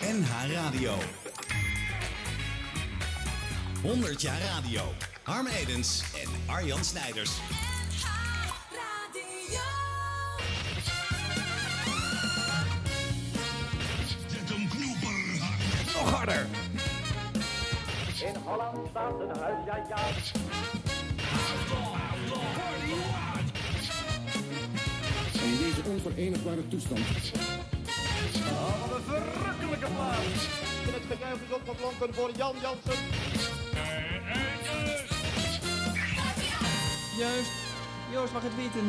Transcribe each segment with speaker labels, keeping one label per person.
Speaker 1: NH Radio. 100 jaar radio. Harm Edens en Arjan Snijders. Nog harder.
Speaker 2: In Holland staat een huis, ja ja.
Speaker 3: En in deze onverenigbare toestand.
Speaker 2: Oh, Wat een verrukkelijke plaats. En het gejuich is opgeklonken voor Jan Jansen.
Speaker 4: Juist. Joost mag het weten.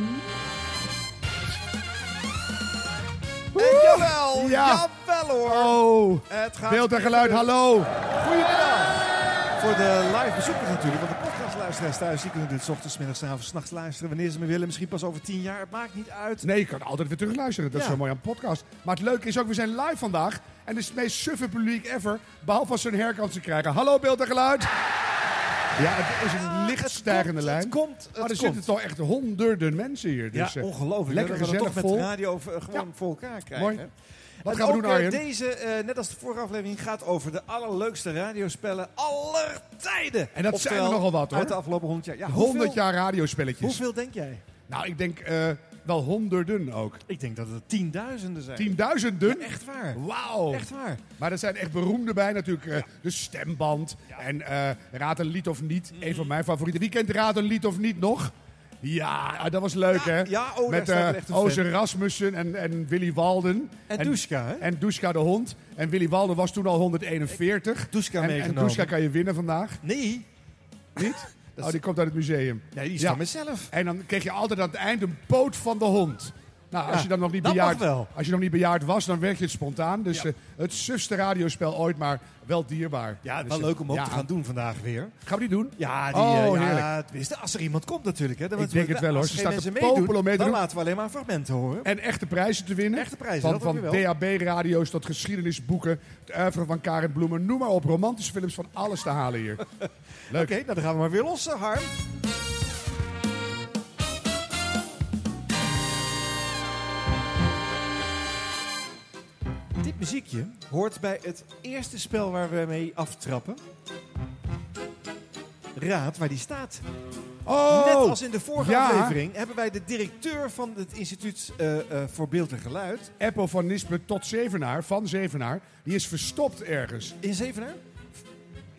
Speaker 5: En Eh, jawel,
Speaker 6: Ja.
Speaker 5: jawel hoor. Eh,
Speaker 6: Oh,
Speaker 5: Het gaat
Speaker 6: beeld en geluid, hallo.
Speaker 5: Goedemiddag. Voor de live bezoekers natuurlijk, want de podcastluisteraars thuis... die kunnen dit 's ochtends, 's middags, 's avonds, 's nachts luisteren... wanneer ze maar willen, misschien pas over tien jaar. Het maakt niet uit.
Speaker 6: Nee, je kan altijd weer terugluisteren. Dat is
Speaker 5: Ja.
Speaker 6: zo mooi aan podcast. Maar het leuke is ook, we zijn live vandaag. En het is het meest suffe publiek ever. Behalve als ze een herkant te krijgen. Hallo, beeld en geluid. Ja, het is een
Speaker 5: Ah,
Speaker 6: licht
Speaker 5: het
Speaker 6: stijgende
Speaker 5: komt,
Speaker 6: lijn.
Speaker 5: Het komt, het
Speaker 6: maar er
Speaker 5: komt.
Speaker 6: zitten toch echt honderden mensen hier. Dus,
Speaker 5: ja,
Speaker 6: eh,
Speaker 5: ongelooflijk.
Speaker 6: Lekker
Speaker 5: dat we dat toch
Speaker 6: gezellig
Speaker 5: met
Speaker 6: vol.
Speaker 5: de radio eh, gewoon
Speaker 6: Ja.
Speaker 5: voor elkaar krijgen.
Speaker 6: Mooi.
Speaker 5: hè?
Speaker 6: Wat
Speaker 5: En
Speaker 6: gaan we
Speaker 5: ook,
Speaker 6: doen,
Speaker 5: eh,
Speaker 6: Arjen?
Speaker 5: Deze, eh, net als de vorige aflevering, gaat over de allerleukste radiospellen aller tijden.
Speaker 6: En dat zijn er
Speaker 5: Oftewel,
Speaker 6: nogal wat, hoor.
Speaker 5: Uit de afgelopen 100 jaar. Ja,
Speaker 6: 100
Speaker 5: hoeveel-
Speaker 6: jaar radiospelletjes.
Speaker 5: Hoeveel denk jij?
Speaker 6: Nou, ik denk eh, wel honderden ook.
Speaker 5: Ik denk dat het tienduizenden zijn.
Speaker 6: Tienduizenden?
Speaker 5: Echt waar.
Speaker 6: Wauw.
Speaker 5: Echt waar.
Speaker 6: Maar er zijn echt beroemde bij natuurlijk. eh, De stemband en eh, Raad een lied of niet.
Speaker 5: Mhm.
Speaker 6: Een van mijn favorieten. Wie kent Raad een lied of niet nog? Ja, ah, dat was leuk
Speaker 5: Ja,
Speaker 6: hè?
Speaker 5: ja, oh, daar
Speaker 6: Met
Speaker 5: staat
Speaker 6: eh,
Speaker 5: wel echt een
Speaker 6: Oze
Speaker 5: fan.
Speaker 6: Rasmussen en, en Willy Walden.
Speaker 5: En Duska, hè?
Speaker 6: En Duska de hond. En Willy Walden was toen al 141.
Speaker 5: Duska
Speaker 6: en, en
Speaker 5: meegenomen.
Speaker 6: Duska kan je winnen vandaag.
Speaker 5: Nee.
Speaker 6: Niet? Oh, die komt uit het museum.
Speaker 5: Nee, die is
Speaker 6: Ja.
Speaker 5: van mezelf.
Speaker 6: En dan kreeg je altijd aan het eind een poot van de hond. Nou, als
Speaker 5: Ja,
Speaker 6: je dan nog niet
Speaker 5: dat
Speaker 6: bejaard,
Speaker 5: mag wel.
Speaker 6: als je nog niet bejaard was, dan werd je het spontaan. Dus
Speaker 5: Ja.
Speaker 6: eh, het sufste radiospel ooit, maar wel dierbaar.
Speaker 5: Ja,
Speaker 6: Dus,
Speaker 5: wel
Speaker 6: eh,
Speaker 5: leuk om ook
Speaker 6: ja.
Speaker 5: te gaan doen vandaag weer.
Speaker 6: Gaan we die doen?
Speaker 5: Ja, die,
Speaker 6: Oh,
Speaker 5: eh, ja,
Speaker 6: heerlijk.
Speaker 5: tenminste, als er iemand komt natuurlijk. Hè, dan
Speaker 6: Ik
Speaker 5: want we-
Speaker 6: denk het wel, hoor.
Speaker 5: Als
Speaker 6: Ze
Speaker 5: geen
Speaker 6: staat
Speaker 5: mensen
Speaker 6: te
Speaker 5: meedoen,
Speaker 6: popelen om mee te
Speaker 5: dan
Speaker 6: doen.
Speaker 5: laten we alleen maar fragmenten horen.
Speaker 6: En echte prijzen te winnen.
Speaker 5: Echte prijzen,
Speaker 6: Van,
Speaker 5: dat
Speaker 6: van
Speaker 5: ook weer wel.
Speaker 6: DAB-radio's tot geschiedenisboeken, het oeuvre van Karen Bloemen. Noem maar op, romantische films van alles te halen hier. leuk.
Speaker 5: Oké, nou dan gaan we maar weer los, eh, Harm. Dit muziekje hoort bij het eerste spel waar we mee aftrappen. Raad waar die staat.
Speaker 6: Oh,
Speaker 5: Net als in de vorige
Speaker 6: ja.
Speaker 5: aflevering hebben wij de directeur van het Instituut eh, eh, voor Beeld en Geluid
Speaker 6: Eppo van Nispen tot Zevenaar, van Zevenaar, die is verstopt ergens.
Speaker 5: in Zevenaar.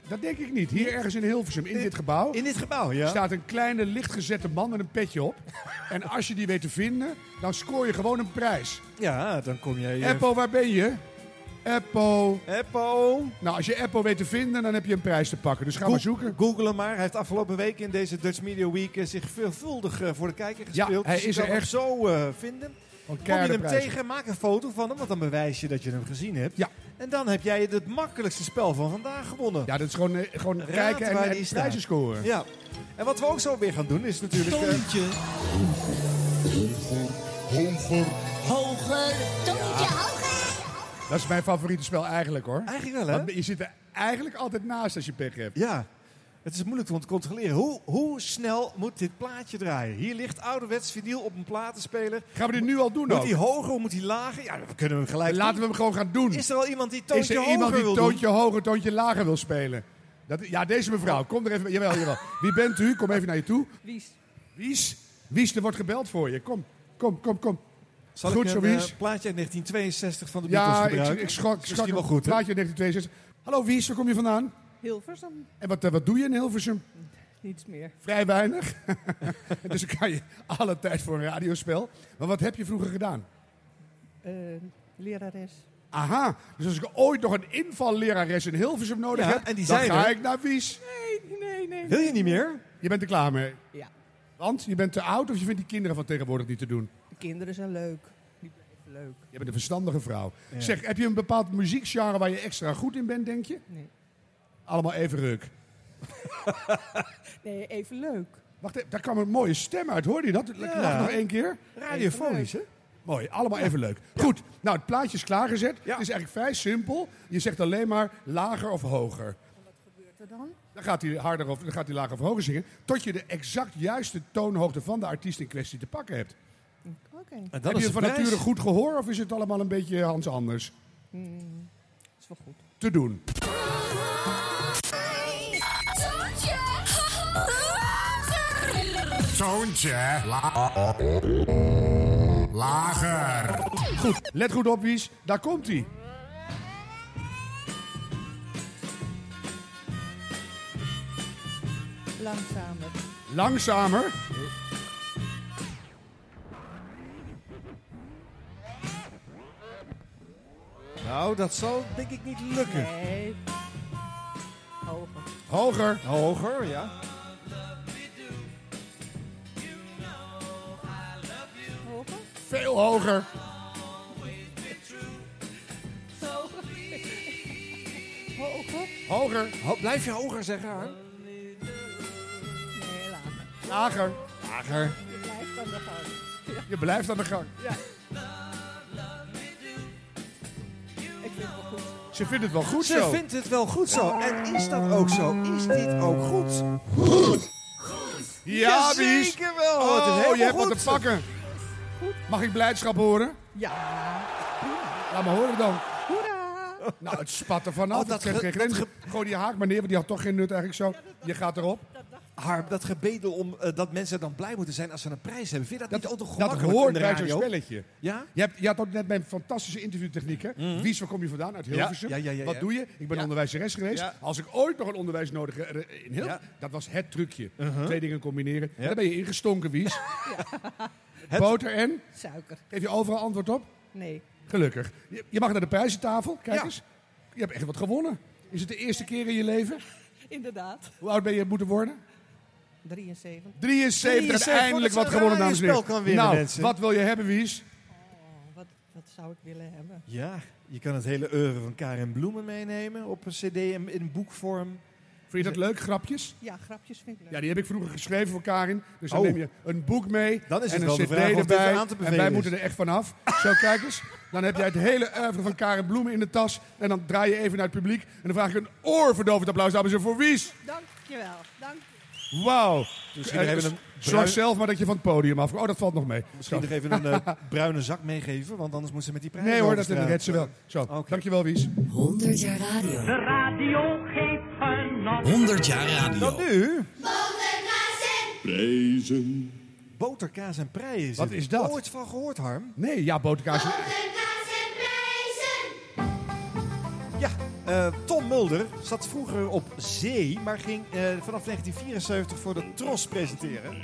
Speaker 6: Dat denk ik niet. Hier ergens in Hilversum, in dit gebouw.
Speaker 5: In dit gebouw, ja.
Speaker 6: staat een kleine lichtgezette man met een petje op. en als je die weet te vinden, dan scoor je gewoon een prijs.
Speaker 5: Ja, dan kom jij... eh,
Speaker 6: Eppo, waar ben je? Eppo.
Speaker 5: Eppo.
Speaker 6: Nou, als je Eppo weet te vinden, dan heb je een prijs te pakken. Dus ga maar zoeken.
Speaker 5: Google hem maar. Hij heeft afgelopen week in deze Dutch Media Week eh, zich veelvuldig eh, voor de kijker gespeeld.
Speaker 6: hij
Speaker 5: Dus je
Speaker 6: is
Speaker 5: kan
Speaker 6: er
Speaker 5: hem
Speaker 6: echt.
Speaker 5: zo eh, vinden.
Speaker 6: Want
Speaker 5: Kom je
Speaker 6: keiharde
Speaker 5: hem
Speaker 6: prijzen.
Speaker 5: tegen, maak een foto van hem, want dan bewijs je dat je hem gezien hebt.
Speaker 6: Ja.
Speaker 5: En dan heb jij het makkelijkste spel van vandaag gewonnen.
Speaker 6: Ja, dat is gewoon, eh, gewoon
Speaker 5: Raad
Speaker 6: kijken en,
Speaker 5: waar
Speaker 6: en
Speaker 5: die staat.
Speaker 6: prijzen scoren.
Speaker 5: Ja. En wat we ook zo weer gaan doen is natuurlijk... eh,
Speaker 6: Dat is mijn favoriete spel eigenlijk, hoor.
Speaker 5: eigenlijk wel, hè?
Speaker 6: Want je zit er eigenlijk altijd naast als je pech hebt.
Speaker 5: Ja. Het is moeilijk te controleren. Hoe, hoe snel moet dit plaatje draaien? Hier ligt ouderwets vinyl op een platenspeler.
Speaker 6: Gaan we dit nu al doen
Speaker 5: Moet
Speaker 6: ook?
Speaker 5: hij hoger of moet hij lager? Ja, dan kunnen we hem gelijk
Speaker 6: Laten
Speaker 5: doen.
Speaker 6: we hem gewoon gaan doen.
Speaker 5: Is er al iemand die
Speaker 6: Is
Speaker 5: toontje
Speaker 6: er
Speaker 5: hoger
Speaker 6: iemand die
Speaker 5: wil
Speaker 6: toontje hoger, toontje lager wil spelen? Dat, ja, deze mevrouw. Kom er even bij. Jawel, jawel. Wie bent u? Kom even naar je toe.
Speaker 4: Wies.
Speaker 6: Wies. Wies, er wordt gebeld voor je. Kom, kom, kom, kom.
Speaker 5: doen? Zal
Speaker 6: Goed
Speaker 5: ik
Speaker 6: zo,
Speaker 5: een eh,
Speaker 6: Wies.
Speaker 5: plaatje uit 1962 van de Beatles
Speaker 6: Ja, ik,
Speaker 5: gebruiken?
Speaker 6: ik schrok,
Speaker 5: Is
Speaker 6: schrok
Speaker 5: die wel
Speaker 6: een
Speaker 5: goed, hè?
Speaker 6: plaatje 1962. Hallo Wies, waar kom je vandaan?
Speaker 4: Hilversum.
Speaker 6: En wat, eh, wat doe je in Hilversum?
Speaker 4: Niets meer.
Speaker 6: Vrij weinig. dus dan kan je alle tijd voor een radiospel. Maar wat heb je vroeger gedaan?
Speaker 4: Eh, lerares.
Speaker 6: Aha, dus als ik ooit nog een invallerares in Hilversum nodig
Speaker 5: Ja,
Speaker 6: heb,
Speaker 5: en die
Speaker 6: dan
Speaker 5: zijn
Speaker 6: ga
Speaker 5: er.
Speaker 6: ik naar Wies.
Speaker 4: Nee, nee, nee.
Speaker 5: Wil je niet meer?
Speaker 6: Je bent er klaar mee.
Speaker 4: Ja,
Speaker 6: Want je bent te oud of je vindt die kinderen van tegenwoordig niet te doen?
Speaker 4: de kinderen zijn leuk. Die blijven leuk.
Speaker 6: Je bent een verstandige vrouw.
Speaker 5: Ja.
Speaker 6: Zeg, heb je een bepaald muziekgenre waar je extra goed in bent, denk je?
Speaker 4: Nee,
Speaker 6: Allemaal even ruk.
Speaker 4: nee even leuk.
Speaker 6: Wacht even, daar kwam een mooie stem uit. Hoorde je dat? Lach
Speaker 5: Ja.
Speaker 6: nog één keer.
Speaker 5: Radiofonisch, hè?
Speaker 6: Mooi, allemaal even leuk. Goed, nou het plaatje is klaargezet.
Speaker 5: Ja.
Speaker 6: Het is eigenlijk vrij simpel. Je zegt alleen maar lager of hoger. Dan gaat hij harder of dan gaat hij lager of hoger zingen. Tot je de exact juiste toonhoogte van de artiest in kwestie te pakken hebt.
Speaker 4: Oké.
Speaker 5: En
Speaker 4: Hmm.
Speaker 6: heb je van nature goed gehoor of is het allemaal een beetje Hans anders?
Speaker 4: Het is is wel goed.
Speaker 6: te doen.
Speaker 7: Zoontje. Lager.
Speaker 6: Goed, let goed op, Wies. Daar komt hij.
Speaker 4: Langzamer.
Speaker 6: Langzamer.
Speaker 5: Nou, dat zal denk ik niet lukken.
Speaker 4: Nee. Hoger.
Speaker 6: Hoger.
Speaker 5: Hoger, ja.
Speaker 4: Hoger?
Speaker 6: Veel hoger.
Speaker 4: Hoger?
Speaker 6: Hoger.
Speaker 5: Ho- blijf je hoger zeggen, Harm?
Speaker 4: Nee,
Speaker 6: Lager.
Speaker 4: lager.
Speaker 5: Lager.
Speaker 4: Je blijft aan de gang.
Speaker 6: Je blijft aan de gang.
Speaker 4: Ik vind het wel goed.
Speaker 6: Ze vindt het wel goed
Speaker 5: Ze
Speaker 6: zo.
Speaker 5: vindt het wel goed zo. En is dat ook zo? Is dit ook goed?
Speaker 6: Ja, Wies.
Speaker 5: zeker wel.
Speaker 6: Oh,
Speaker 5: het is helemaal
Speaker 6: je hebt wat
Speaker 5: goed.
Speaker 6: te pakken. Mag ik blijdschap horen?
Speaker 4: Ja.
Speaker 6: Laat me horen dan.
Speaker 4: Hoera!
Speaker 6: Nou, het spat er vanaf.
Speaker 5: Oh, dat
Speaker 6: Het kent
Speaker 5: ge-
Speaker 6: geen
Speaker 5: dat
Speaker 6: grenzen. Gooi die haak maar neer, want die had toch geen nut eigenlijk zo. Je gaat erop.
Speaker 5: Harm, dat gebedel om eh, dat mensen dan blij moeten zijn als ze een prijs hebben. Vind je dat,
Speaker 6: Dat,
Speaker 5: niet altijd
Speaker 6: dat
Speaker 5: gemakkelijk
Speaker 6: hoort
Speaker 5: in de
Speaker 6: bij zo'n
Speaker 5: radio?
Speaker 6: spelletje.
Speaker 5: Ja? Hm.
Speaker 6: Je, hebt, je had ook net mijn fantastische interviewtechniek, hè? Wies, Dus waar kom je vandaan? Uit Hilversum.
Speaker 5: Ja, ja, ja, ja.
Speaker 6: Wat doe je? Ik ben
Speaker 5: Ja.
Speaker 6: onderwijzeres geweest.
Speaker 5: Ja.
Speaker 6: Als ik ooit nog een onderwijs nodig heb eh, in Hilversum,
Speaker 5: Ja. Uh-huh.
Speaker 6: dat was het trucje. Twee dingen combineren. Daar ben je ingestonken, Wies. Met Boter en?
Speaker 4: Suiker.
Speaker 6: Geef je overal antwoord op?
Speaker 4: Nee.
Speaker 6: Gelukkig. Je, je mag naar de prijzentafel. Kijk
Speaker 5: Ja.
Speaker 6: eens. Je hebt echt wat gewonnen. Is het de eerste keer in je leven?
Speaker 4: Inderdaad.
Speaker 6: Hoe oud ben je moeten worden?
Speaker 4: 73.
Speaker 6: 73,
Speaker 5: Jezus,
Speaker 6: eindelijk
Speaker 5: wat een
Speaker 6: wat gewonnen, dames en heren.
Speaker 5: radiospel kan winnen,
Speaker 6: nou,
Speaker 5: mensen.
Speaker 6: wat wil je hebben, Wies?
Speaker 4: Oh, wat, wat zou ik willen hebben?
Speaker 5: Ja, je kan het hele euro van Karin Bloemen meenemen op een cd in, in boekvorm.
Speaker 6: Vind je dat leuk, grapjes?
Speaker 4: Ja, grapjes vind ik leuk.
Speaker 6: Ja, die heb ik vroeger geschreven voor Karin. Dus dan
Speaker 5: Oh.
Speaker 6: neem je een boek mee
Speaker 5: Dan is
Speaker 6: en
Speaker 5: het
Speaker 6: een
Speaker 5: wel de
Speaker 6: cd
Speaker 5: vraag of dit
Speaker 6: erbij.
Speaker 5: aan te
Speaker 6: en
Speaker 5: bevelen
Speaker 6: wij
Speaker 5: is.
Speaker 6: moeten er echt vanaf. Zo, kijk eens. Dan heb jij het hele oeuvre van Karin Bloemen in de tas. En dan draai je even naar het publiek. En dan vraag ik een oorverdovend applaus, dames en heren, voor Wies.
Speaker 4: Dankjewel. Dank.
Speaker 6: Wauw.
Speaker 5: Misschien
Speaker 6: Eh,
Speaker 5: nog even
Speaker 6: dus
Speaker 5: een
Speaker 6: Zorg
Speaker 5: bruin-
Speaker 6: zelf maar dat je van het podium afkomt. Oh, dat valt nog mee.
Speaker 5: Misschien nog even een eh, bruine zak meegeven, want anders moet ze met die prijs
Speaker 6: Nee hoor, dat
Speaker 5: over straat.
Speaker 6: redt ze wel. Zo, dankjewel Wies.
Speaker 8: 100 jaar radio.
Speaker 1: 100 jaar radio.
Speaker 5: Dan nu,
Speaker 3: Prijzen.
Speaker 5: boterkaas en prei is
Speaker 6: Wat
Speaker 5: het.
Speaker 6: is dat?
Speaker 5: Ooit van gehoord, Harm?
Speaker 6: Nee, ja, boterkaas.
Speaker 5: Ja, eh, Tom Mulder zat vroeger op zee, maar ging eh, vanaf 1974 voor de Tros presenteren.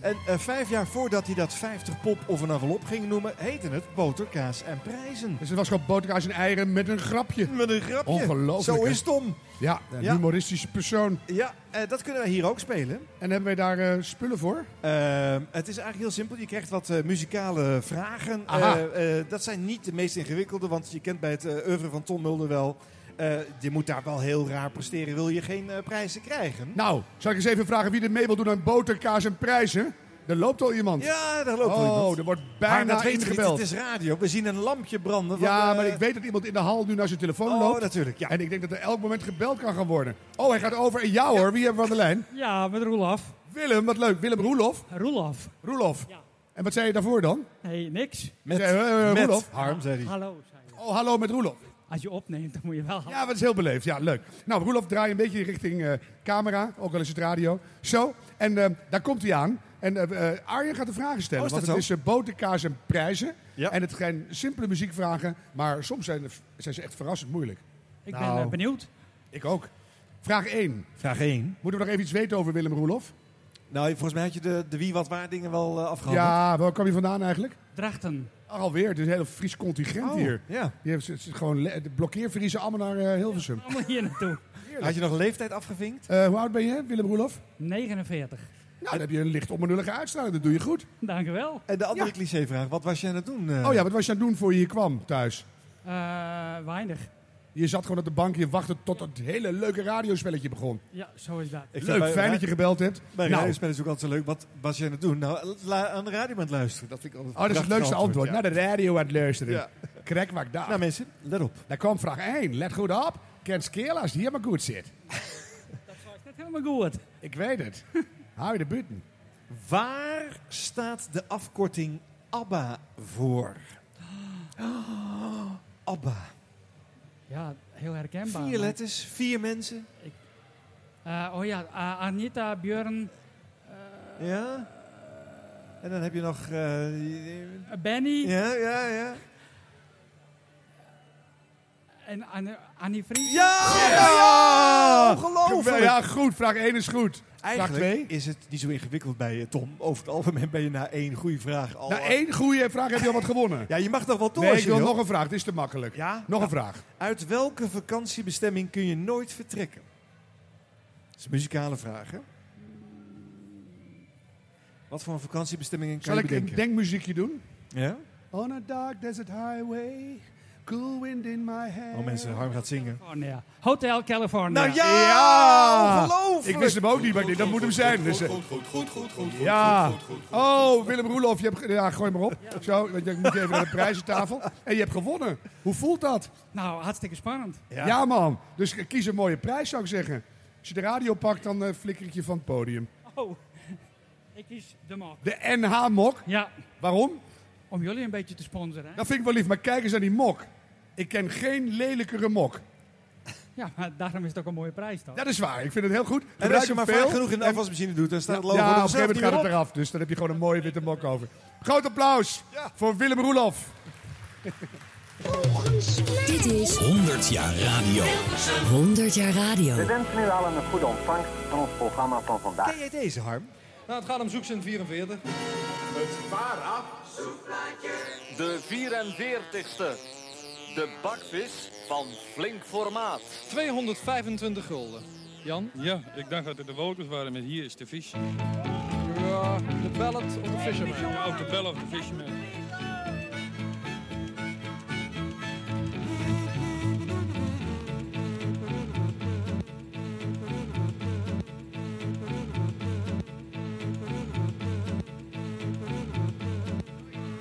Speaker 5: En eh, vijf jaar voordat hij dat 50 pop of een envelop ging noemen, heette het boterkaas en prijzen.
Speaker 6: Dus het was gewoon boterkaas en eieren met een grapje.
Speaker 5: Met een grapje.
Speaker 6: Ongelooflijk,
Speaker 5: Zo
Speaker 6: hè?
Speaker 5: is Tom.
Speaker 6: Ja, een
Speaker 5: Ja.
Speaker 6: humoristische persoon.
Speaker 5: Ja, eh, dat kunnen wij hier ook spelen.
Speaker 6: En hebben wij daar eh, spullen voor?
Speaker 5: Ehm, het is eigenlijk heel simpel. Je krijgt wat eh, muzikale vragen.
Speaker 6: Aha.
Speaker 5: Eh, eh, dat zijn niet de meest ingewikkelde, want je kent bij het eh oeuvre van Tom Mulder wel. eh, je moet daar wel heel raar presteren, wil je geen eh, prijzen krijgen.
Speaker 6: Nou, zal ik eens even vragen wie er mee wil doen aan boterkaas en prijzen? Er loopt al iemand.
Speaker 5: Ja, daar loopt wel iemand.
Speaker 6: oh, er wordt
Speaker 5: Maar dat
Speaker 6: bijna
Speaker 5: weet je niet,
Speaker 6: ingebeld.
Speaker 5: het is radio. We zien een lampje branden. van,
Speaker 6: Ja,
Speaker 5: eh,
Speaker 6: maar ik weet dat iemand in de hal nu naar zijn telefoon
Speaker 5: Oh,
Speaker 6: loopt.
Speaker 5: natuurlijk, ja.
Speaker 6: En ik denk dat er elk moment gebeld kan gaan worden. Oh, hij gaat over. En jou hoor, wie hebben we aan de lijn?
Speaker 9: Ja, met Roelof.
Speaker 6: Willem, wat leuk. Willem Roelof.
Speaker 9: Roelof.
Speaker 6: Roelof.
Speaker 9: Ja.
Speaker 6: En wat zei je daarvoor dan?
Speaker 9: Nee, niks.
Speaker 5: Met,
Speaker 6: Zei, eh, eh,
Speaker 5: met
Speaker 6: Roelof.
Speaker 5: Harm, zei hij.
Speaker 9: Hallo, zei je.
Speaker 6: Oh, hallo met Roelof.
Speaker 9: Als je opneemt, dan moet je wel...
Speaker 6: Ja, maar dat is heel beleefd. Ja, leuk. Nou, Roelof, draai een beetje richting eh, camera. Ook al is het radio. Zo. En eh, daar komt hij aan. En eh, eh, Arjen gaat de vragen stellen.
Speaker 5: Oh, is
Speaker 6: want
Speaker 5: dat
Speaker 6: het is eh, boterkaas en prijzen.
Speaker 5: Ja.
Speaker 6: En het zijn simpele muziekvragen. Maar soms zijn, er- zijn ze echt verrassend moeilijk.
Speaker 9: Ik ben
Speaker 6: Nou.
Speaker 9: eh, benieuwd.
Speaker 6: Ik ook. Vraag 1.
Speaker 5: Vraag 1.
Speaker 6: Moeten we nog even iets weten over Willem Roelof?
Speaker 5: Nou, volgens mij had je de, de wie, wat, waar dingen wel eh, afgehandeld.
Speaker 6: Ja, waar kwam je vandaan eigenlijk?
Speaker 9: Drachten.
Speaker 6: Ach, alweer. Het is een heel Fries contingent
Speaker 5: Oh,
Speaker 6: hier.
Speaker 5: Ja.
Speaker 6: Die heeft, het is gewoon le- de blokkeerverliezen allemaal naar eh, Hilversum.
Speaker 9: Allemaal hier naartoe.
Speaker 5: Had je nog leeftijd afgevinkt?
Speaker 6: Eh, hoe oud ben je, Willem Roelof?
Speaker 9: 49.
Speaker 6: Nou, dan heb je een licht onbenullige uitstraling. Dat doe je goed.
Speaker 9: Dank u wel.
Speaker 5: En de andere
Speaker 6: Ja.
Speaker 5: clichévraag, wat was je aan het doen? eh?
Speaker 6: Oh ja, wat was je aan het doen voor je hier kwam thuis?
Speaker 9: Eh, weinig.
Speaker 6: Je zat gewoon op de bank, je wachtte tot het hele leuke radiospelletje begon.
Speaker 9: Ja, zo is dat.
Speaker 5: Ik vind
Speaker 6: Leuk,
Speaker 5: bij-
Speaker 6: fijn dat je gebeld hebt.
Speaker 5: Bij
Speaker 6: Nou,
Speaker 5: radiospel is het ook altijd zo leuk. Wat was je aan het doen? Nou, la- aan de radio aan het luisteren. Dat vind ik altijd
Speaker 6: oh, dat is het
Speaker 5: prachtig
Speaker 6: leukste antwoord. Nou,
Speaker 5: ja.
Speaker 6: Naar de radio aan het luisteren.
Speaker 5: Ja.
Speaker 6: Krek wat daar.
Speaker 5: Nou mensen, let op.
Speaker 6: daar kwam vraag 1. Let goed op. Ken Skeel als die hier maar goed zit.
Speaker 9: Is dat helemaal goed?
Speaker 6: Ik weet het. Hou je de buiten.
Speaker 5: Waar staat de afkorting ABBA voor? Oh, ABBA.
Speaker 9: Ja, heel herkenbaar.
Speaker 5: Vier letters, vier mensen.
Speaker 9: Eh, oh ja, eh, Anita, Björn, eh,
Speaker 5: Ja. En dan heb je nog... eh, die- die-
Speaker 9: eh, Benny
Speaker 5: ja, ja, ja.
Speaker 9: en Anne- Annie Fries.
Speaker 5: Ja! Ongelooflijk!
Speaker 6: Ja, goed. Vraag 1 is goed. Vraag
Speaker 5: Eigenlijk
Speaker 6: twee?
Speaker 5: is het niet zo ingewikkeld bij je, Tom. Over het algemeen ben je na één goede vraag al...
Speaker 6: Na één goede vraag heb je al wat gewonnen.
Speaker 5: Ja, je mag nog wel door
Speaker 6: nee,
Speaker 5: als
Speaker 6: ik
Speaker 5: je
Speaker 6: wil
Speaker 5: wil.
Speaker 6: nog een vraag. Het is te makkelijk.
Speaker 5: Ja?
Speaker 6: Nog een vraag.
Speaker 5: Uit welke vakantiebestemming kun je nooit vertrekken? Dat is een muzikale vraag, hè? Wat voor een vakantiebestemming kan
Speaker 6: Zal
Speaker 5: je
Speaker 6: ik een
Speaker 5: bedenken?
Speaker 6: denkmuziekje doen?
Speaker 5: ja?
Speaker 6: On a dark desert highway, cool wind in my hair.
Speaker 5: Oh, mensen, Harm gaat zingen.
Speaker 9: California. Hotel California.
Speaker 5: Nou ja!
Speaker 6: Ja!
Speaker 5: Ongelooflijk!
Speaker 6: Ik wist hem ook niet, maar ik denk, dat moet hem zijn. Dus, eh,
Speaker 1: goed, goed, goed, goed.
Speaker 6: ja. Oh, Willem Roelof, je hebt, ge- ja, gooi maar op. Zo, want je moet even naar de prijzentafel. En je hebt gewonnen. Hoe voelt dat?
Speaker 9: Nou, hartstikke spannend.
Speaker 6: Ja, man. Dus k- kies een mooie prijs, zou ik zeggen. Als je de radio pakt, dan eh, flikker ik je van het podium.
Speaker 9: Oh, ik kies de mok.
Speaker 6: De NH-mok.
Speaker 9: Ja,
Speaker 6: Waarom?
Speaker 9: om jullie een beetje te sponsoren. Hè?
Speaker 6: Dat vind ik wel lief, maar kijk eens naar die mok. Ik ken geen lelijkere mok.
Speaker 9: Ja, maar daarom is het ook een mooie prijs toch?
Speaker 6: Dat is waar, ik vind het heel goed.
Speaker 5: En als je maar
Speaker 6: veel.
Speaker 5: vaak genoeg in de afwasmachine doet, dan staat het logo
Speaker 6: ja,
Speaker 5: er
Speaker 6: op een
Speaker 5: vanzelf
Speaker 6: gegeven moment
Speaker 5: niet
Speaker 6: gaat het
Speaker 5: meer
Speaker 6: eraf. Dus dan heb je gewoon een mooie witte mok over. Groot applaus voor Willem Roelof.
Speaker 8: Dit is
Speaker 1: 100 jaar radio.
Speaker 8: 100 jaar radio.
Speaker 10: We wensen u allen een goede ontvangst van ons programma van vandaag.
Speaker 5: op. Ken jij deze, Harm?
Speaker 11: Nou, het gaat om zoekzin 44.
Speaker 10: De 44ste. De bakvis van flink formaat.
Speaker 11: 225 gulden. Jan? Ja, ik dacht dat het de wolkers waren, maar hier is de vis. Ja, de pellet of de fisherman? Ja, of de pellet of de fisherman.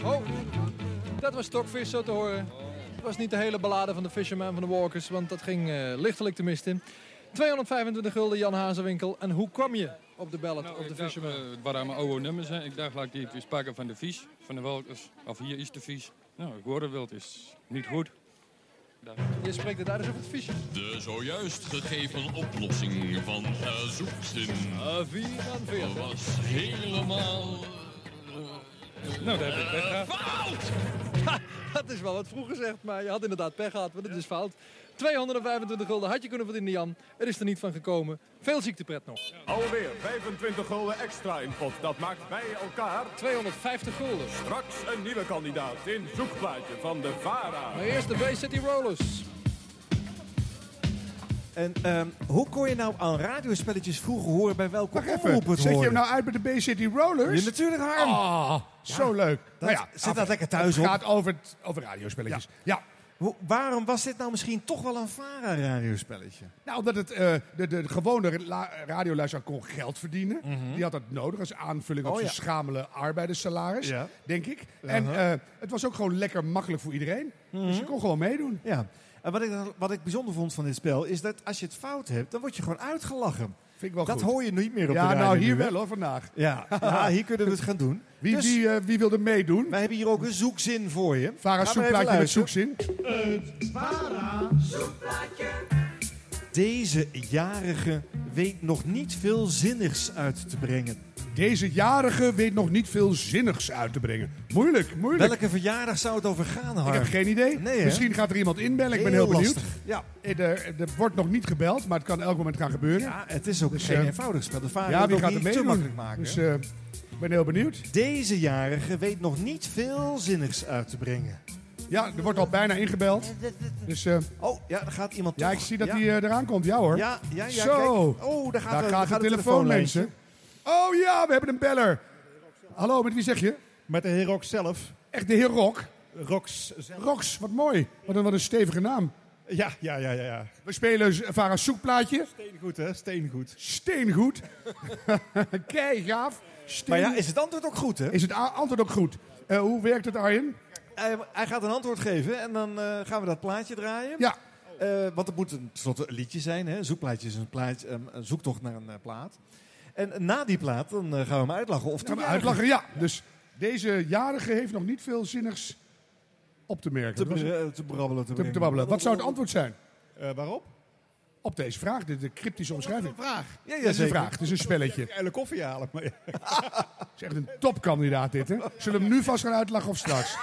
Speaker 11: Oh, dat was stokvis zo te horen. Het was niet de hele ballade van de Fisherman van de Walkers, want dat ging eh, lichtelijk de mist in. 225 gulden, Jan Hazewinkel. En hoe kwam je op de ballad op de Fisherman? eh, het waren mijn oude nummers. Hè. Ik dacht, laat ik die eens pakken van de vies, van de Walkers. Of hier is de vies. Nou, ik hoorde wild, is niet goed. Je spreekt het uit alsof het vies is.
Speaker 1: De zojuist gegeven oplossing van
Speaker 12: eh,
Speaker 1: uh, zoekzin
Speaker 11: Uh, 44.
Speaker 1: was helemaal...
Speaker 12: eh,
Speaker 11: Nou, daar heb ik pech gehad.
Speaker 10: Dat is wel wat vroeg gezegd, maar je had inderdaad pech gehad, want het is fout. 225 gulden had je kunnen verdienen, Jan. Er is er niet van gekomen. Veel ziektepret nog.
Speaker 11: Alweer 25 gulden extra in pot. Dat maakt bij elkaar
Speaker 10: 250 gulden.
Speaker 11: straks een nieuwe kandidaat in zoekplaatje van de VARA.
Speaker 10: Maar eerst de Bay City Rollers.
Speaker 5: En ehm, hoe kon je nou aan radiospelletjes vroeger horen bij welke
Speaker 6: Wacht
Speaker 5: omroep
Speaker 6: even,
Speaker 5: het
Speaker 6: zet je hem
Speaker 5: hoorde?
Speaker 6: nou uit bij de B-City Rollers?
Speaker 5: Ja, natuurlijk, Harm.
Speaker 6: Ah, zo leuk.
Speaker 5: Dat-
Speaker 6: Nou ja,
Speaker 5: zet dat
Speaker 6: af-
Speaker 5: lekker thuis
Speaker 6: Het
Speaker 5: op.
Speaker 6: gaat over, het- over radiospelletjes. Ja.
Speaker 5: Hoe- waarom was dit nou misschien toch wel een VARA-radiospelletje?
Speaker 6: Nou, omdat het, eh, de, de, gewone la- radioluisteraar kon geld verdienen. Die had dat nodig als aanvulling op
Speaker 5: Mhm. Oh,
Speaker 6: zijn
Speaker 5: ja.
Speaker 6: schamele arbeiderssalaris,
Speaker 5: Ja. Uh-huh.
Speaker 6: denk ik. En eh, het was ook gewoon lekker makkelijk voor iedereen.
Speaker 5: Hm.
Speaker 6: Dus je kon gewoon meedoen.
Speaker 5: Mhm. Ja. En wat ik, dan- wat ik bijzonder vond van dit spel, is dat als je het fout hebt, dan word je gewoon uitgelachen.
Speaker 6: Vind ik wel
Speaker 5: dat
Speaker 6: goed.
Speaker 5: hoor je niet meer op
Speaker 6: ja,
Speaker 5: de radio
Speaker 6: nou
Speaker 5: nu,
Speaker 6: hier
Speaker 5: hè?
Speaker 6: wel hoor, vandaag.
Speaker 5: Ja. ja, hier kunnen we het gaan doen.
Speaker 6: Wie,
Speaker 5: Dus,
Speaker 6: wie, eh, wie wilde meedoen?
Speaker 5: wij hebben hier ook een zoekzin voor je.
Speaker 6: Vara
Speaker 5: Ga maar even
Speaker 6: zoekplaatje met
Speaker 5: luisteren.
Speaker 6: zoekzin.
Speaker 5: Deze jarige weet nog niet veel zinnigs uit te brengen.
Speaker 6: Deze jarige weet nog niet veel zinnigs uit te brengen. Moeilijk, moeilijk.
Speaker 5: Welke verjaardag zou het over gaan, Harm?
Speaker 6: Ik heb geen idee.
Speaker 5: Nee, hè?
Speaker 6: Misschien gaat er iemand inbellen. Ik ben
Speaker 5: Heel
Speaker 6: heel benieuwd. Eh,
Speaker 5: lastig.
Speaker 6: Ja. Er, er wordt nog niet gebeld, maar het kan elk moment gaan gebeuren.
Speaker 5: Ja, het is ook geen
Speaker 6: eh,
Speaker 5: eenvoudig spel. De VARA wil
Speaker 6: Ja, wie
Speaker 5: het ook
Speaker 6: gaat er
Speaker 5: niet te
Speaker 6: mee
Speaker 5: makkelijk maken.
Speaker 6: Dus eh, ik ben heel benieuwd.
Speaker 5: Deze jarige weet nog niet veel zinnigs uit te brengen.
Speaker 6: Ja, er wordt al bijna ingebeld. Dus eh,
Speaker 5: Oh, ja, er gaat iemand
Speaker 6: ja,
Speaker 5: toch.
Speaker 6: ik zie dat
Speaker 5: Ja.
Speaker 6: hij eh, eraan komt. Ja hoor.
Speaker 5: Ja, ja, ja,
Speaker 6: Zo.
Speaker 5: kijk. Oh, daar gaat,
Speaker 6: Daar
Speaker 5: de,
Speaker 6: gaat de telefoon, mensen. Oh ja, we hebben een beller. Hallo, met wie zeg je?
Speaker 13: Met de heer Rox zelf.
Speaker 6: Echt de heer Rock.
Speaker 13: Rox zelf.
Speaker 6: Rox, wat mooi. Wat een, wat een stevige naam.
Speaker 13: Ja, ja, ja, ja. ja.
Speaker 6: We spelen z- Vara's zoekplaatje.
Speaker 13: Steengoed, hè? Steengoed.
Speaker 6: Steengoed. Kei gaaf.
Speaker 5: Maar ja, is het antwoord ook goed, hè?
Speaker 6: Is het a- antwoord ook goed? Eh, hoe werkt het, Arjen?
Speaker 5: Hij, hij gaat een antwoord geven en dan eh, gaan we dat plaatje draaien.
Speaker 6: Ja.
Speaker 5: Eh, want het moet een, tenslotte een liedje zijn. Hè? Een zoekplaatje is een, plaatje, een- een zoektocht naar een eh, plaat. En na die plaat dan eh, gaan we hem uitlachen. Of die
Speaker 6: Gaan we
Speaker 5: jarige-
Speaker 6: uitlachen? Ja. Dus deze jarige heeft nog niet veel zinnigs op te merken.
Speaker 5: Te
Speaker 6: Dat was het.
Speaker 13: eh,
Speaker 5: bere- te brabbelen, te brengen.
Speaker 6: brabbelen. Wat zou het antwoord zijn?
Speaker 13: waarop?
Speaker 6: Op deze vraag, de, de cryptische omschrijving.
Speaker 13: vraag.
Speaker 6: Ja, ja, is een
Speaker 13: zeker.
Speaker 6: vraag, het is een spelletje.
Speaker 13: Eigenlijk koffie halen. Maar
Speaker 6: Het is echt een topkandidaat dit, hè? Zullen we hem nu vast gaan uitlachen of straks?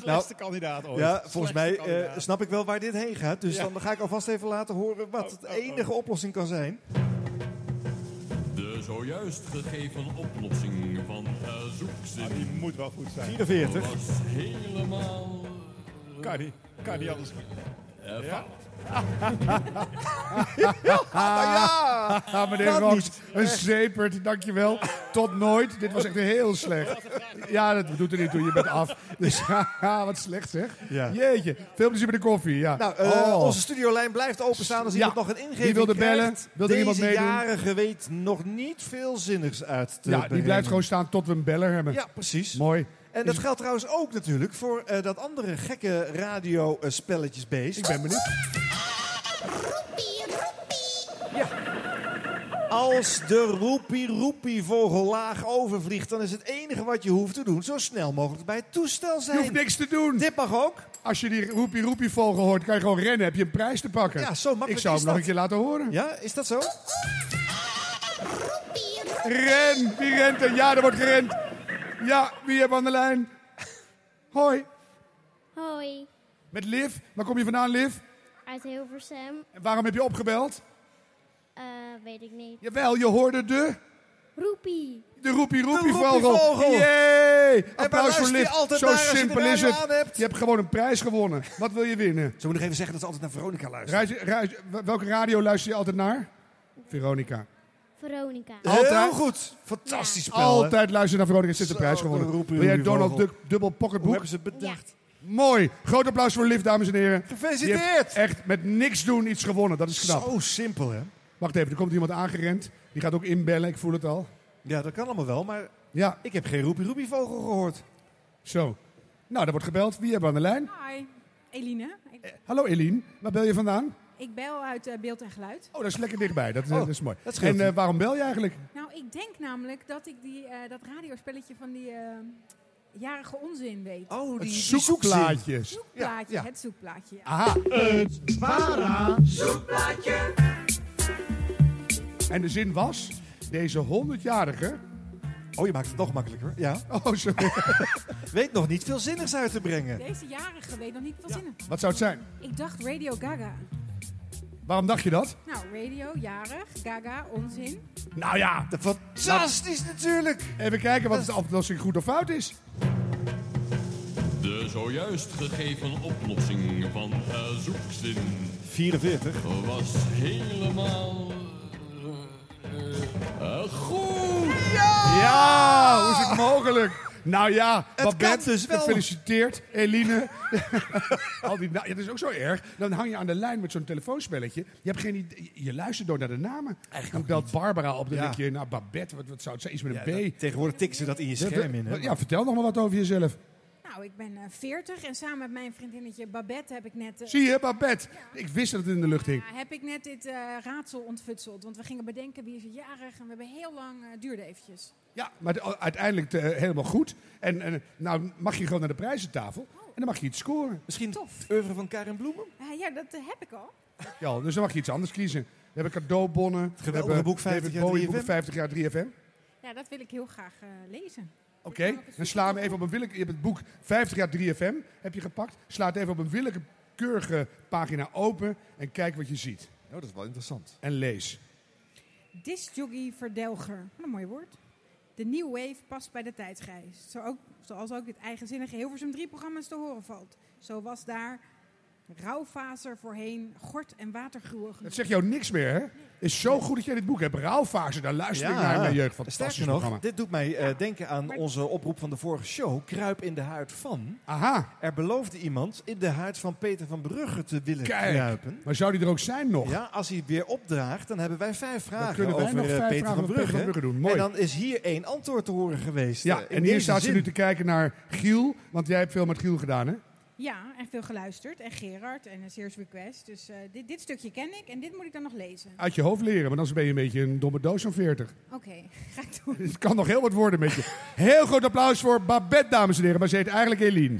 Speaker 13: Slechtste kandidaat ooit.
Speaker 5: Nou, Ja,
Speaker 13: Slechtste
Speaker 5: volgens mij eh,
Speaker 13: kandidaat.
Speaker 5: snap ik wel waar dit heen gaat. Dus
Speaker 13: Ja. Oh,
Speaker 5: dan ga ik alvast even laten horen wat de enige oplossing kan zijn.
Speaker 12: De zojuist gegeven oplossing van eh zoekzin.
Speaker 13: die moet wel goed zijn.
Speaker 5: 44.
Speaker 12: Was helemaal.
Speaker 13: Kan niet. Kan niet anders.
Speaker 12: eh, fout.
Speaker 5: ja!
Speaker 6: Ah, meneer
Speaker 5: Kan
Speaker 6: Rox,
Speaker 5: niet.
Speaker 6: een zeepert, dankjewel. Tot nooit. Dit was echt heel slecht. Ja, dat doet er niet toe, je bent af. Dus haha, wat slecht zeg.
Speaker 5: Ja.
Speaker 6: Jeetje, veel plezier met de koffie. Ja.
Speaker 5: Nou, eh,
Speaker 6: Oh.
Speaker 5: onze studiolijn blijft openstaan als
Speaker 6: Ja.
Speaker 5: iemand nog een ingeving
Speaker 6: Wie wilde bellen?
Speaker 5: krijgt.
Speaker 6: Wil er iemand
Speaker 5: Deze
Speaker 6: meedoen?
Speaker 5: jarige weet nog niet veel zinnigs uit te
Speaker 6: ja, die
Speaker 5: brengen.
Speaker 6: blijft gewoon staan tot we een beller hebben.
Speaker 5: Ja, precies.
Speaker 6: Mooi.
Speaker 5: En dat geldt trouwens ook natuurlijk voor eh, dat andere gekke radio-spelletjesbeest.
Speaker 6: Ik ben benieuwd.
Speaker 5: Als de roepie-roepie-vogel laag overvliegt, dan is het enige wat je hoeft te doen zo snel mogelijk bij het toestel
Speaker 6: Je
Speaker 5: zijn.
Speaker 6: hoeft niks te doen.
Speaker 5: Dit mag ook.
Speaker 6: Als je die roepie roepie vogel hoort, kan je gewoon rennen. Heb je een prijs te pakken.
Speaker 5: Ja, zo Oh, makkelijk
Speaker 6: Ik zou
Speaker 5: is
Speaker 6: hem
Speaker 5: dat.
Speaker 6: nog een keer laten horen.
Speaker 5: Ja, is dat zo?
Speaker 6: Ren, wie rent er? Ja, er wordt gerend. Ja, wie hebben we aan de lijn? Hoi,
Speaker 14: Hoi,
Speaker 6: met Liv. Waar kom je vandaan, Liv?
Speaker 14: uit Hilversum.
Speaker 6: En waarom heb je opgebeld?
Speaker 14: Eh, weet ik niet.
Speaker 6: Jawel, je hoorde de...
Speaker 14: Roepie.
Speaker 6: De roepie roepie
Speaker 5: De roepie
Speaker 6: vogel.
Speaker 5: vogel.
Speaker 6: Jee! Applaus
Speaker 5: luister
Speaker 6: voor
Speaker 5: je
Speaker 6: Liv.
Speaker 5: altijd
Speaker 6: Zo
Speaker 5: naar als je de
Speaker 6: simpel is
Speaker 5: radio
Speaker 6: het.
Speaker 5: aan hebt?
Speaker 6: Je hebt gewoon een prijs gewonnen. Wat wil je winnen?
Speaker 5: Zo moet ik even zeggen dat ze altijd naar Veronica luisteren.
Speaker 6: Reis- reis- welke radio luister je altijd naar? Veronica.
Speaker 14: Veronica.
Speaker 5: Heel
Speaker 6: Altijd.
Speaker 5: goed. Fantastisch spel. hè?
Speaker 6: Altijd luisteren naar Veronica. Zit de
Speaker 5: Zo,
Speaker 6: prijs
Speaker 5: de
Speaker 6: gewonnen.
Speaker 5: roepie
Speaker 6: Wil jij
Speaker 5: roepie
Speaker 6: Donald
Speaker 5: vogel.
Speaker 6: Duck dubbel
Speaker 5: Hoe
Speaker 6: pocketboek?
Speaker 5: hebben ze het bedacht?
Speaker 6: Mooi. Groot applaus voor Liv, dames en heren.
Speaker 5: Gefeliciteerd.
Speaker 6: Die heeft echt met niks doen iets gewonnen. Dat is knap.
Speaker 5: Zo simpel, hè?
Speaker 6: Wacht even, er komt iemand aangerend. Die gaat ook inbellen, ik voel het al.
Speaker 5: Ja, dat kan allemaal wel, maar
Speaker 6: Ja,
Speaker 5: ik heb geen roepie-roepie-vogel gehoord.
Speaker 6: zo. Nou, er wordt gebeld. Wie hebben we aan de lijn?
Speaker 15: Hi, Eline. Ik,
Speaker 6: Hallo Eline, waar bel je vandaan?
Speaker 15: ik bel uit eh, Beeld en Geluid.
Speaker 6: Oh, dat is lekker dichtbij. Dat, eh,
Speaker 5: Oh,
Speaker 6: dat is mooi.
Speaker 5: dat scheelt.
Speaker 6: en eh, waarom bel je eigenlijk?
Speaker 15: Nou, ik denk namelijk dat ik die, eh, dat radiospelletje van die eh, jarige onzin weet.
Speaker 5: Oh,
Speaker 6: Het
Speaker 5: die
Speaker 6: zoekplaatjes.
Speaker 15: Zoekplaatje,
Speaker 6: Ja, ja.
Speaker 15: het zoekplaatje. Ja.
Speaker 6: Aha. En de zin was, deze 100-jarige...
Speaker 5: Oh, je maakt het nog makkelijker. Ja.
Speaker 6: Oh, sorry.
Speaker 5: Weet nog niet veel zinnigs uit te brengen.
Speaker 15: Deze jarige weet nog niet wat zinnen.
Speaker 6: Wat zou het zijn?
Speaker 15: Ik dacht Radio Gaga.
Speaker 6: Waarom dacht je dat?
Speaker 15: Nou, radio, jarig, Gaga, onzin.
Speaker 6: Nou ja,
Speaker 5: Dat- Fantastisch natuurlijk.
Speaker 6: even kijken wat de oplossing goed of fout is.
Speaker 12: De zojuist gegeven oplossing van eh zoekzin.
Speaker 13: 44.
Speaker 12: Was helemaal. eh, eh, goed!
Speaker 5: Oh!
Speaker 6: Ja, hoe is het mogelijk? Nou ja, wat
Speaker 5: kan
Speaker 6: bent
Speaker 5: dus wel.
Speaker 6: Gefeliciteerd, Eline. Al die na- ja, dat is ook zo erg. Dan hang je aan de lijn met zo'n telefoonspelletje. Je, hebt geen idee- je luistert door naar de namen. Dan belt Barbara op, dan
Speaker 5: Ja.
Speaker 6: denk je, nou Babette, wat, wat zou het zijn? Iets met een B.
Speaker 5: dat- tegenwoordig tikken ze dat in je scherm in, hè?
Speaker 6: Ja, vertel nog maar wat over jezelf.
Speaker 15: Nou, ik ben eh, 40 en samen met mijn vriendinnetje Babette heb ik net... eh,
Speaker 6: Zie je, Babette? Ik wist dat het in de lucht hing.
Speaker 15: ja, heb ik net dit eh, raadsel ontfutseld. Want we gingen bedenken wie is er jarig en we hebben heel lang... eh, duurde eventjes.
Speaker 6: Ja, maar de- uiteindelijk eh, helemaal goed. En, en nou mag je gewoon naar de prijzentafel en dan mag je iets scoren.
Speaker 5: Misschien het
Speaker 15: Tof.
Speaker 5: oeuvre van Karin Bloemen?
Speaker 15: Eh, ja, dat eh, heb ik al.
Speaker 6: Ja, dus dan mag je iets anders kiezen. We hebben cadeaubonnen. We
Speaker 5: geweldige
Speaker 6: hebben
Speaker 5: boek 50
Speaker 6: David
Speaker 5: jaar
Speaker 6: Bowie, boek
Speaker 5: 3FM.
Speaker 6: 50 jaar 3FM.
Speaker 15: Ja, dat wil ik heel graag eh, lezen.
Speaker 6: Oké, dan sla hem even op een willeke... Je hebt het boek 50 jaar 3FM heb je gepakt. Sla het even op een willekeurige pagina open en kijk wat je ziet.
Speaker 5: Oh, dat is wel interessant.
Speaker 6: En lees.
Speaker 15: Discjockey verdelger. Wat een mooi woord. De New Wave past bij de tijdsgeest. Zo ook, zoals ook dit eigenzinnige Hilversum 3-programma's te horen valt. Zo was daar rouwfaser voorheen gort- en watergruwig.
Speaker 6: Dat zegt jou niks meer, hè? Is zo goed dat jij dit boek hebt. Rauwfase, daar luister ik naar in mijn jeugd. Fantastisch
Speaker 5: Sterker nog,
Speaker 6: programma.
Speaker 5: dit doet mij eh, denken aan onze oproep van de vorige show. Kruip in de huid van.
Speaker 6: Aha,
Speaker 5: Er beloofde iemand in de huid van Peter van Brugge te willen
Speaker 6: Kijk.
Speaker 5: kruipen.
Speaker 6: maar zou die er ook zijn nog?
Speaker 5: Ja, als hij het weer opdraagt, dan hebben wij vijf vragen
Speaker 6: kunnen wij
Speaker 5: over
Speaker 6: nog
Speaker 5: eh,
Speaker 6: vijf
Speaker 5: Peter,
Speaker 6: vragen
Speaker 5: van
Speaker 6: over Peter
Speaker 5: Brugge.
Speaker 6: van Brugge doen. Mooi.
Speaker 5: En dan is hier één antwoord te horen geweest. eh,
Speaker 6: Ja,
Speaker 5: in
Speaker 6: en hier
Speaker 5: deze
Speaker 6: staat ze
Speaker 5: zin.
Speaker 6: nu te kijken naar Giel. Want jij hebt veel met Giel gedaan, hè?
Speaker 15: Ja, en veel geluisterd. En Gerard en een Sears Request. Dus eh, dit, dit stukje ken ik en dit moet ik dan nog lezen.
Speaker 6: Uit je hoofd leren, want anders ben je een beetje een domme doos van 40.
Speaker 15: Oké, ga ik doen.
Speaker 6: Het kan nog heel wat worden met je. Heel groot applaus voor Babette, dames en heren. Maar ze heet eigenlijk Eline.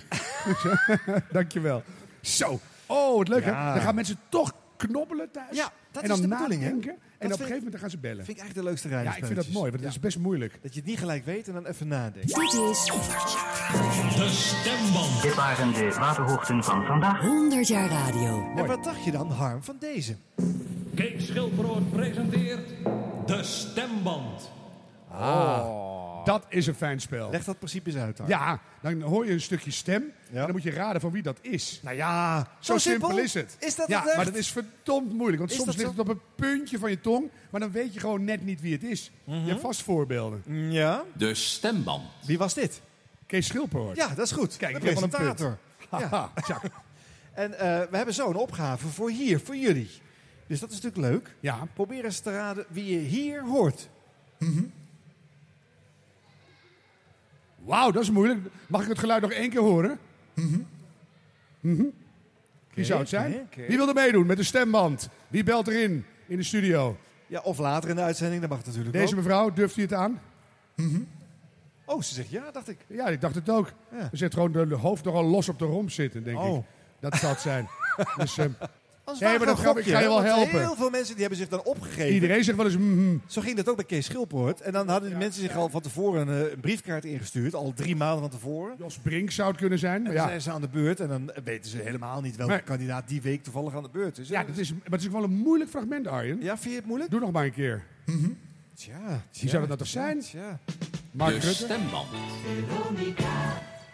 Speaker 6: Dankjewel. Zo. Oh, wat leuk hè?
Speaker 5: Ja.
Speaker 6: Dan gaan mensen toch knobbelen thuis.
Speaker 5: Ja, dat
Speaker 6: en dan
Speaker 5: is de bedoeling, hè?
Speaker 6: nadenken.
Speaker 5: Dat
Speaker 6: En op een
Speaker 5: vind
Speaker 6: gegeven moment dan gaan ze bellen.
Speaker 5: Vind ik echt de leukste rij.
Speaker 6: ja, ik vind dat mooi, want het is best moeilijk.
Speaker 5: Dat je het niet gelijk weet en dan even nadenkt.
Speaker 8: Dit is
Speaker 5: de stemband. Dit waren de waterhoogten van vandaag.
Speaker 8: 100 jaar radio.
Speaker 5: En wat dacht je dan, Harm, van deze?
Speaker 16: Kees Schilbrood presenteert de stemband.
Speaker 6: Ah. Dat is een fijn spel.
Speaker 5: Leg dat principe eens uit. Harm.
Speaker 6: Ja, dan hoor je een stukje stem en dan moet je raden van wie dat is.
Speaker 5: Nou ja,
Speaker 6: zo,
Speaker 5: zo
Speaker 6: simpel?
Speaker 5: simpel?
Speaker 6: is het.
Speaker 5: Is dat
Speaker 6: ja,
Speaker 5: het echt?
Speaker 6: maar dat is verdomd moeilijk, want
Speaker 5: Is
Speaker 6: soms
Speaker 5: dat
Speaker 6: ligt
Speaker 5: zo?
Speaker 6: het op een puntje van je tong, maar dan weet je gewoon net niet wie het is. Je hebt vast voorbeelden.
Speaker 5: Mhm. Mm, Ja.
Speaker 16: De stemband.
Speaker 5: Wie was dit?
Speaker 6: Kees Schilperhoort.
Speaker 5: Ja, dat is goed.
Speaker 6: Kijk,
Speaker 5: de
Speaker 6: ik heb al een punt.
Speaker 5: presentator.
Speaker 6: Haha, tja.
Speaker 5: En eh, we hebben zo een opgave voor hier, voor jullie. Dus dat is natuurlijk leuk.
Speaker 6: Ja.
Speaker 5: Probeer eens te raden wie je hier hoort.
Speaker 6: Wauw, dat is moeilijk. Mag ik het geluid nog één keer horen? Mhm. Wie zou het zijn?
Speaker 5: oké, oké.
Speaker 6: Wie wil er meedoen met de stemband? Wie belt erin in de studio?
Speaker 5: Ja, of later in de uitzending, dat mag natuurlijk
Speaker 6: Deze
Speaker 5: ook. Mhm.
Speaker 6: mevrouw, durft u het aan?
Speaker 5: Oh, ze zegt ja, dacht ik.
Speaker 6: Ja, ik dacht het ook.
Speaker 5: Ja.
Speaker 6: Er zit gewoon de de hoofd nogal los op de romp zitten, denk
Speaker 5: Oh.
Speaker 6: ik. Dat zal het zijn. dus, ehm,
Speaker 5: Als
Speaker 6: nee, maar dat ga, ik ga je wel helpen.
Speaker 5: Heel veel mensen die hebben zich dan opgegeven.
Speaker 6: Iedereen zegt wel eens... mhm.
Speaker 5: Zo ging dat ook bij Kees Schilpoort. En dan hadden die mensen zich al van tevoren een, eh, een briefkaart ingestuurd. Al drie maanden van tevoren.
Speaker 6: Jos Brink zou het kunnen zijn.
Speaker 5: En
Speaker 6: Maar
Speaker 5: dan
Speaker 6: ja.
Speaker 5: zijn ze aan de beurt. En dan weten ze helemaal niet welke
Speaker 6: Nee.
Speaker 5: kandidaat die week toevallig aan de beurt is.
Speaker 6: ja, dat is, maar het is ook wel een moeilijk fragment, Arjen.
Speaker 5: Ja, vind je het moeilijk?
Speaker 6: Doe nog maar een keer.
Speaker 5: Tja,
Speaker 6: Wie zou dat nou toch zijn?
Speaker 5: Tja.
Speaker 6: Mark
Speaker 16: de
Speaker 6: Rutte?
Speaker 16: stemband.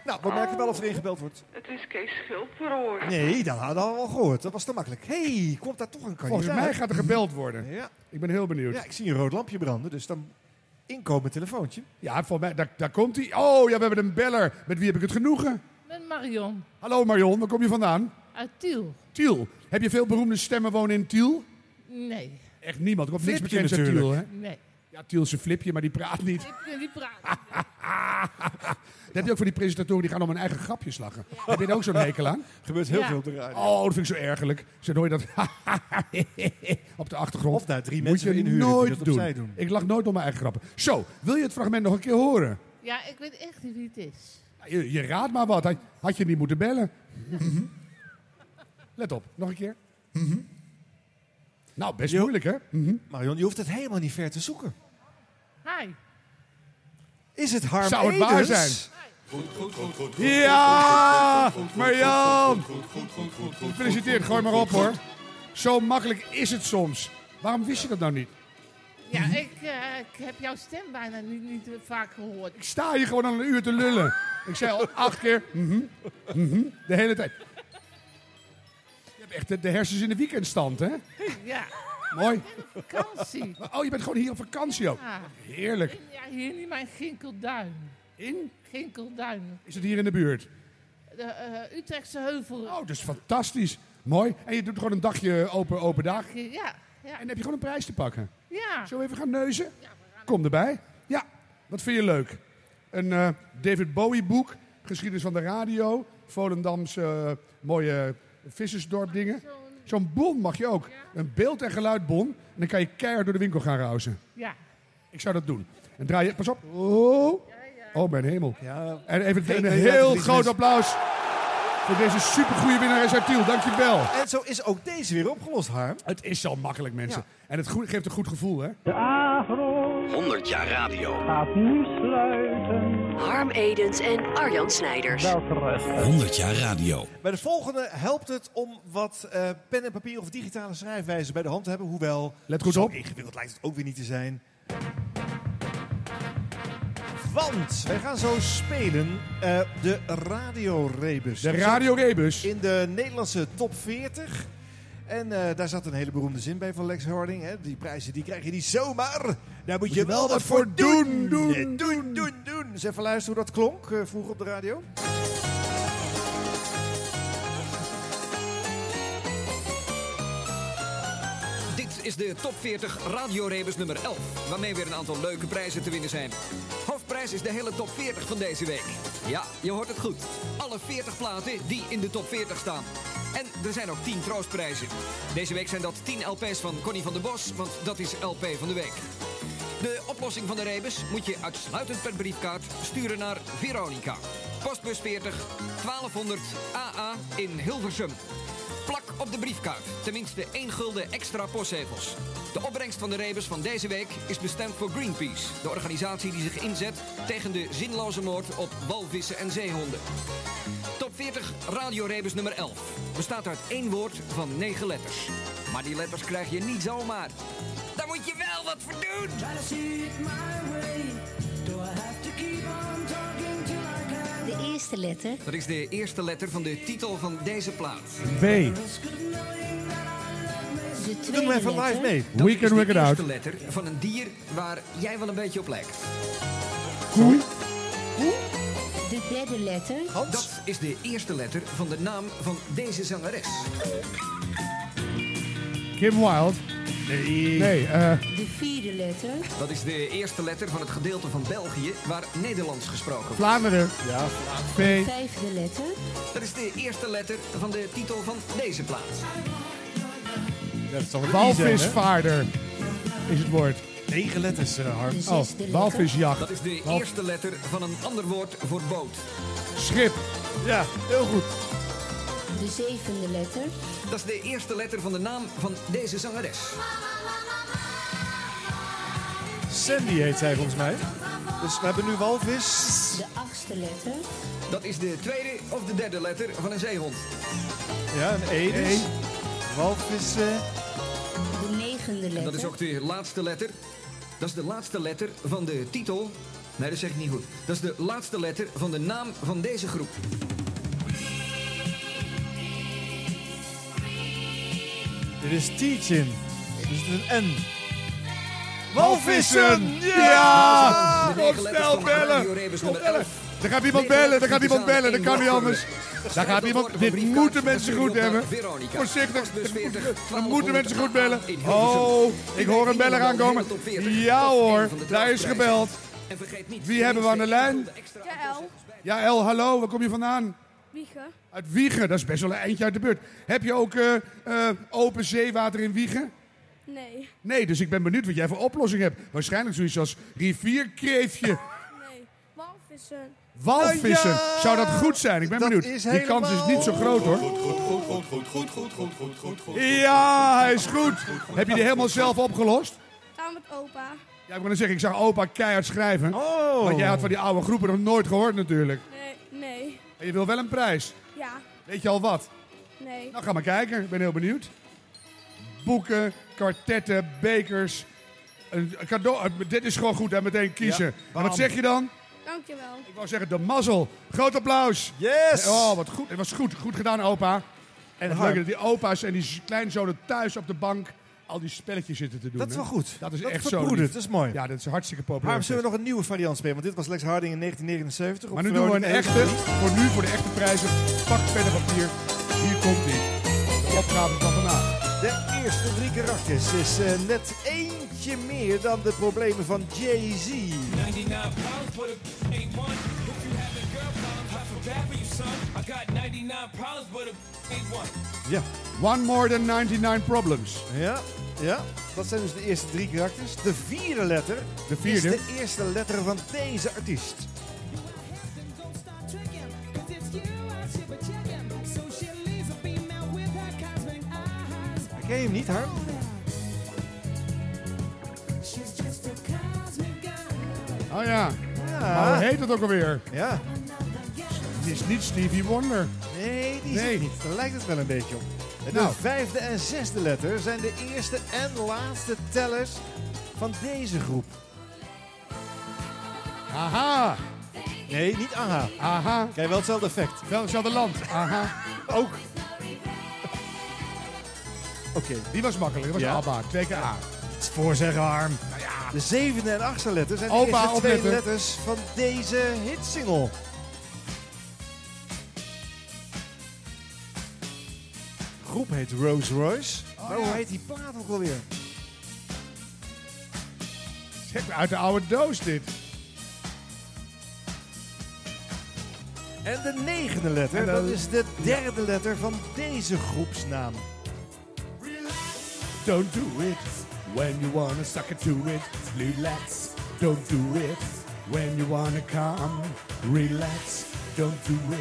Speaker 5: Nou, we merken wel of er ingebeld wordt.
Speaker 17: Het is Kees Schilperoor.
Speaker 5: Nee, dat hadden we al gehoord. Dat was te makkelijk. Hé, hey, komt daar toch een kandidaat?
Speaker 6: Volgens mij gaat er gebeld worden.
Speaker 5: Ja.
Speaker 6: Ik ben heel benieuwd.
Speaker 5: ja, ik zie een rood lampje branden. Dus dan inkomen telefoontje.
Speaker 6: Ja, voor mij, daar, daar komt hij. Oh, ja, we hebben een beller. Met wie heb ik het genoegen?
Speaker 18: Met Marion
Speaker 6: Hallo Marion, waar kom je vandaan?
Speaker 18: uit Tiel.
Speaker 6: Tiel. Heb je veel beroemde stemmen wonen in Tiel?
Speaker 18: Nee.
Speaker 6: Echt niemand. Er komt niks
Speaker 5: Flipje
Speaker 6: bekend uit Tiel, hè?
Speaker 5: natuurlijk.
Speaker 18: Nee.
Speaker 6: Ja, Tielse flipje, maar die praat niet.
Speaker 18: Ik ben niet praten.
Speaker 6: Dat heb je ook voor die presentatoren, die gaan om hun eigen grapjes lachen. Heb je daar ook zo'n hekel aan?
Speaker 5: Gebeurt heel
Speaker 18: Ja.
Speaker 5: veel op de radio.
Speaker 6: Oh, dat vind ik zo ergerlijk. Ze hoor je dat op de achtergrond.
Speaker 5: Of daar drie
Speaker 6: Moet
Speaker 5: mensen
Speaker 6: je
Speaker 5: voor inhuren die
Speaker 6: nooit
Speaker 5: dat
Speaker 6: doen.
Speaker 5: opzij doen.
Speaker 6: Ik lach nooit om mijn eigen grappen. Zo, wil je het fragment nog een keer horen? Nou,
Speaker 18: Ja, ik weet echt niet wie het is.
Speaker 6: Je, je raadt maar wat. Had, had je niet moeten bellen. Let op, nog een keer. Nou, best moeilijk hè?
Speaker 5: Marion, je hoeft het helemaal niet ver te zoeken.
Speaker 18: Hi.
Speaker 5: Is het Harm
Speaker 6: Zou het
Speaker 5: Edens?
Speaker 6: waar zijn?
Speaker 5: Ja,
Speaker 6: Ja, Marjan! Gefeliciteerd, gooi maar op hoor. Zo makkelijk is het soms. Waarom wist je dat nou niet?
Speaker 18: Ja, ik, eh, ik heb jouw stem bijna niet, niet eh, vaak gehoord.
Speaker 6: Ik sta hier gewoon al een uur te lullen. Ik zei al acht keer, mhm, mhm, de hele tijd. Je hebt echt de, de hersens in de weekendstand, hè?
Speaker 18: Ja,
Speaker 6: Mooi.
Speaker 18: vakantie.
Speaker 6: Oh, je bent gewoon hier op vakantie ook.
Speaker 18: Ja.
Speaker 6: Oh, Heerlijk.
Speaker 18: In- ja, hier niet mijn Ginkelduin.
Speaker 6: In?
Speaker 18: Ginkelduin.
Speaker 6: Is het hier in de buurt?
Speaker 18: De eh, Utrechtse heuvel.
Speaker 6: Oh, dat is fantastisch. Mooi. En je doet gewoon een dagje open, open dag. En
Speaker 18: Ja, ja.
Speaker 6: dan heb je gewoon een prijs te pakken.
Speaker 18: ja.
Speaker 6: Zullen we even gaan neuzen? Kom erbij. Ja, wat vind je leuk? Een eh, David Bowie boek, geschiedenis van de radio, Volendamse eh, mooie vissersdorp dingen. Zo'n bon mag je ook. Een beeld- en geluidbon. En dan kan je keihard door de winkel gaan rausen.
Speaker 18: Ja.
Speaker 6: Ik zou dat doen. En draai je... Pas op. Oh, oh mijn hemel.
Speaker 5: Ja,
Speaker 6: En even
Speaker 5: Geen
Speaker 6: een
Speaker 5: kandidaat
Speaker 6: heel
Speaker 5: verlies,
Speaker 6: groot
Speaker 5: mensen.
Speaker 6: applaus voor deze supergoeie winnares uit Tiel. Dankjewel.
Speaker 5: En zo is ook deze weer opgelost, Harm.
Speaker 6: Het is zo makkelijk, mensen. En het goe- geeft een goed gevoel, hè?
Speaker 1: 100 jaar radio.
Speaker 8: Harm Edens en Arjan Snijders.
Speaker 1: 100 jaar radio.
Speaker 5: Bij de volgende helpt het om wat eh, pen en papier of digitale schrijfwijze bij de hand te hebben. Hoewel,
Speaker 6: Let goed
Speaker 5: zo
Speaker 6: op.
Speaker 5: ingewikkeld lijkt het ook weer niet te zijn. Want wij gaan zo spelen eh, de radiorebus.
Speaker 6: De radiorebus.
Speaker 5: In de Nederlandse top 40. En eh, daar zat een hele beroemde zin bij van Lex Harding. Hè? Die prijzen die krijg je niet zomaar. Daar moet, je, wel wat voor doen. Doen, doen, doen. doen, Dus even luisteren hoe dat klonk eh, vroeger op de radio.
Speaker 19: Dit is de top 40 radiorebus nummer 11, waarmee weer een aantal leuke prijzen te winnen zijn. Hoofdprijs is de hele top 40 van deze week. Ja, je hoort het goed. Alle 40 platen die in de top 40 staan. En er zijn ook 10 troostprijzen. Deze week zijn dat 10 LP's van Connie van der Bos, want dat is LP van de week. De oplossing van de rebus moet je uitsluitend per briefkaart sturen naar Veronica. Postbus 40 1200 AA in Hilversum. Plak op de briefkaart tenminste 1 gulden extra postzegels. De opbrengst van de rebus van deze week is bestemd voor Greenpeace, de organisatie die zich inzet tegen de zinloze moord op walvissen en zeehonden. Top 40 radiorebus nummer 11 bestaat uit één woord van 9 letters. Maar die letters krijg je niet zomaar. Daar moet je wel wat voor doen!
Speaker 20: De eerste letter.
Speaker 19: Dat is de eerste letter van de titel van deze plaat.
Speaker 5: B.
Speaker 20: De
Speaker 5: Doe hem
Speaker 20: tweede
Speaker 5: even
Speaker 20: letter.
Speaker 5: live mee.
Speaker 19: Dat
Speaker 5: We
Speaker 19: is
Speaker 5: can work
Speaker 19: de
Speaker 5: it out.
Speaker 19: eerste letter van een dier waar jij wel een beetje op lijkt.
Speaker 5: Koei.
Speaker 20: De derde letter.
Speaker 19: Dat is de eerste letter van de naam van deze zangeres.
Speaker 6: Kim Wilde.
Speaker 19: Nee.
Speaker 6: Nee, eh
Speaker 20: De vierde letter.
Speaker 19: Dat is de eerste letter van het gedeelte van België waar Nederlands gesproken wordt.
Speaker 6: Vlaanderen.
Speaker 19: Ja,
Speaker 20: De
Speaker 6: Vlaanderen.
Speaker 20: vijfde letter.
Speaker 19: Dat is de eerste letter van de titel van deze plaat.
Speaker 5: Dat is toch een
Speaker 6: Walvisvaarder is het woord.
Speaker 5: Negen letters, eh, Harm.
Speaker 6: De zesde Oh, walvisjacht.
Speaker 19: Dat is de
Speaker 6: Walv-
Speaker 19: eerste letter van een ander woord voor boot.
Speaker 6: Schip.
Speaker 5: Ja, heel goed.
Speaker 20: De zevende letter.
Speaker 19: Dat is de eerste letter van de naam van deze zangeres.
Speaker 5: Sandy heet zij volgens mij. Dus we hebben nu walvis.
Speaker 20: De achtste letter.
Speaker 19: Dat is de tweede of de derde letter van een zeehond.
Speaker 5: Ja, een E dus. Walvis. eh,
Speaker 20: De negende letter.
Speaker 19: Dat is ook de laatste letter. Dat is de laatste letter van de titel. Nee, dat zeg ik niet goed. Dat is de laatste letter van de naam van deze groep.
Speaker 5: Dit is Teachin. Er zit een N. Walvissen!
Speaker 6: Ja!
Speaker 19: Kom
Speaker 6: snel bellen! Kom bellen! Er gaat iemand bellen, er gaat iemand bellen, dat kan niet anders. Daar gaat iemand, dit moeten mensen goed hebben. Voorzichtig, dat moeten mensen goed bellen. Oh, ik hoor een beller aankomen. Ja hoor, daar is gebeld. Wie hebben we aan de lijn?
Speaker 21: Jaël,
Speaker 6: Ja, El, hallo, waar kom je vandaan?
Speaker 21: Wiegen.
Speaker 6: Uit Wiegen, dat is best wel een eindje uit de buurt. Heb je ook eh, eh, open zeewater in Wiegen?
Speaker 21: Nee,
Speaker 6: Nee, dus ik ben benieuwd wat jij voor oplossing hebt. Waarschijnlijk zoiets als rivierkreefje,
Speaker 21: Oh, nee. Walvissen.
Speaker 6: walvissen.
Speaker 21: Nou ja!
Speaker 6: Zou dat goed zijn? Ik ben
Speaker 5: Dat
Speaker 6: benieuwd.
Speaker 5: is
Speaker 6: Die kans is niet zo groot hoor.
Speaker 12: Goed, goed, goed, goed, goed, goed, goed, goed, goed.
Speaker 6: Ja, hij is goed. Heb je die helemaal zelf opgelost?
Speaker 21: Gaan met opa.
Speaker 6: Ja, ik wil zeggen, ik zag opa keihard schrijven. Oh. Want jij had van die oude groepen nog nooit gehoord natuurlijk.
Speaker 21: Nee, nee.
Speaker 6: En je wil wel een prijs.
Speaker 21: Ja,
Speaker 6: Weet je al wat?
Speaker 21: nee.
Speaker 6: Nou, ga maar kijken. Ik ben heel benieuwd. Boeken, kwartetten, bekers. Een cadeau. eh, Dit is gewoon goed, hè? Meteen kiezen.
Speaker 5: Ja,
Speaker 6: en
Speaker 5: bam.
Speaker 6: wat zeg je dan?
Speaker 21: Dankjewel.
Speaker 6: Ik wou zeggen, de mazzel. Groot applaus. Yes. Oh, wat goed. Het was goed. Goed gedaan, opa. En het
Speaker 5: Harm.
Speaker 6: leuke dat die opa's en die z- kleinzonen thuis op de bank al die spelletjes zitten te doen.
Speaker 5: Dat is
Speaker 6: hè?
Speaker 5: wel goed.
Speaker 6: Dat is
Speaker 5: Dat
Speaker 6: echt zo
Speaker 5: verbroedert,
Speaker 6: lief.
Speaker 5: dat is mooi.
Speaker 6: Ja, dat is hartstikke populair.
Speaker 5: Harm, zullen we nog een nieuwe variant spelen? Want dit was Lex Harding in 1979.
Speaker 6: Maar nu doen we een echte. Voor nu, voor de echte prijzen. Pak pen en papier. Hier komt die. De opgave van vandaag.
Speaker 5: De eerste drie karakters is eh, net eentje meer dan de problemen van Jay-Z. Ja.
Speaker 6: One more than 99 problems.
Speaker 5: Ja, ja. Dat zijn dus de eerste drie karakters. De vierde letter
Speaker 6: De vierde.
Speaker 5: is de eerste letter van deze artiest. Ken je hem niet, Harm?
Speaker 6: Oh ja.
Speaker 5: Ja.
Speaker 6: Maar hoe heet het ook alweer?
Speaker 5: Ja.
Speaker 6: Het is niet Stevie Wonder.
Speaker 5: Nee, die is
Speaker 6: Nee.
Speaker 5: het niet. Daar lijkt het wel een beetje op. En
Speaker 6: Nou.
Speaker 5: De vijfde en zesde letter zijn de eerste en laatste tellers van deze groep.
Speaker 6: Aha.
Speaker 5: Nee, niet aha.
Speaker 6: Aha.
Speaker 5: Krijg wel hetzelfde effect.
Speaker 6: Wel hetzelfde land. Aha.
Speaker 5: Ook. Oké.
Speaker 6: Die was makkelijk. Dat was
Speaker 5: Ja.
Speaker 6: ABBA. Twee keer A. Nou
Speaker 5: Het is voorzeggen, Harm. De zevende en achtste letter zijn de
Speaker 6: Opa,
Speaker 5: eerste twee
Speaker 6: opletten.
Speaker 5: letters van deze hitsingle. De groep heet Rolls Royce. maar hoe heet die plaat ook alweer?
Speaker 6: Zeg, uit de oude doos dit.
Speaker 5: En de negende letter,
Speaker 6: En de-
Speaker 5: dat is de derde letter van deze groepsnaam.
Speaker 6: Don't do it when you wanna suck it to it. Relax. Don't do it when you wanna come. Relax.
Speaker 5: don't do it. Dit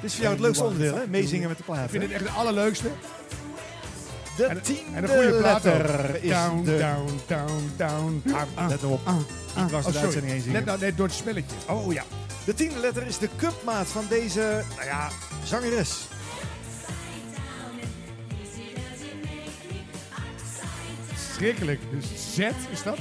Speaker 5: is voor jou het leukste onderdeel, hè? Meezingen met de plaat.
Speaker 6: Ik vind het echt de allerleukste.
Speaker 5: De
Speaker 6: en,
Speaker 5: tiende
Speaker 6: en een goede plaat ook.
Speaker 5: letter is
Speaker 6: down,
Speaker 5: de-
Speaker 6: down, down, down. Ah, ah,
Speaker 5: Let nou op.
Speaker 6: ah, ah.
Speaker 5: Ik was de
Speaker 6: sorry.
Speaker 5: uitzending heen zingen.
Speaker 6: Net nou, net door het spelletje.
Speaker 5: Oh ja. De tiende letter is de cupmaat van deze, nou ja, zangeres.
Speaker 6: Schrikkelijk. Dus Z is dat?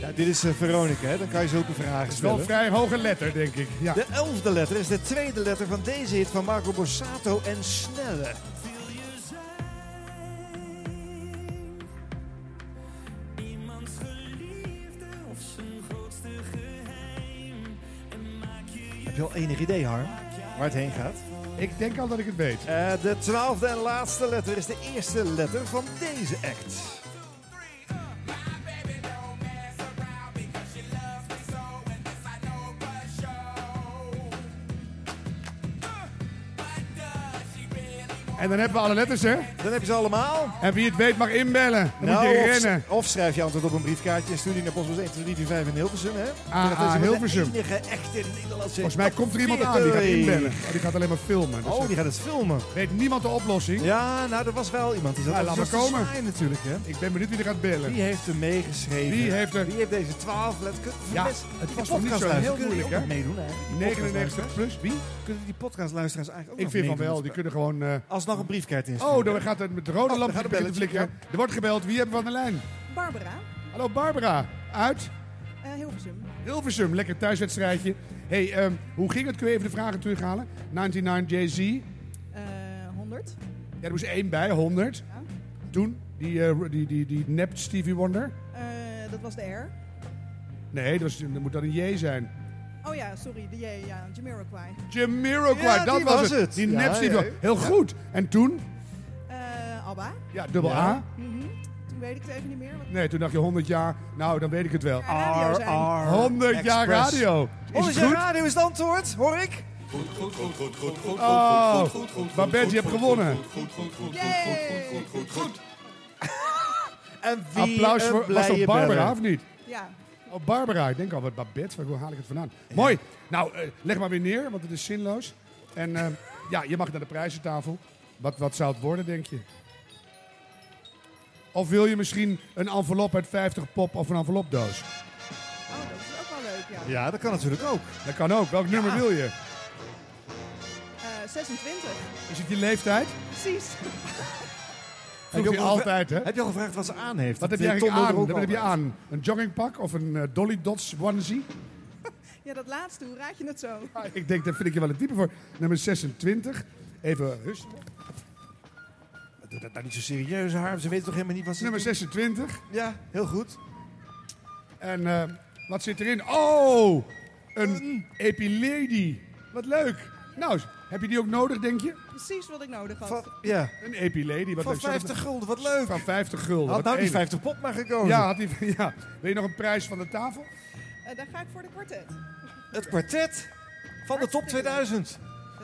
Speaker 5: Ja, dit is eh, Veronica, hè? Dan kan je zulke vragen
Speaker 6: is
Speaker 5: stellen.
Speaker 6: wel een vrij hoge letter, denk ik. Ja.
Speaker 5: De elfde letter is de tweede letter van deze hit van Marco Borsato en Snelle. Heb je al enig idee, Harm, waar het heen gaat?
Speaker 6: Ik denk al dat ik het weet.
Speaker 5: Eh, de twaalfde en laatste letter is de eerste letter van deze act.
Speaker 6: En dan hebben we alle letters, hè?
Speaker 5: Dan heb je ze allemaal.
Speaker 6: En wie het weet mag inbellen. Dan moet je
Speaker 5: Nou, of,
Speaker 6: rennen.
Speaker 5: of schrijf je antwoord op een briefkaartje en stuur die naar Postbus 125 in Hilversum, hè?
Speaker 6: Ah,
Speaker 5: Dat is
Speaker 6: ah,
Speaker 5: wel
Speaker 6: Hilversum.
Speaker 5: De enige echte Nederlandse...
Speaker 6: Volgens mij komt er iemand
Speaker 5: top
Speaker 6: aan die gaat
Speaker 5: 40.
Speaker 6: inbellen. Oh, die gaat alleen maar filmen. Dus
Speaker 5: Oh, die gaat het filmen.
Speaker 6: Weet niemand de oplossing?
Speaker 5: Ja, nou, er was wel iemand. Die zat
Speaker 6: Nou,
Speaker 5: op
Speaker 6: laat
Speaker 5: te
Speaker 6: maar komen.
Speaker 5: zwaaien natuurlijk, hè?
Speaker 6: Ik ben benieuwd wie er gaat bellen.
Speaker 5: Wie heeft er meegeschreven?
Speaker 6: Wie heeft er-
Speaker 5: Wie heeft deze 12 letters... Kun-
Speaker 6: Ja,
Speaker 5: mensen-
Speaker 6: het
Speaker 5: de
Speaker 6: was toch niet zo
Speaker 5: podcastluisteraars
Speaker 6: heel
Speaker 5: kunnen die
Speaker 6: moeilijk,
Speaker 5: ook
Speaker 6: hè?
Speaker 5: nog meedoen, hè? Die
Speaker 6: 99
Speaker 5: podcastluisteraars.
Speaker 6: plus wie?
Speaker 5: Kunnen die podcastluisteraars eigenlijk ook nog
Speaker 6: Ik vind van
Speaker 5: meedoen?
Speaker 6: wel, die kunnen gewoon... eh,
Speaker 5: Alsnog een briefkaart insturen.
Speaker 6: Oh, dan gaat het met de rode
Speaker 5: Oh,
Speaker 6: lamp
Speaker 5: dan gaat
Speaker 6: beginnen
Speaker 5: een
Speaker 6: te
Speaker 5: belletje,
Speaker 6: flikkeren. Er wordt gebeld. Wie hebben we aan de lijn?
Speaker 15: Barbara,
Speaker 6: Hallo Barbara. Uit
Speaker 15: eh Hilversum.
Speaker 6: Hilversum. Lekker thuiswedstrijdje. hey, ehm, hoe ging het? Kun je even de vragen terughalen? 99 Jay-Z. Ja,
Speaker 4: Eh 100.
Speaker 6: er moest één bij, 100.
Speaker 15: Oh.
Speaker 6: Toen, die, eh, die, die, die nep Stevie Wonder.
Speaker 4: Eh, dat was de R.
Speaker 6: Nee, dat, was, dat moet dan een J zijn.
Speaker 4: Oh ja, sorry, de J, ja, Jamiroquai.
Speaker 6: Jamiroquai,
Speaker 5: Ja,
Speaker 6: dat
Speaker 5: die
Speaker 6: was
Speaker 5: was
Speaker 6: het.
Speaker 5: het.
Speaker 6: Die
Speaker 5: Ja,
Speaker 6: nep Stevie
Speaker 5: ja,
Speaker 6: Wonder. Heel goed. En toen?
Speaker 4: Eh Alba.
Speaker 6: Ja, dubbel
Speaker 5: Ja.
Speaker 6: A.
Speaker 4: Mhm. Toen weet ik het even niet meer. want-
Speaker 6: Nee, toen dacht je 100 jaar. Nou, dan weet ik het wel.
Speaker 4: radio zijn.
Speaker 5: R, R
Speaker 6: 100 jaar
Speaker 5: Express.
Speaker 6: radio. Is
Speaker 5: 100
Speaker 6: het
Speaker 5: jaar
Speaker 6: goed?
Speaker 5: radio is het antwoord, hoor ik.
Speaker 12: Goed, goed, goed, goed, goed, goed,
Speaker 6: Oh,
Speaker 12: goed, goed, goed, goed,
Speaker 6: Babette,
Speaker 12: goed,
Speaker 6: je hebt
Speaker 12: goed,
Speaker 6: gewonnen.
Speaker 12: goed, goed, goed, goed, goed,
Speaker 4: Yay!
Speaker 12: goed, goed, goed, goed.
Speaker 5: En wie
Speaker 6: Applaus
Speaker 5: een
Speaker 6: voor was
Speaker 5: blije
Speaker 6: dat Barbara,
Speaker 5: beller.
Speaker 6: of niet?
Speaker 4: Ja.
Speaker 6: Oh, Barbara, ik denk al wat Babette, waar- hoe haal ik het vandaan? Mooi. Nou, eh, leg maar weer neer, want het is zinloos. En eh, ja, je mag naar de prijzentafel. Wat, wat zou het worden, denk je? Of wil je misschien een envelop uit 50 pop of een envelopdoos?
Speaker 4: Oh, dat is ook wel leuk, ja.
Speaker 5: Ja, dat kan natuurlijk ook.
Speaker 6: Dat kan ook. Welk nummer wil je?
Speaker 4: Eh, 26.
Speaker 6: Is het je leeftijd?
Speaker 4: Precies.
Speaker 6: Vroeg
Speaker 5: je
Speaker 6: je
Speaker 5: ook al gevra-
Speaker 6: altijd, hè?
Speaker 5: Heb je al gevraagd wat ze aan heeft?
Speaker 6: Wat heb
Speaker 5: De
Speaker 6: je eigenlijk
Speaker 5: Tom wil er
Speaker 6: aan?
Speaker 5: ook
Speaker 6: Wat
Speaker 5: al
Speaker 6: heb je
Speaker 5: uit.
Speaker 6: aan? Een joggingpak of een eh, Dolly Dots onesie?
Speaker 4: Ja, dat laatste, hoe raad je het zo?
Speaker 6: Ah, Ik denk, daar vind ik je wel een type voor. Nummer 26. Even rustig.
Speaker 5: Doe dat nou niet zo serieus, Harm. Ze weten toch helemaal niet wat ze
Speaker 6: Nummer
Speaker 5: doen?
Speaker 6: 26.
Speaker 5: Ja, heel goed.
Speaker 6: En eh, wat zit erin? Oh, een epilady. Wat leuk. Nou, heb je die ook nodig, denk je?
Speaker 4: Precies wat ik nodig had.
Speaker 5: Van, ja,
Speaker 6: Een epilady. Wat
Speaker 5: van
Speaker 6: leuk. Zal ik-
Speaker 5: 50 gulden, wat leuk.
Speaker 6: Van 50 gulden.
Speaker 5: Had
Speaker 6: wat
Speaker 5: nou die
Speaker 6: enig.
Speaker 5: 50 pop maar gekozen.
Speaker 6: Ja, had die, ja, wil je nog een prijs van de tafel?
Speaker 4: Eh, dan ga ik voor de kwartet.
Speaker 5: Het kwartet van de top 2000.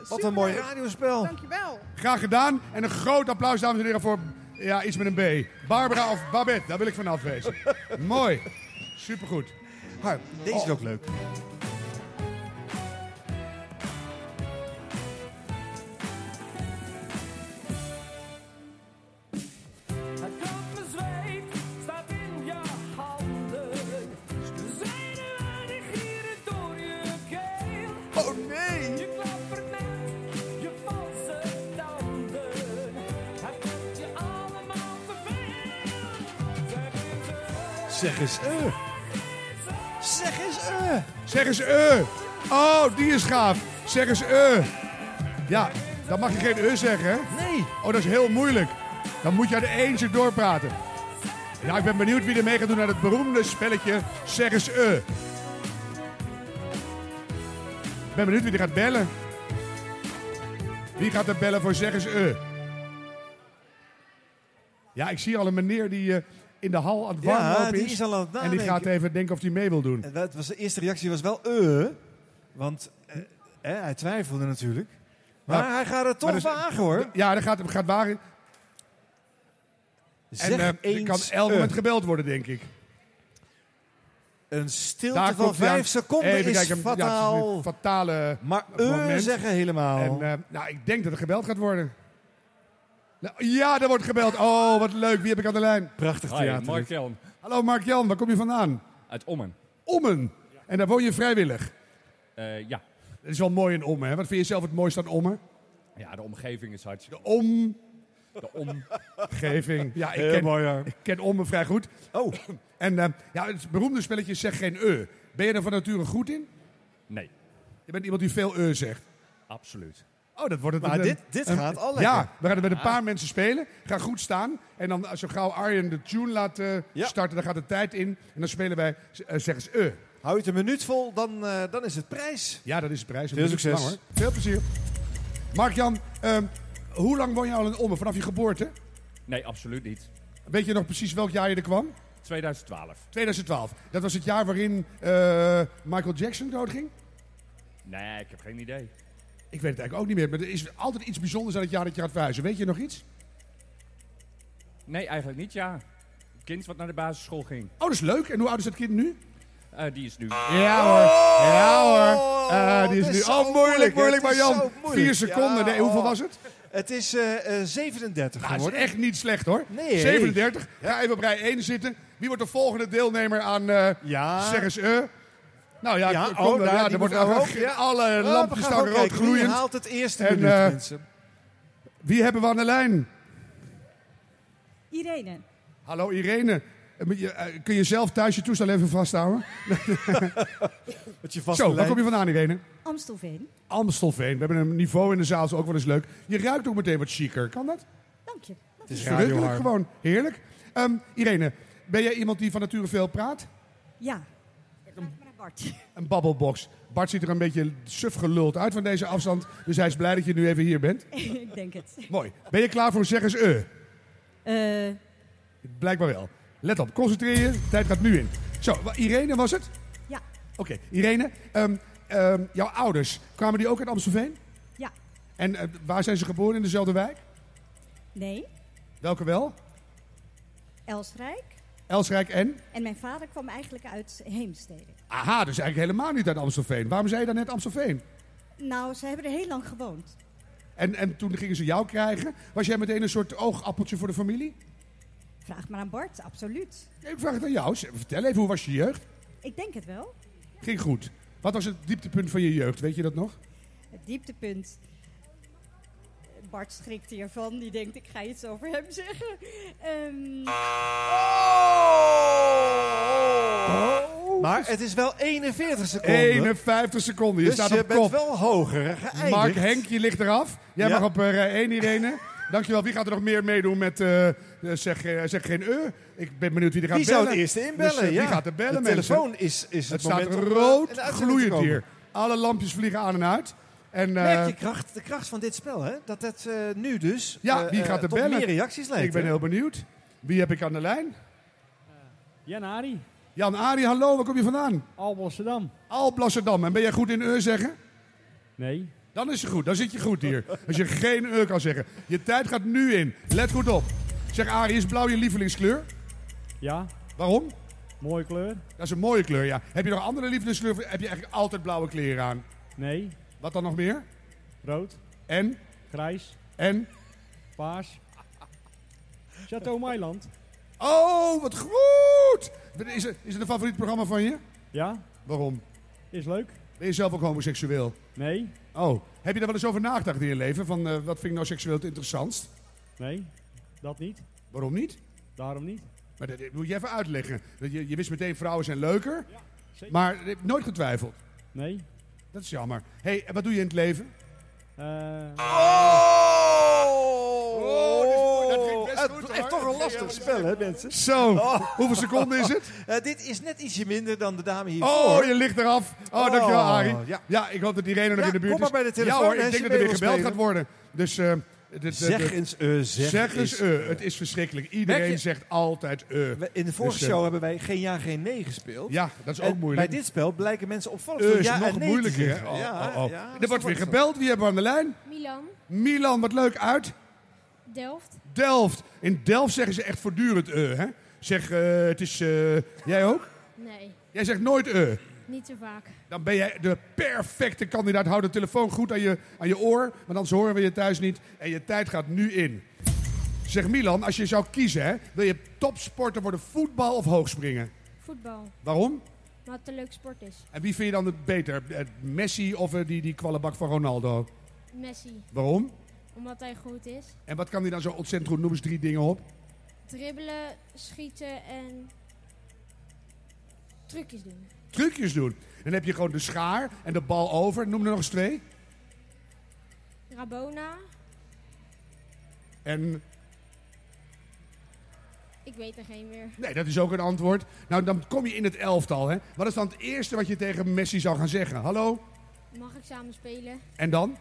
Speaker 5: Wat een mooi radiospel.
Speaker 4: Dankjewel.
Speaker 6: Graag gedaan. En een groot applaus, dames en heren, voor ja, iets met een B. Barbara of Babette, daar wil ik van afwezen. Mooi. Supergoed. Oh.
Speaker 5: Harm, deze is ook leuk.
Speaker 2: Het koude zweet staat in je handen. De zenuwen die gieren door je keel.
Speaker 5: Oh nee!
Speaker 2: Je klappert met je valse tanden. Het wordt je allemaal te veel. Zeg eens, eh,
Speaker 5: Zeg eens, eh. Zeg eens, eh.
Speaker 6: Zeg eens eh. Oh, die is gaaf. Zeg eens eh. Ja, dan mag je geen eh zeggen, hè?
Speaker 5: Nee.
Speaker 6: Oh, dat is heel moeilijk. Dan moet je aan de eentje doorpraten. Ja, ik ben benieuwd wie er mee gaat doen aan het beroemde spelletje Zeg eens eh. Ik ben benieuwd wie er gaat bellen. Wie gaat er bellen voor Zeg eens eh? Ja, ik zie al een meneer die eh, in de hal aan het
Speaker 5: Ja,
Speaker 6: warmlopen
Speaker 5: die is al aan het
Speaker 6: en die
Speaker 5: nadenken.
Speaker 6: gaat even denken of hij mee wil doen.
Speaker 5: En dat was, de eerste reactie was wel eh. Want eh, eh, hij twijfelde natuurlijk. Maar
Speaker 6: Ja,
Speaker 5: hij gaat het toch
Speaker 6: Nou, Maar dus-
Speaker 5: wagen hoor.
Speaker 6: Ja, dat gaat, gaat wagen.
Speaker 5: Zeg
Speaker 6: en eh, er
Speaker 5: eens
Speaker 6: kan elk
Speaker 5: eh.
Speaker 6: moment gebeld worden, denk ik.
Speaker 5: Een stilte
Speaker 6: Daar
Speaker 5: van
Speaker 6: klopt hij
Speaker 5: vijf
Speaker 6: aan.
Speaker 5: seconden
Speaker 6: Even
Speaker 5: is
Speaker 6: kijken, ja, het is
Speaker 5: fataal.
Speaker 6: een fatale maar
Speaker 5: eh, zeggen helemaal.
Speaker 6: En, eh, nou, ik denk dat er gebeld gaat worden. Nou, Ja, er wordt gebeld. Oh, wat leuk. Wie heb ik aan de lijn? Prachtig
Speaker 7: Hi,
Speaker 6: theater.
Speaker 7: Mark
Speaker 6: dit.
Speaker 7: Jan.
Speaker 6: Hallo Mark Jan, waar kom je vandaan?
Speaker 7: Uit Ommen.
Speaker 6: Ommen. En daar woon je vrijwillig.
Speaker 7: Eh, ja.
Speaker 6: Dat is wel mooi in Ommen. Hè? Wat vind je zelf het mooiste aan Ommen?
Speaker 7: ja, de omgeving is hartstikke...
Speaker 6: De om...
Speaker 7: De om...
Speaker 6: Omgeving. Ja, ik
Speaker 7: Heel
Speaker 6: ken,
Speaker 7: mooi, hoor.
Speaker 6: ik ken Ommen vrij goed.
Speaker 5: Oh.
Speaker 6: En eh, ja, het beroemde spelletje is zeg geen e. Ben je daar van nature goed in?
Speaker 7: Nee,
Speaker 6: Je bent iemand die veel e zegt.
Speaker 7: absoluut.
Speaker 6: Oh, dat wordt het.
Speaker 7: Maar
Speaker 6: een-
Speaker 7: dit- dit
Speaker 6: een-
Speaker 7: gaat al lekker.
Speaker 6: Ja, we gaan het met een
Speaker 7: Ah.
Speaker 6: paar mensen spelen. Ga goed staan. En dan eh, zo gauw Arjen de tune laat eh, starten, dan gaat de tijd in. En dan spelen wij, eh, zeggen ze, eh.
Speaker 5: Hou je het een minuut vol, dan, eh, dan is het prijs.
Speaker 6: Ja, dat is de prijs.
Speaker 5: Veel
Speaker 6: Dat is
Speaker 5: succes.
Speaker 6: lang, hoor. Veel plezier. Mark-Jan, ehm, hoe lang woon je al in Ommen? Vanaf je geboorte?
Speaker 7: Nee, absoluut niet.
Speaker 6: Weet je nog precies welk jaar je er kwam?
Speaker 7: 2012.
Speaker 6: 2012. Dat was het jaar waarin eh, Michael Jackson doodging?
Speaker 7: Nee, ik heb geen idee.
Speaker 6: Ik weet het eigenlijk ook niet meer. Maar er is altijd iets bijzonders aan het jaar dat je gaat verhuizen. Weet je nog iets?
Speaker 7: Nee, eigenlijk niet, ja. Het kind wat naar de basisschool ging.
Speaker 6: Oh, dat is leuk. En hoe oud is dat kind nu?
Speaker 7: Eh, die is nu...
Speaker 6: Ja hoor. Ja hoor. Eh, die is,
Speaker 5: het is
Speaker 6: nu.
Speaker 5: zo
Speaker 6: Oh,
Speaker 5: moeilijk,
Speaker 6: moeilijk, moeilijk,
Speaker 5: het
Speaker 6: maar
Speaker 5: is
Speaker 6: Jan.
Speaker 5: zo moeilijk.
Speaker 6: Vier seconden.
Speaker 5: Ja,
Speaker 6: nee, hoeveel
Speaker 5: oh.
Speaker 6: was het?
Speaker 5: Het is eh, eh, 37
Speaker 6: Nou, dat is
Speaker 5: geworden.
Speaker 6: echt niet slecht hoor.
Speaker 5: Nee.
Speaker 6: 37. Ga even op rij 1 zitten. Wie wordt de volgende deelnemer aan eh
Speaker 5: Ja.
Speaker 6: Zeg eens eh? Nou ja,
Speaker 5: Ja,
Speaker 6: kom
Speaker 5: oh,
Speaker 6: dan.
Speaker 5: daar,
Speaker 6: ja
Speaker 5: die
Speaker 6: er wordt
Speaker 5: mevrouw ook.
Speaker 6: ja,
Speaker 5: Ja, Oh,
Speaker 6: alle
Speaker 5: we
Speaker 6: lampjes
Speaker 5: gaan
Speaker 6: staan
Speaker 5: ook
Speaker 6: rood
Speaker 5: kijken. Wie
Speaker 6: gloeiend.
Speaker 5: haalt het eerste
Speaker 6: En,
Speaker 5: minuut,
Speaker 6: eh,
Speaker 5: mensen?
Speaker 6: Wie hebben we aan de lijn?
Speaker 22: Irene.
Speaker 6: Hallo Irene. Eh, moet je- eh, Kun je zelf thuis je toestel even vasthouden?
Speaker 5: je vaste
Speaker 6: Zo, waar
Speaker 5: lijn.
Speaker 6: kom je vandaan Irene?
Speaker 22: Amstelveen.
Speaker 6: Amstelveen. We hebben een niveau in de zaal, is ook wel eens leuk. Je ruikt ook meteen wat chiquer, kan dat?
Speaker 22: Dank je.
Speaker 6: Het is
Speaker 5: Radio
Speaker 6: verrukkelijk
Speaker 5: Harm.
Speaker 6: gewoon. Heerlijk. Ehm, Irene, ben jij iemand die van nature veel praat?
Speaker 22: Ja. Maar naar Bart.
Speaker 6: Een babbelbox. Bart ziet er een beetje suf geluld uit van deze afstand. Dus hij is blij dat je nu even hier bent.
Speaker 22: ik denk het.
Speaker 6: Mooi. Ben je klaar voor zeg eens eh?
Speaker 22: Eh,
Speaker 6: Blijkbaar wel. Let op, concentreer je. De tijd gaat nu in. Zo, wa- Irene was het?
Speaker 22: ja.
Speaker 6: Oké, Irene. ehm, ehm, jouw ouders, kwamen die ook uit Amstelveen?
Speaker 22: Ja.
Speaker 6: En eh, waar zijn ze geboren? In dezelfde wijk?
Speaker 22: Nee.
Speaker 6: Welke wel?
Speaker 22: Elsrijk.
Speaker 6: Elsrijk en?
Speaker 22: En mijn vader kwam eigenlijk uit Heemstede.
Speaker 6: Aha, dus eigenlijk helemaal niet uit Amstelveen. Waarom zei je dan net Amstelveen?
Speaker 22: Nou, ze hebben er heel lang gewoond.
Speaker 6: En, en toen gingen ze jou krijgen. Was jij meteen een soort oogappeltje voor de familie?
Speaker 22: Vraag maar aan Bart, absoluut.
Speaker 6: Nee, Ik vraag het aan jou. Z- Vertel even, hoe was je jeugd?
Speaker 22: Ik denk het wel.
Speaker 6: Ging goed. Wat was het dieptepunt van je jeugd? Weet je dat nog?
Speaker 22: Het dieptepunt. Bart schrikt hiervan. Die denkt, ik ga iets over hem zeggen. Ehm,
Speaker 5: Maar het is wel 41 seconden.
Speaker 6: 51 seconden. Je
Speaker 5: Dus
Speaker 6: staat
Speaker 5: je
Speaker 6: op
Speaker 5: bent
Speaker 6: kop.
Speaker 5: wel hoger geëindigd.
Speaker 6: Mark Henk, je ligt eraf. Jij
Speaker 5: Ja.
Speaker 6: mag op eh, rij 1, Irene. Dankjewel. Wie gaat er nog meer meedoen met eh, eh, zeg, eh, zeg geen eu? Ik ben benieuwd wie er gaat
Speaker 5: Wie
Speaker 6: bellen.
Speaker 5: zou het eerste inbellen?
Speaker 6: Dus, eh,
Speaker 5: ja.
Speaker 6: Wie gaat er bellen,
Speaker 5: De
Speaker 6: mensen?
Speaker 5: telefoon is, is
Speaker 6: het
Speaker 5: het,
Speaker 6: staat
Speaker 5: moment om, eh,
Speaker 6: rood
Speaker 5: in de uitzending te
Speaker 6: gloeiend
Speaker 5: komen.
Speaker 6: hier. Alle lampjes vliegen aan en uit. En, eh,
Speaker 5: Merk je kracht, de kracht van dit spel, hè? Dat het eh, nu dus
Speaker 6: Ja,
Speaker 5: eh,
Speaker 6: wie
Speaker 5: eh,
Speaker 6: gaat er
Speaker 5: tot
Speaker 6: bellen?
Speaker 5: meer reacties leidt.
Speaker 6: Ik ben
Speaker 5: hè?
Speaker 6: heel benieuwd. Wie heb ik aan de lijn?
Speaker 23: Jan Ari,
Speaker 6: Jan Arie, hallo, waar kom je vandaan?
Speaker 23: Alblasserdam.
Speaker 6: Alblasserdam. En ben jij goed in eur zeggen?
Speaker 23: Nee.
Speaker 6: Dan is je goed, dan zit je goed hier. Als je geen eur kan zeggen. Je tijd gaat nu in. Let goed op. Zeg Arie, is blauw je lievelingskleur?
Speaker 23: Ja.
Speaker 6: Waarom?
Speaker 23: Mooie kleur.
Speaker 6: Dat is een mooie kleur, ja. Heb je nog andere lievelingskleur? Heb je eigenlijk altijd blauwe kleren aan?
Speaker 23: Nee.
Speaker 6: Wat dan nog meer?
Speaker 23: Rood.
Speaker 6: En?
Speaker 23: Grijs.
Speaker 6: En?
Speaker 23: Paars. Chateau Mailand.
Speaker 6: Oh, wat goed! Is het, is het een favoriet programma van je?
Speaker 23: Ja.
Speaker 6: Waarom?
Speaker 23: Is leuk.
Speaker 6: Ben je zelf ook homoseksueel?
Speaker 23: Nee.
Speaker 6: Oh, heb je daar wel eens over nagedacht in je leven? Van eh, wat vind ik nou seksueel het interessantst?
Speaker 23: Nee. Dat niet.
Speaker 6: Waarom niet?
Speaker 23: Daarom niet.
Speaker 6: Maar dat, dat moet je even uitleggen. Dat Je, je wist meteen vrouwen zijn leuker, maar je hebt nooit getwijfeld.
Speaker 23: Nee.
Speaker 6: Dat is jammer. hey, en wat doe je in het leven?
Speaker 5: Oh, Het blijft toch een lastig spel, hè, mensen? Oh.
Speaker 6: Zo, hoeveel seconden is het?
Speaker 5: Eh, dit is net ietsje minder dan de dame hier.
Speaker 6: Oh, je ligt eraf. Oh, dankjewel,
Speaker 5: Oh,
Speaker 6: Arie.
Speaker 5: ja.
Speaker 6: Ja. ik hoop dat Irene nog
Speaker 5: Ja,
Speaker 6: in de buurt
Speaker 5: kom maar
Speaker 6: is.
Speaker 5: bij de telefoon,
Speaker 6: Ja hoor,
Speaker 5: hè,
Speaker 6: ik
Speaker 5: als
Speaker 6: denk
Speaker 5: je
Speaker 6: dat er weer
Speaker 5: mee wil
Speaker 6: gebeld
Speaker 5: spelen.
Speaker 6: gaat worden. Dus... eh, dit- dit-
Speaker 5: Zeg
Speaker 6: dit-
Speaker 5: eens, eh, zeg
Speaker 6: eens,
Speaker 5: eens,
Speaker 6: eh.
Speaker 5: eh.
Speaker 6: Het is verschrikkelijk.
Speaker 5: Merk je-
Speaker 6: Iedereen zegt altijd eh.
Speaker 5: In de vorige
Speaker 6: Dus, eh,
Speaker 5: show hebben wij geen ja, geen nee gespeeld.
Speaker 6: Ja, dat is
Speaker 5: En
Speaker 6: ook moeilijk.
Speaker 5: Bij dit spel blijken mensen opvallend
Speaker 6: Eh,
Speaker 5: veel
Speaker 6: is
Speaker 5: ja
Speaker 6: nog
Speaker 5: en nee
Speaker 6: moeilijker.
Speaker 5: te
Speaker 6: hè?
Speaker 5: zeggen.
Speaker 6: Oh,
Speaker 5: Ja,
Speaker 6: oh, oh.
Speaker 5: ja, dat
Speaker 6: er
Speaker 5: is
Speaker 6: wordt
Speaker 5: toch
Speaker 6: weer
Speaker 5: wel
Speaker 6: gebeld. Wie hebben we aan de lijn?
Speaker 14: Milan,
Speaker 6: Milan, wat leuk uit.
Speaker 14: Delft,
Speaker 6: Delft. In Delft zeggen ze echt voortdurend eh. Hè? Zeg, eh, het is... eh, jij ook?
Speaker 14: nee.
Speaker 6: Jij zegt nooit eh.
Speaker 14: Niet zo vaak.
Speaker 6: Dan ben jij de perfecte kandidaat. Houd de telefoon goed aan je, aan je oor, want anders horen we je thuis niet. En je tijd gaat nu in. Zeg Milan, als je zou kiezen, hè, wil je topsporter worden voetbal of hoogspringen?
Speaker 14: Voetbal.
Speaker 6: Waarom?
Speaker 14: Maar het een leuk sport is.
Speaker 6: En wie vind je dan het beter? Eh, Messi of eh, die, die kwallenbak van Ronaldo?
Speaker 14: Messi.
Speaker 6: Waarom?
Speaker 14: Omdat hij goed is.
Speaker 6: En wat kan die dan zo ontzettend goed? Noem eens drie dingen op.
Speaker 14: Dribbelen, schieten en trucjes doen.
Speaker 6: Trucjes doen. Dan heb je gewoon de schaar en de bal over. Noem er nog eens twee.
Speaker 14: Rabona,
Speaker 6: En
Speaker 14: ik weet er geen meer.
Speaker 6: nee, dat is ook een antwoord. Nou, dan kom je in het elftal. Hè? Wat is dan het eerste wat je tegen Messi zou gaan zeggen? Hallo?
Speaker 14: Mag ik samen spelen?
Speaker 6: En dan?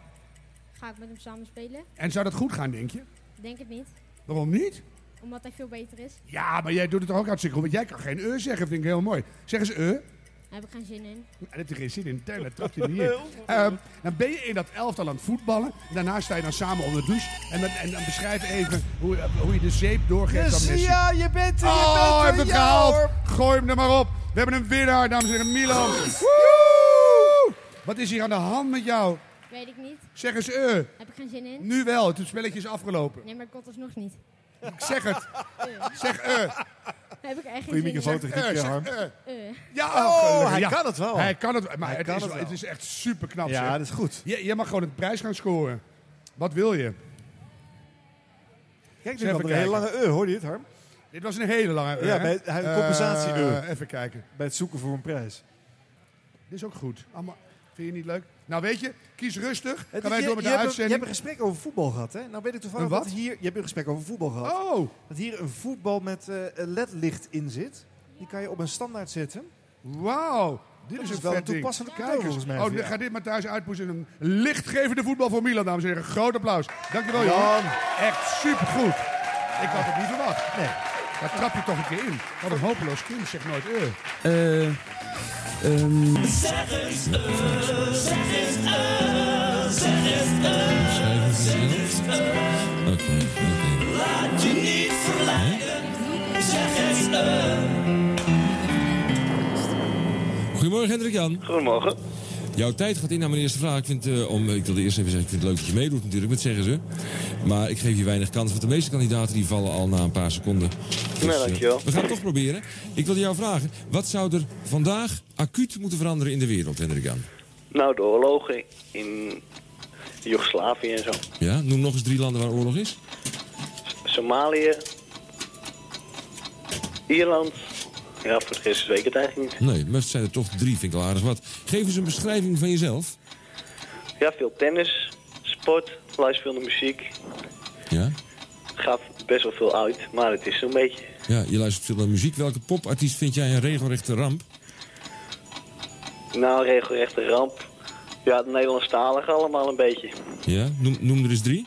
Speaker 14: Ga ik met hem samen spelen?
Speaker 6: En zou dat goed gaan, denk je?
Speaker 14: Denk het niet,
Speaker 6: Waarom niet?
Speaker 14: omdat hij veel beter is.
Speaker 6: Ja, maar jij doet het toch ook hartstikke goed. Want jij kan geen eh zeggen, vind ik heel mooi. Zeg eens eh.
Speaker 14: Daar heb ik geen zin in.
Speaker 6: Daar heb je geen zin in. Tellen, trap je niet in. Ehm, dan ben je in dat elftal aan het voetballen. Daarna sta je dan samen onder de douche. En dan, en dan beschrijf even hoe, eh, hoe je de zeep doorgeeft aan Messi.
Speaker 2: ja, je bent er, je
Speaker 6: oh,
Speaker 2: bent
Speaker 6: hij
Speaker 2: er,
Speaker 6: heeft het
Speaker 2: ja,
Speaker 6: gehaald.
Speaker 2: hoor.
Speaker 6: Gooi hem er maar op. We hebben een winnaar, dames en heren. Milan. Woe! Wat is hier aan de hand met jou?
Speaker 14: Weet ik niet.
Speaker 6: Zeg eens eh.
Speaker 14: Heb ik geen zin in.
Speaker 6: Nu wel, het spelletje is afgelopen.
Speaker 14: Nee, maar ik kon het alsnog niet.
Speaker 6: Ik zeg het.
Speaker 14: Eh.
Speaker 6: Zeg eh.
Speaker 14: Daar heb ik echt geen
Speaker 5: Goeie
Speaker 14: zin in.
Speaker 5: microfoon techniek,
Speaker 6: eh,
Speaker 5: eh,
Speaker 6: zeg,
Speaker 5: Harm.
Speaker 6: eh.
Speaker 14: Eh.
Speaker 6: Ja,
Speaker 5: Oh,
Speaker 6: gelukkig.
Speaker 5: hij
Speaker 6: Ja.
Speaker 5: kan het wel.
Speaker 6: Hij kan het, wel, maar
Speaker 5: Hij
Speaker 6: het,
Speaker 5: kan
Speaker 6: is,
Speaker 5: het
Speaker 6: wel-
Speaker 5: wel.
Speaker 6: het is echt super knap.
Speaker 5: Ja, dat is goed.
Speaker 6: Je, je mag gewoon een prijs gaan scoren. Wat wil je?
Speaker 5: Kijk,
Speaker 6: Eens
Speaker 5: nu
Speaker 6: even
Speaker 5: kwam er een hele
Speaker 6: kijken.
Speaker 5: lange eh, hoorde je het Harm?
Speaker 6: Dit was een hele lange eh,
Speaker 5: Ja,
Speaker 6: hè?
Speaker 5: bij het- hij-
Speaker 6: Eh,
Speaker 5: compensatie eh.
Speaker 6: Even kijken.
Speaker 5: Bij het zoeken voor een prijs.
Speaker 6: Dit is ook goed. Allemaal, vind je niet leuk? Nou weet je, kies rustig.
Speaker 5: Het
Speaker 6: Gaan
Speaker 5: is-
Speaker 6: wij
Speaker 5: je-
Speaker 6: door met
Speaker 5: je
Speaker 6: de
Speaker 5: hebt een-
Speaker 6: uitzending.
Speaker 5: Je hebt een gesprek over voetbal gehad, hè? Nou weet ik toevallig
Speaker 6: Een wat?
Speaker 5: dat hier... Je hebt een gesprek over voetbal gehad.
Speaker 6: Oh!
Speaker 5: Dat hier een voetbal met eh, een ledlicht in zit. Die kan je op een standaard zetten.
Speaker 6: Wauw! Dit
Speaker 5: Dat
Speaker 6: is
Speaker 5: is
Speaker 6: een
Speaker 5: wel
Speaker 6: vet
Speaker 5: een
Speaker 6: ding.
Speaker 5: toepasselijk
Speaker 6: Kijk
Speaker 5: cadeau,
Speaker 6: eens.
Speaker 5: volgens mij,
Speaker 6: Oh,
Speaker 5: voor
Speaker 6: dan
Speaker 5: jou.
Speaker 6: ga dit maar thuis uitpoetsen. Een lichtgevende voetbal voor Milan, dames en heren. Groot applaus. Dankjewel,
Speaker 5: Jan.
Speaker 6: Jan. Echt supergoed. Ik had het niet verwacht.
Speaker 5: Nee.
Speaker 6: Daar trap je toch een keer in. Wat een hopeloos kind, zeg nooit eh.
Speaker 3: Eh. ehm
Speaker 2: Zeg eens eh, zeg eens eh, zeg eens eh, zeg eens eh.
Speaker 3: Oké, oké.
Speaker 2: Laat je niet verleiden, zeg eens eh.
Speaker 3: Goedemorgen, Hendrik Jan. Goedemorgen. Jouw tijd gaat in naar mijn eerste vraag. Ik, vind, eh, om, ik wilde eerst even zeggen, ik vind het leuk dat je meedoet natuurlijk, dat zeggen ze. Maar ik geef je weinig kans, want de meeste kandidaten die vallen al na een paar seconden.
Speaker 9: Nee,
Speaker 3: eh,
Speaker 9: dankjewel.
Speaker 3: we gaan het toch proberen. Ik wilde jou vragen, wat zou er vandaag acuut moeten veranderen in de wereld, Hendrik Jan?
Speaker 9: Nou, de oorlogen in Joegoslavië en zo.
Speaker 3: Ja, noem nog eens drie landen waar oorlog is.
Speaker 9: Somalië, Ierland. Ja, voor de rest weet ik het eigenlijk niet.
Speaker 3: Nee, maar het zijn er toch drie, vind ik al aardig wat. Geef eens een beschrijving van jezelf.
Speaker 9: Ja, veel tennis, sport, luisterende muziek.
Speaker 3: Ja?
Speaker 9: Gaat best wel veel uit, maar het is zo'n beetje.
Speaker 3: Ja, je luistert veel naar muziek. Welke popartiest vind jij een regelrechte ramp?
Speaker 9: Nou, regelrechte ramp. Ja, het Nederlandstalig allemaal een beetje.
Speaker 3: Ja, noem, noem er eens drie.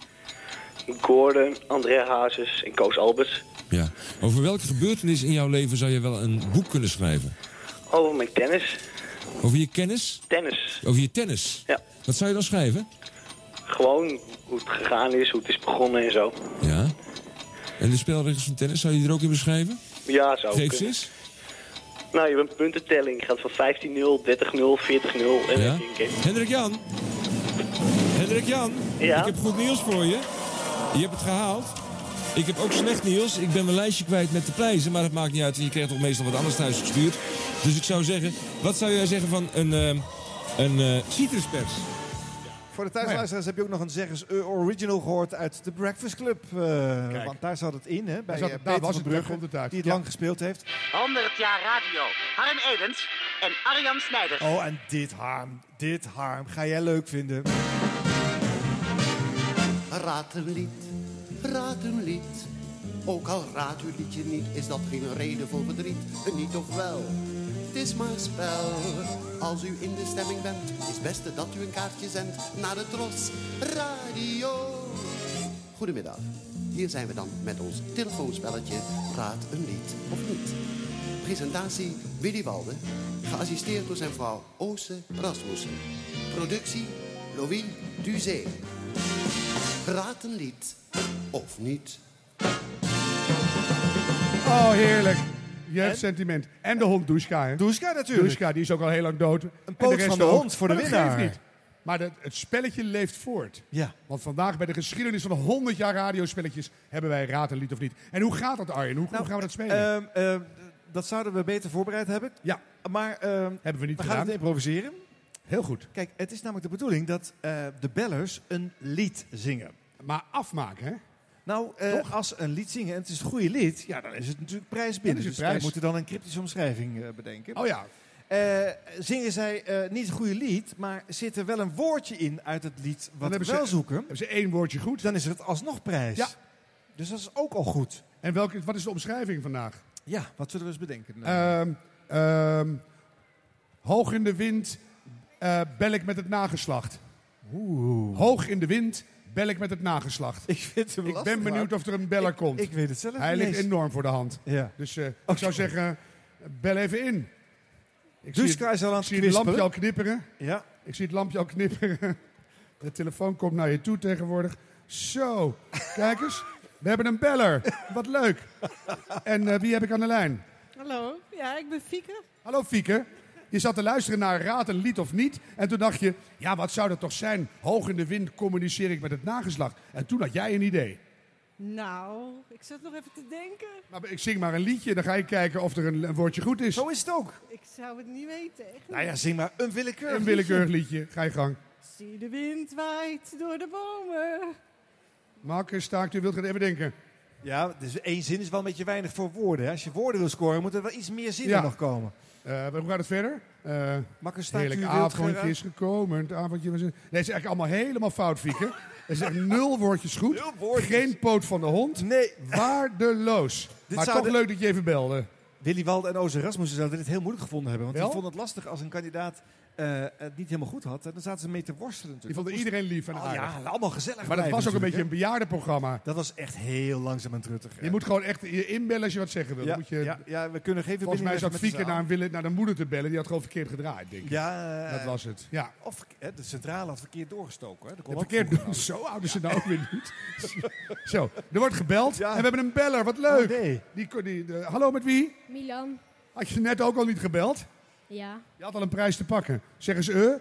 Speaker 9: Gordon, André Hazes en Koos Albers.
Speaker 3: Ja. Over welke gebeurtenis in jouw leven zou je wel een boek kunnen schrijven?
Speaker 9: Over mijn tennis.
Speaker 3: Over je kennis?
Speaker 9: Tennis.
Speaker 3: Over je tennis?
Speaker 9: Ja.
Speaker 3: Wat zou je dan schrijven?
Speaker 9: Gewoon hoe het gegaan is, hoe het is begonnen en zo.
Speaker 3: Ja. En de spelregels van tennis, zou je die er ook in beschrijven?
Speaker 9: Ja, zou
Speaker 3: Geef ze
Speaker 9: kunnen.
Speaker 3: eens.
Speaker 9: Nou, je hebt een puntentelling. Je gaat van 15-0, 30-0, 40-0 en
Speaker 3: Ja.
Speaker 9: dan denk ik.
Speaker 3: Hendrik Jan. Hendrik Jan, ik heb goed nieuws voor je. Je hebt het gehaald. Ik heb ook slecht nieuws. Ik ben mijn lijstje kwijt met de prijzen, maar dat maakt niet uit. want Je krijgt toch meestal wat anders thuis gestuurd. Dus ik zou zeggen, wat zou jij zeggen van een, eh, een eh, citruspers?
Speaker 5: Voor de thuisluisteraars heb je ook nog een Zeggers eh, Original gehoord uit de Breakfast Club. eh, want daar zat het in, hè? Bij
Speaker 6: zat
Speaker 5: eh,
Speaker 6: het-
Speaker 5: Peter
Speaker 6: daar was
Speaker 5: van
Speaker 6: het, daar
Speaker 5: Brugge,
Speaker 6: komt het uit.
Speaker 5: die het
Speaker 6: Ja.
Speaker 5: lang gespeeld heeft.
Speaker 11: 100 jaar radio. Harm Edens en Arjan Snijders.
Speaker 5: Oh, en dit harm, dit harm, ga jij leuk vinden.
Speaker 24: Raad een lied, raad een lied. Ook al raadt uw liedje niet, is dat geen reden voor verdriet. Een Niet of wel, het is maar spel. Als u in de stemming bent, is het beste dat u een kaartje zendt naar de Tros Radio. Goedemiddag, hier zijn we dan met ons telefoonspelletje Raad een lied of niet. Presentatie Willy Walde, geassisteerd door zijn vrouw Oose Rasmussen. Productie Louis Duzé. Raad een lied of niet.
Speaker 6: Oh, heerlijk. Je hebt sentiment. En de hond Duska. Hè?
Speaker 5: Duska natuurlijk.
Speaker 6: Duska, die is ook al heel lang dood. Een
Speaker 5: poot van de hond voor de winnaar.
Speaker 6: niet. Maar dat- het spelletje leeft voort.
Speaker 5: Ja.
Speaker 6: Want vandaag bij de geschiedenis van 100 jaar radiospelletjes hebben wij Raad en Lied of Niet. En hoe gaat dat Arjen? Hoe, hoe gaan we dat spelen?
Speaker 5: Nou, Ehm, ehm, dat zouden we beter voorbereid hebben.
Speaker 6: Ja.
Speaker 5: Maar ehm,
Speaker 6: hebben we niet
Speaker 5: we gaan
Speaker 6: gedaan.
Speaker 5: het improviseren.
Speaker 6: Heel goed.
Speaker 5: Kijk, het is namelijk de bedoeling dat eh, de bellers een lied zingen.
Speaker 6: Maar afmaken, hè?
Speaker 5: Nou, eh, als ze een lied zingen en het is een goede lied, ja, dan is het natuurlijk prijs binnen.
Speaker 6: Dan is het
Speaker 5: dus wij
Speaker 6: prijs.
Speaker 5: moeten dan een cryptische omschrijving eh, bedenken.
Speaker 6: Oh ja.
Speaker 5: Eh, zingen zij eh, niet een goede lied, maar zit er wel een woordje in uit het lied wat we
Speaker 6: hebben
Speaker 5: wel
Speaker 6: ze-
Speaker 5: zoeken?
Speaker 6: Hebben ze één woordje goed?
Speaker 5: Dan is het alsnog prijs.
Speaker 6: Ja.
Speaker 5: Dus dat is ook al goed.
Speaker 6: En welke, wat is de omschrijving vandaag?
Speaker 5: Ja, wat zullen we eens bedenken?
Speaker 6: Ehm, ehm, hoog in de wind eh, bel ik met het nageslacht. Hoog in de wind bel ik met het nageslacht.
Speaker 5: Ik, vind hem
Speaker 6: ik
Speaker 5: lastig,
Speaker 6: ben benieuwd
Speaker 5: maar
Speaker 6: of er een beller komt.
Speaker 5: ik weet het zelf
Speaker 6: Hij
Speaker 5: niet
Speaker 6: ligt
Speaker 5: eens.
Speaker 6: enorm voor de hand.
Speaker 5: Ja.
Speaker 6: Dus eh, ik zou zeggen, bel even in. Ik
Speaker 5: Duska
Speaker 6: zie het-
Speaker 5: is Dus al aan het
Speaker 6: ik zie het lampje
Speaker 5: knisperen.
Speaker 6: al knipperen.
Speaker 5: Ja.
Speaker 6: Ik zie het lampje al knipperen. De telefoon komt naar je toe tegenwoordig. Zo, kijk eens. We hebben een beller. Wat leuk. En eh, wie heb ik aan de lijn?
Speaker 10: Hallo, ja, ik ben Fieke.
Speaker 6: Hallo Fieke. Je zat te luisteren naar Raad een lied of niet. En toen dacht je, ja wat zou dat toch zijn? Hoog in de wind communiceer ik met het nageslacht. En toen had jij een idee.
Speaker 10: Nou, ik zat nog even te denken.
Speaker 6: Nou, ik zing maar dus- een liedje, dan ga je kijken of er een, een woordje goed is. Zo
Speaker 5: is het ook.
Speaker 10: Ik zou het niet weten. Echt
Speaker 5: Nou ja,
Speaker 10: niet.
Speaker 5: zing maar een willekeurig
Speaker 6: Een willekeurig liedje. Ga je gang.
Speaker 10: Zie de wind waait door de bomen.
Speaker 6: Marcus Staak, u wilt gaan even denken.
Speaker 5: Ja, dus één zin is wel een beetje weinig voor woorden. Hè. Als je woorden wil scoren, moet er wel iets meer zin in
Speaker 6: Ja.
Speaker 5: nog komen.
Speaker 6: Eh, hoe gaat het verder? Eh
Speaker 5: Marcus Staak,
Speaker 6: heerlijk
Speaker 5: u wilt
Speaker 6: avondje
Speaker 5: graag-
Speaker 6: is gekomen. Het avondje was... Nee, het is eigenlijk allemaal helemaal fout, Fieke. Er is echt nul woordjes goed. Geen poot van de hond.
Speaker 5: Nee.
Speaker 6: Waardeloos. maar toch
Speaker 5: zouden-
Speaker 6: leuk dat je even belde.
Speaker 5: Willy Walde en Oze Rasmussen zouden dit heel moeilijk gevonden hebben. Want
Speaker 6: Wel?
Speaker 5: die vonden het lastig als een kandidaat eh, het niet helemaal goed had. En dan zaten ze mee te worstelen
Speaker 6: Die
Speaker 5: natuurlijk.
Speaker 6: vonden iedereen lief en
Speaker 5: Oh
Speaker 6: aardig.
Speaker 5: ja, allemaal gezellig
Speaker 6: Maar dat
Speaker 5: blijven
Speaker 6: was ook een beetje een
Speaker 5: natuurlijk,
Speaker 6: bejaardenprogramma.
Speaker 5: Dat was echt heel langzaam en truttig.
Speaker 6: Je moet gewoon echt je inbellen als je wat zeggen wil.
Speaker 5: Ja,
Speaker 6: Dan moet je,
Speaker 5: ja, ja, we kunnen geen
Speaker 6: Volgens
Speaker 5: verbinding
Speaker 6: mij
Speaker 5: leggen
Speaker 6: zat
Speaker 5: met
Speaker 6: Fieke
Speaker 5: de zaal.
Speaker 6: naar, een Wille- naar de moeder te bellen. Die had gewoon verkeerd gedraaid, denk ik.
Speaker 5: Ja, eh,
Speaker 6: dat was het. Ja.
Speaker 5: Of hè, de centrale had verkeerd doorgestoken. Hè. Dat kon
Speaker 6: Ja,
Speaker 5: ook
Speaker 6: verkeerd
Speaker 5: vroeger
Speaker 6: doen.
Speaker 5: nog.
Speaker 6: Zo oud is ze nou ook weer niet. Zo, er wordt gebeld en we hebben een beller. Wat leuk.
Speaker 5: Oh, nee.
Speaker 6: die, ko- die, de- hallo, met wie?
Speaker 14: Milan.
Speaker 6: Had je net ook al niet gebeld?
Speaker 14: Ja.
Speaker 6: Je had al een prijs te pakken. Zeggen ze,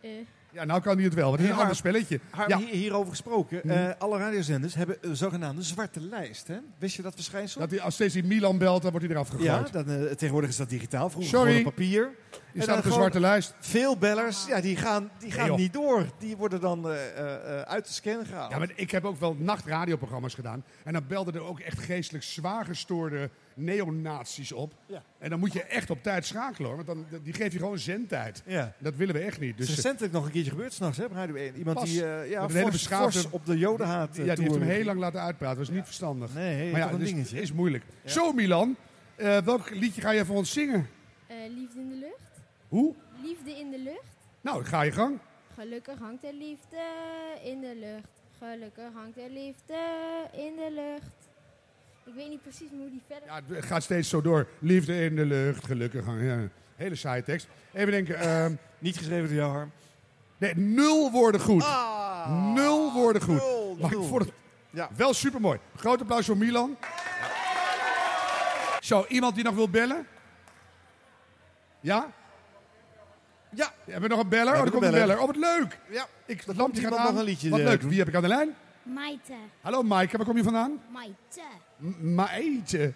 Speaker 6: eh?
Speaker 14: Eh.
Speaker 6: Ja, nou kan hij het wel. want Het is een
Speaker 5: Harm-
Speaker 6: ander spelletje.
Speaker 5: Harm,
Speaker 6: Ja.
Speaker 5: hier- hierover gesproken.
Speaker 6: Hm.
Speaker 5: eh, alle radiozenders hebben een zogenaamde zwarte lijst. Hè? Wist je dat verschijnsel?
Speaker 6: Dat hij, als steeds die Milan belt, dan wordt hij eraf gegooid.
Speaker 5: ja, dan, eh, tegenwoordig is dat digitaal. Vroeger
Speaker 6: Sorry.
Speaker 5: gewoon op papier.
Speaker 6: Je
Speaker 5: En
Speaker 6: staat
Speaker 5: dan
Speaker 6: op de
Speaker 5: gewoon
Speaker 6: zwarte lijst.
Speaker 5: Veel bellers, ja, die gaan, die gaan
Speaker 6: joh.
Speaker 5: niet door. Die worden dan eh, eh, eh, uit de scan gehaald.
Speaker 6: Ja, maar ik heb ook wel nachtradioprogramma's gedaan. En dan belden er ook echt geestelijk zwaar gestoorde neonazies op.
Speaker 5: Ja.
Speaker 6: En dan moet je echt op tijd schakelen hoor. Want dan, die geef je gewoon zendtijd.
Speaker 5: Ja.
Speaker 6: Dat willen we echt niet.
Speaker 5: Het
Speaker 6: Dus
Speaker 5: is recentelijk nog een keertje gebeurd s'nachts hè, op Radio 1. Iemand
Speaker 6: Pas.
Speaker 5: die eh ja,
Speaker 6: Met een hele
Speaker 5: fors-
Speaker 6: beschaafde-
Speaker 5: fors op de jodenhaat eh,
Speaker 6: ja, die heeft hem
Speaker 5: toer.
Speaker 6: heel lang laten uitpraten. Dat was niet verstandig.
Speaker 5: Nee,
Speaker 6: maar ja,
Speaker 5: toch een
Speaker 6: dus
Speaker 5: dingetje.
Speaker 6: is moeilijk. Zo Milan, eh, welk liedje ga je voor ons zingen?
Speaker 14: Eh, liefde in de lucht.
Speaker 6: Hoe?
Speaker 14: Liefde in de lucht.
Speaker 6: Nou, ga je gang.
Speaker 14: Gelukkig hangt er liefde in de lucht. Gelukkig hangt er liefde in de lucht. Ik weet niet precies hoe die verder...
Speaker 6: Ja, Het gaat steeds zo door. Liefde in de lucht, gelukkig. hangen. Ja. Hele saaie tekst. Even denken. ehm,
Speaker 5: Niet geschreven door jou, Harm.
Speaker 6: Nee, nul woorden goed. nul woorden goed.
Speaker 5: Ah, nul,
Speaker 6: maar
Speaker 5: nul.
Speaker 6: ik vond het
Speaker 5: Ja.
Speaker 6: wel supermooi. Groot applaus voor Milan. Zo, iemand die nog wil bellen? Ja?
Speaker 5: Ja.
Speaker 6: Hebben we nog een beller?
Speaker 5: We
Speaker 6: Oh, er
Speaker 5: hebben
Speaker 6: komt een
Speaker 5: een
Speaker 6: beller.
Speaker 5: beller.
Speaker 6: Oh, wat leuk.
Speaker 5: Ja.
Speaker 6: Ik, dat lampje gaat
Speaker 5: iemand
Speaker 6: aan.
Speaker 5: nog een liedje,
Speaker 6: wat
Speaker 5: eh,
Speaker 6: leuk.
Speaker 5: doen.
Speaker 6: Wie heb ik aan de lijn?
Speaker 13: Maite.
Speaker 6: Hallo Maaike, waar kom je vandaan?
Speaker 13: Maite.
Speaker 6: M- Maaike.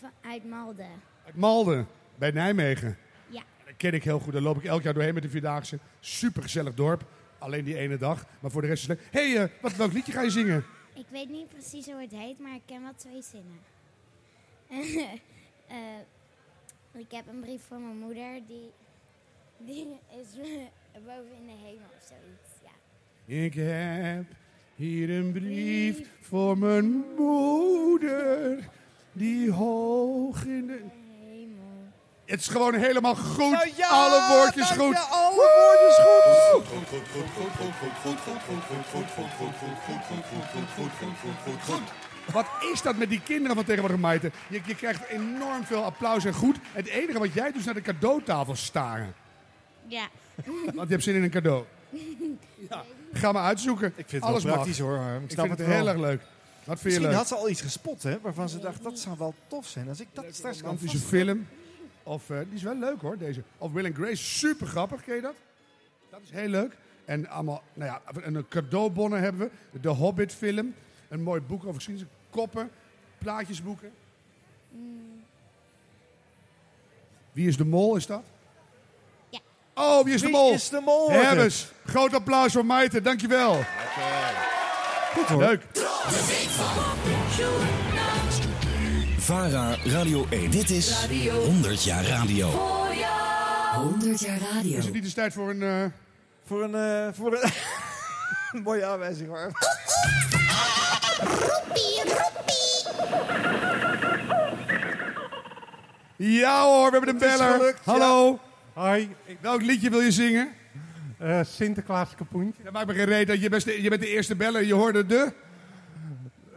Speaker 13: Va- Uit Malden.
Speaker 6: Uit Malden, bij Nijmegen.
Speaker 13: Ja.
Speaker 6: Dat ken ik heel goed. Daar loop ik elk jaar doorheen met de Vierdaagse. Supergezellig dorp. Alleen die ene dag. Maar voor de rest is het leuk. Hé, hey, eh, wat welk liedje ga je zingen?
Speaker 13: Ik weet niet precies hoe het heet, maar ik ken wel twee zinnen. Eh, ik heb een brief voor mijn moeder. Die, die is boven in de hemel of zoiets. Ja.
Speaker 6: Ik heb hier een brief voor mijn moeder. Die hoog in de... Het is gewoon helemaal goed.
Speaker 2: Nou ja,
Speaker 6: alle woordjes
Speaker 2: nou
Speaker 6: goed.
Speaker 2: ja, alle
Speaker 6: woordjes goed.
Speaker 2: Goed, goed, goed, goed, goed, goed, goed, goed, goed, goed, goed, goed, goed, goed, goed, goed, goed, goed, goed, goed, goed.
Speaker 6: Wat is dat met die kinderen van tegenwoordig, Maite? Je, je krijgt enorm veel applaus en goed. Het enige wat jij doet is naar de cadeautafel staren.
Speaker 13: Ja.
Speaker 6: Want je hebt zin in een cadeau. Ga maar uitzoeken.
Speaker 5: Ik vind het
Speaker 6: Alles
Speaker 5: wel
Speaker 6: mag.
Speaker 5: praktisch hoor, Harm. Ik
Speaker 6: Ik,
Speaker 5: snap
Speaker 6: vind
Speaker 5: het
Speaker 6: het heel
Speaker 5: wel.
Speaker 6: erg leuk. Wat vind je
Speaker 5: Misschien
Speaker 6: leuk?
Speaker 5: had ze al iets gespot, hè? Waarvan ze dacht, dat zou wel tof zijn. Als ik dat straks kan
Speaker 6: romantische
Speaker 5: vastleggen.
Speaker 6: film. Of, eh, die is wel leuk hoor, deze. Of Will and Grace, super grappig, ken je dat? Dat is heel leuk. En allemaal, nou ja, en een cadeaubonnen hebben we. De Hobbit film. Een mooi boek over geschiedenis. Koppen, plaatjesboeken. Wie is de mol, is dat?
Speaker 13: Ja.
Speaker 6: Oh, wie is de
Speaker 5: Wie
Speaker 6: mol?
Speaker 5: is de mol, wordt
Speaker 6: Herbes, groot applaus voor Maarten, dankjewel. Goed hoor. Leuk.
Speaker 1: VARA Radio 1. Dit is 100 jaar radio.
Speaker 6: 100
Speaker 20: jaar radio.
Speaker 6: Is het niet eens tijd voor een... eh,
Speaker 5: Voor een... eh, voor een mooie aanwijzing, hoor.
Speaker 6: Ja hoor, we hebben een
Speaker 5: Het is
Speaker 6: beller.
Speaker 5: gelukt,
Speaker 6: Hallo.
Speaker 8: Hoi.
Speaker 6: Welk liedje wil je zingen?
Speaker 8: Eh, Sinterklaas Kapoentje.
Speaker 6: Dat maakt me geen reet dat je, best de- je bent de eerste beller. Je hoorde de...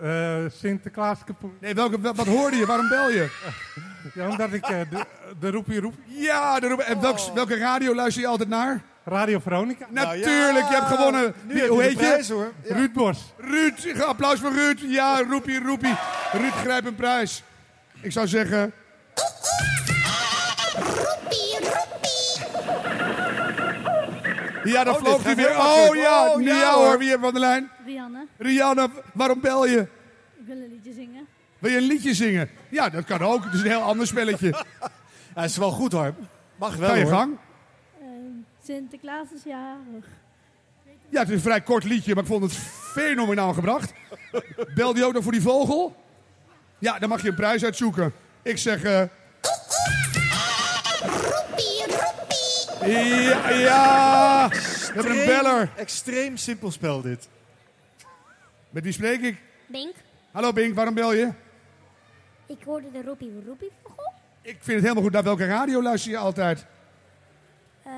Speaker 8: Eh, Sinterklaas Kapoentje.
Speaker 6: Nee, welke, wel- wat hoorde je? Waarom bel je?
Speaker 8: Ja, omdat ik eh, de, de roepie roep.
Speaker 6: Ja, de roep. En welks-
Speaker 8: Oh.
Speaker 6: welke radio luister je altijd naar?
Speaker 8: Radio Veronica.
Speaker 6: Natuurlijk, je hebt gewonnen.
Speaker 8: Nou Nu
Speaker 6: Wie-
Speaker 8: heb je
Speaker 6: hoe
Speaker 8: de
Speaker 6: heet
Speaker 8: prijs,
Speaker 6: je?
Speaker 8: hoor. Ja. Ruud Bos.
Speaker 6: Ruud, applaus voor Ruud. Ja, roepie, roepie. Ruud, grijp een prijs. Ik zou zeggen... Ja, dan
Speaker 2: Oh, dit
Speaker 6: vloog hij
Speaker 2: gaat
Speaker 6: weer.
Speaker 2: heel
Speaker 6: Oh
Speaker 2: makkelijk.
Speaker 6: ja,
Speaker 2: Oh,
Speaker 6: nu
Speaker 2: ja,
Speaker 6: ja
Speaker 2: hoor.
Speaker 6: hoor. Wie hebben we aan de lijn?
Speaker 16: Rianne,
Speaker 6: Rihanna, waarom bel je?
Speaker 16: ik wil een liedje zingen.
Speaker 6: Wil je een liedje zingen? Ja, dat kan ook. Het is een heel ander spelletje.
Speaker 5: Hij is wel goed hoor. Mag wel
Speaker 6: Ga je
Speaker 5: hoor.
Speaker 6: gang.
Speaker 16: Ehm, Sinterklaas is jarig.
Speaker 6: Ja, het is een vrij kort liedje, maar ik vond het fenomenaal gebracht. Bel die ook nog voor die vogel? Ja, dan mag je een prijs uitzoeken. Ik zeg... eh, Ja, ja. We hebben een beller.
Speaker 5: Extreem simpel spel dit.
Speaker 6: Met wie spreek ik?
Speaker 13: Bink,
Speaker 6: Hallo Bink, waarom bel je?
Speaker 13: ik hoorde de roepie roepie vogel.
Speaker 6: Ik vind het helemaal goed. Naar welke radio luister je altijd?
Speaker 13: Eh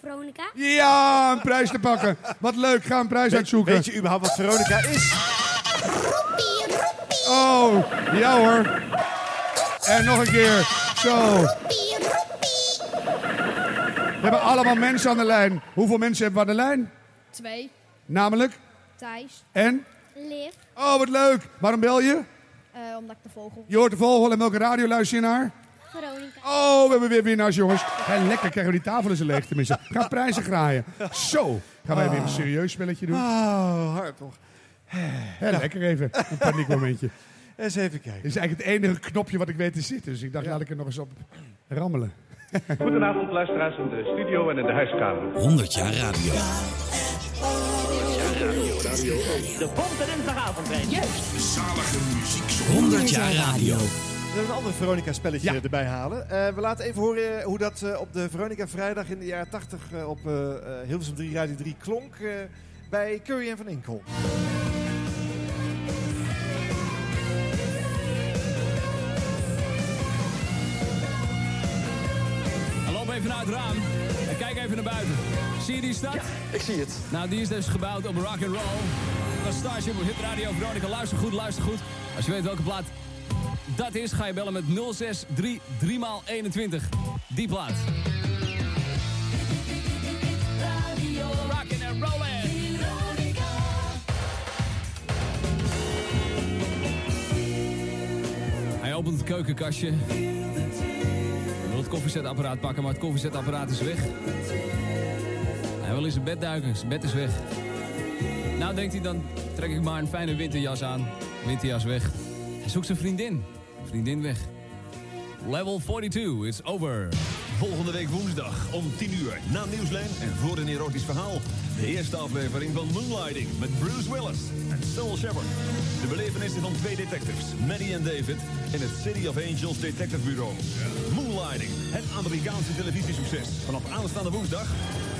Speaker 13: Veronica.
Speaker 6: Ja, een prijs te pakken. Wat leuk, ga een prijs uitzoeken.
Speaker 5: weet je überhaupt wat Veronica is?
Speaker 6: Oh, ja hoor. En nog een keer. Zo. We hebben allemaal mensen aan de lijn. Hoeveel mensen hebben we aan de lijn?
Speaker 17: Twee.
Speaker 6: Namelijk?
Speaker 17: Thijs.
Speaker 6: En?
Speaker 17: Liv.
Speaker 6: Oh, wat leuk. Waarom bel je?
Speaker 17: Eh, omdat ik de vogel.
Speaker 6: Je hoort de vogel en welke radio luister je naar?
Speaker 17: Veronica.
Speaker 6: Oh, we hebben weer winnaars, jongens. Hé, lekker krijgen we die tafel eens leeg tenminste. Gaan prijzen graaien. Zo, gaan wij weer een serieus spelletje doen.
Speaker 5: Oh, hard toch.
Speaker 6: Hé, lekker even, een paniekmomentje.
Speaker 5: Eens even kijken.
Speaker 6: Dit is eigenlijk het enige knopje wat ik weet te zitten. Dus ik dacht, laat ik er nog eens op rammelen. Eh,
Speaker 18: Goedenavond, luisteraars in de studio en in de huiskamer.
Speaker 1: 100 jaar radio.
Speaker 2: De komt en vanavond, Juist. Zalige muziek.
Speaker 1: 100 jaar radio.
Speaker 5: We hebben een ander Veronica-spelletje erbij halen. Eh, we laten even horen eh, hoe dat eh, op de Veronica Vrijdag in de jaren 80 eh, op eh, eh, Hilversum 3 Radio 3 klonk eh, bij Curry en Van Enkel.
Speaker 7: Loop even naar het raam en kijk even naar buiten. Zie je die stad? ik zie het. Nou, die is dus gebouwd op rock and roll. Dat is Starship op Hit Radio Veronica. Luister goed, luister goed. Als je weet welke plaat dat is, ga je bellen met 063 3x21. Die plaat. Rockin' and rollin'. Hij opent het keukenkastje. Hij wil het koffiezetapparaat pakken, maar het koffiezetapparaat is weg. Hij wil in zijn bed duiken, zijn bed is weg. Nou denkt hij dan, trek ik maar een fijne winterjas aan. Winterjas weg. Hij zoekt zijn vriendin. Vriendin weg. Level 42, it's over.
Speaker 1: Volgende week woensdag om 10 uur na Nieuwslijn en voor een erotisch verhaal. De eerste aflevering van Moonlighting met Bruce Willis en Cyril Shepard. De belevenissen van twee detectives, Maddie en David, in het City of Angels Detective Bureau. Moonlighting, het Amerikaanse televisiesucces. Vanaf aanstaande woensdag,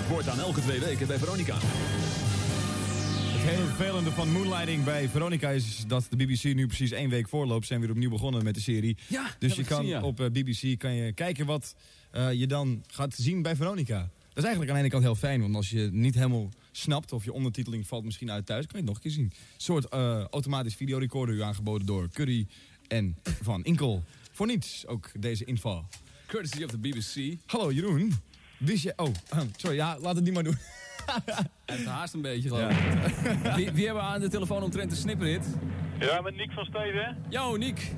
Speaker 1: voortaan elke twee weken bij Veronica.
Speaker 18: Het hele vervelende van Moonlighting bij Veronica is dat de BBC nu precies één week voorloopt. Zijn weer opnieuw begonnen met de serie.
Speaker 7: Ja,
Speaker 18: dus
Speaker 7: heb
Speaker 18: je
Speaker 7: ik
Speaker 18: kan
Speaker 7: gezien, ja.
Speaker 18: op eh, BBC kan je kijken wat eh, je dan gaat zien bij Veronica. Dat is eigenlijk aan de ene kant heel fijn, want als je het niet helemaal snapt of je ondertiteling valt misschien uit thuis, kan je het nog een keer zien. Een soort eh, automatisch videorecorder u aangeboden door Curry en Van Inkel. Voor niets ook deze inval.
Speaker 7: Courtesy of the BBC.
Speaker 18: Hallo Jeroen, wist je... Oh, sorry, ja, laat het niet maar doen.
Speaker 7: Hij heeft haast een beetje, geloof ik. Wie, wie hebben we aan de telefoon omtrent de snipperit?
Speaker 12: Ja, met Nick van Steden.
Speaker 7: Yo, Niek.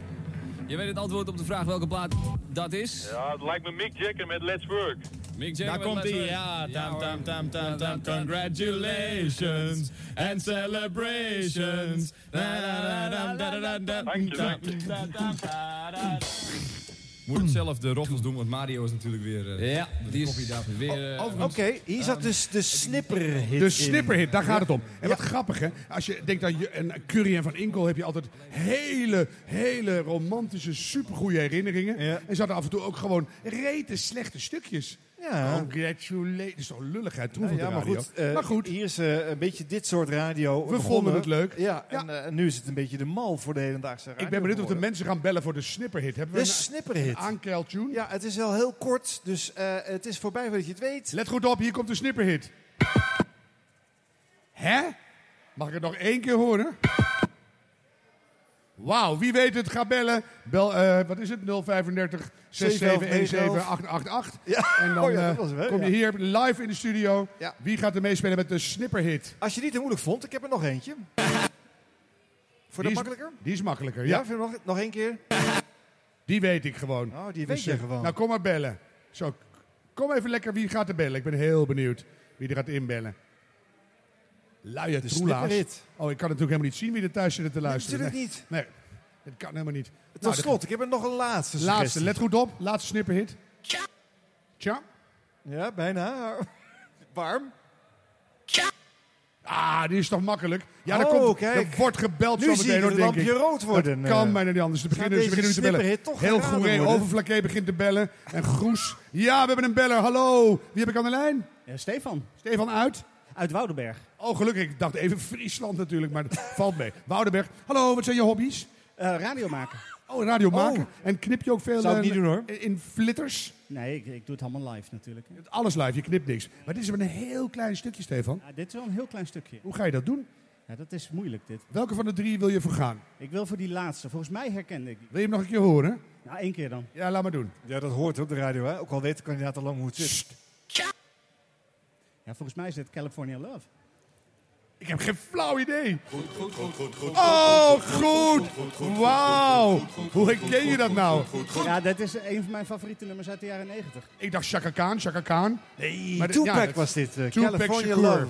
Speaker 7: Je weet het antwoord op de vraag welke plaat dat is.
Speaker 12: Ja, het lijkt me Mick Jagger met Let's Work.
Speaker 7: Mick
Speaker 12: Daar
Speaker 7: Jagger met
Speaker 12: komt-ie.
Speaker 7: Let's Work.
Speaker 12: Ja, tam,
Speaker 7: hoor.
Speaker 12: tam, tam,
Speaker 7: tam, tam, Congratulations and celebrations.
Speaker 18: Moet het zelf de roffels doen, want Mario is natuurlijk weer... eh,
Speaker 7: Ja,
Speaker 18: de
Speaker 7: die is
Speaker 18: koffie daarvan.
Speaker 7: weer,
Speaker 18: Oh,
Speaker 6: Oké,
Speaker 18: overigens-
Speaker 6: hier
Speaker 5: ehm,
Speaker 6: zat dus de snipperhit
Speaker 18: in.
Speaker 6: De snipperhit, daar gaat het om. En wat grappig hè, als je denkt aan je- en Curry en Van Inkel heb je altijd hele, hele romantische, supergoeie herinneringen. En ze hadden af en toe ook gewoon rete slechte stukjes.
Speaker 5: Ja.
Speaker 6: Congratulations, dat is toch lulligheid, troef
Speaker 5: Nou
Speaker 6: op de
Speaker 5: ja, maar
Speaker 6: radio.
Speaker 5: goed, eh,
Speaker 6: maar goed,
Speaker 5: hier is eh, een beetje dit soort radio.
Speaker 6: we vonden het leuk.
Speaker 5: Ja, en eh, nu is het een beetje de mal voor de hedendaagse radio.
Speaker 6: Ik ben benieuwd of de
Speaker 5: geworden.
Speaker 6: mensen gaan bellen voor de snipperhit. Hebben
Speaker 5: De
Speaker 6: we een-
Speaker 5: snipperhit.
Speaker 6: Aankeltune.
Speaker 5: Ja, het is wel heel kort, dus eh, het is voorbij voordat je het weet.
Speaker 6: Let goed op, hier komt de snipperhit. Hè? Mag ik het nog één keer horen? Wauw, wie weet het, ga bellen. Bel, eh, wat is het? 035 6717 888. En dan
Speaker 5: oh ja,
Speaker 6: eh,
Speaker 5: dat was hem, hè?
Speaker 6: kom
Speaker 5: Ja.
Speaker 6: je hier live in de studio.
Speaker 5: Ja.
Speaker 6: Wie gaat er meespelen met de snipperhit?
Speaker 5: Als je die te moeilijk vond, ik heb er nog eentje. Voor de
Speaker 6: Die is-
Speaker 5: makkelijker?
Speaker 6: Die is makkelijker,
Speaker 5: Ja,
Speaker 6: ja.
Speaker 5: vind je nog, nog één keer?
Speaker 6: Die weet ik gewoon.
Speaker 5: Oh, die weet je
Speaker 6: eh,
Speaker 5: gewoon.
Speaker 6: Nou, kom maar bellen. Zo, k- kom even lekker wie gaat er bellen. Ik ben heel benieuwd wie er gaat inbellen. Luie
Speaker 5: De
Speaker 6: troelaars.
Speaker 5: snipperhit.
Speaker 6: Oh, ik kan natuurlijk helemaal niet zien wie er thuis zit te luisteren.
Speaker 5: natuurlijk
Speaker 6: Nee.
Speaker 5: niet.
Speaker 6: Nee, dat kan helemaal niet.
Speaker 5: Tot slot, ik heb er nog een laatste
Speaker 6: Laatste,
Speaker 5: suggestie.
Speaker 6: let goed op. Laatste snipperhit. Tja.
Speaker 5: Ja, bijna. Warm.
Speaker 6: Ah, die is toch makkelijk? Ja,
Speaker 5: Oh,
Speaker 6: er, komt,
Speaker 5: kijk.
Speaker 6: er wordt gebeld
Speaker 5: Nu zie ik
Speaker 6: zometeen, hoor,
Speaker 5: het
Speaker 6: denk
Speaker 5: lampje
Speaker 6: ik.
Speaker 5: rood worden.
Speaker 6: Dat kan
Speaker 5: Eh,
Speaker 6: bijna niet anders. Ze
Speaker 5: gaat
Speaker 6: beginnen, ze
Speaker 5: deze
Speaker 6: beginnen nu te bellen.
Speaker 5: snipperhit toch
Speaker 6: Heel
Speaker 5: geraden
Speaker 6: Goeree,
Speaker 5: worden?
Speaker 6: Overflakkee begint te bellen. En Groes. Ja, we hebben een beller. Hallo. Wie heb ik aan de lijn?
Speaker 23: Stefan.
Speaker 6: Stefan uit?
Speaker 23: Uit Woudenberg.
Speaker 6: Oh, gelukkig. Ik dacht even Friesland natuurlijk, maar dat valt mee. Woudenberg. Hallo, wat zijn je hobby's?
Speaker 23: Eh, radio maken.
Speaker 6: Oh, radio maken. En knip je ook veel
Speaker 23: Zou ik
Speaker 6: eh,
Speaker 23: niet doen, hoor.
Speaker 6: in flitters?
Speaker 23: Nee, ik, ik doe het allemaal live natuurlijk.
Speaker 6: Alles live, je knipt niks. Maar dit is maar een heel klein stukje, Stefan.
Speaker 23: Ja, dit is wel een heel klein stukje.
Speaker 6: Hoe ga je dat doen?
Speaker 23: Ja, dat is moeilijk dit.
Speaker 6: Welke van de drie wil je voor gaan?
Speaker 23: Ik wil voor die laatste. Volgens mij herkende ik die.
Speaker 6: Wil je hem nog een keer horen?
Speaker 23: Nou, één keer dan.
Speaker 6: Ja, laat maar doen.
Speaker 5: Ja, dat hoort op de radio, hè? Ook al weet de kandidaat al lang hoe het zit.
Speaker 23: Ja, volgens mij is dit California Love.
Speaker 6: Ik heb geen flauw idee.
Speaker 23: Goed, goed, goed, goed, goed.
Speaker 6: Oh, goed! Wauw! Hoe herken je dat nou?
Speaker 23: Ja, dat is een van mijn favoriete nummers uit de jaren 90.
Speaker 6: Ik dacht Chaka Khan, Chaka Khan.
Speaker 5: Nee,
Speaker 6: Maar dit-
Speaker 5: Tupac
Speaker 6: dat-
Speaker 5: was dit, eh,
Speaker 6: Tupac
Speaker 5: California
Speaker 6: Shakur.
Speaker 5: Love.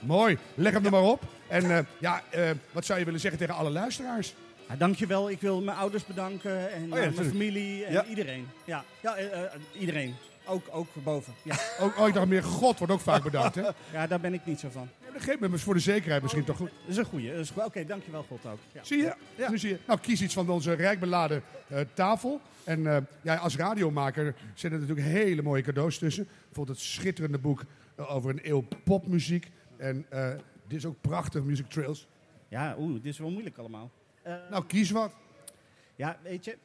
Speaker 6: Mooi, leg hem er maar op. En eh, ja, eh, wat zou je willen zeggen tegen alle luisteraars? Oh
Speaker 23: Ja, dankjewel, ik wil mijn ouders bedanken en eh, mijn
Speaker 6: natuurlijk.
Speaker 23: familie en
Speaker 6: Ja.
Speaker 23: iedereen. Ja, ja eh, eh, iedereen. Ook, ook boven. Ja.
Speaker 6: Ook, oh, ik dacht meer, God wordt ook vaak bedankt, hè?
Speaker 23: ja, daar ben ik niet zo van. Oh,
Speaker 6: Geef me maar voor de zekerheid misschien toch goed.
Speaker 23: Dat is een goeie. dat is goed. Oké, dankjewel God ook. Ja.
Speaker 6: Zie je? Nu zie je. Nou, kies iets van onze rijk beladen eh, tafel. En eh, ja, als radiomaker zijn er natuurlijk hele mooie cadeaus tussen. Bijvoorbeeld het schitterende boek eh, over een eeuw popmuziek. En eh, dit is ook prachtig, Music Trails.
Speaker 23: Ja, oeh, dit is wel moeilijk allemaal.
Speaker 6: nou, kies wat.
Speaker 23: Ja, weet je,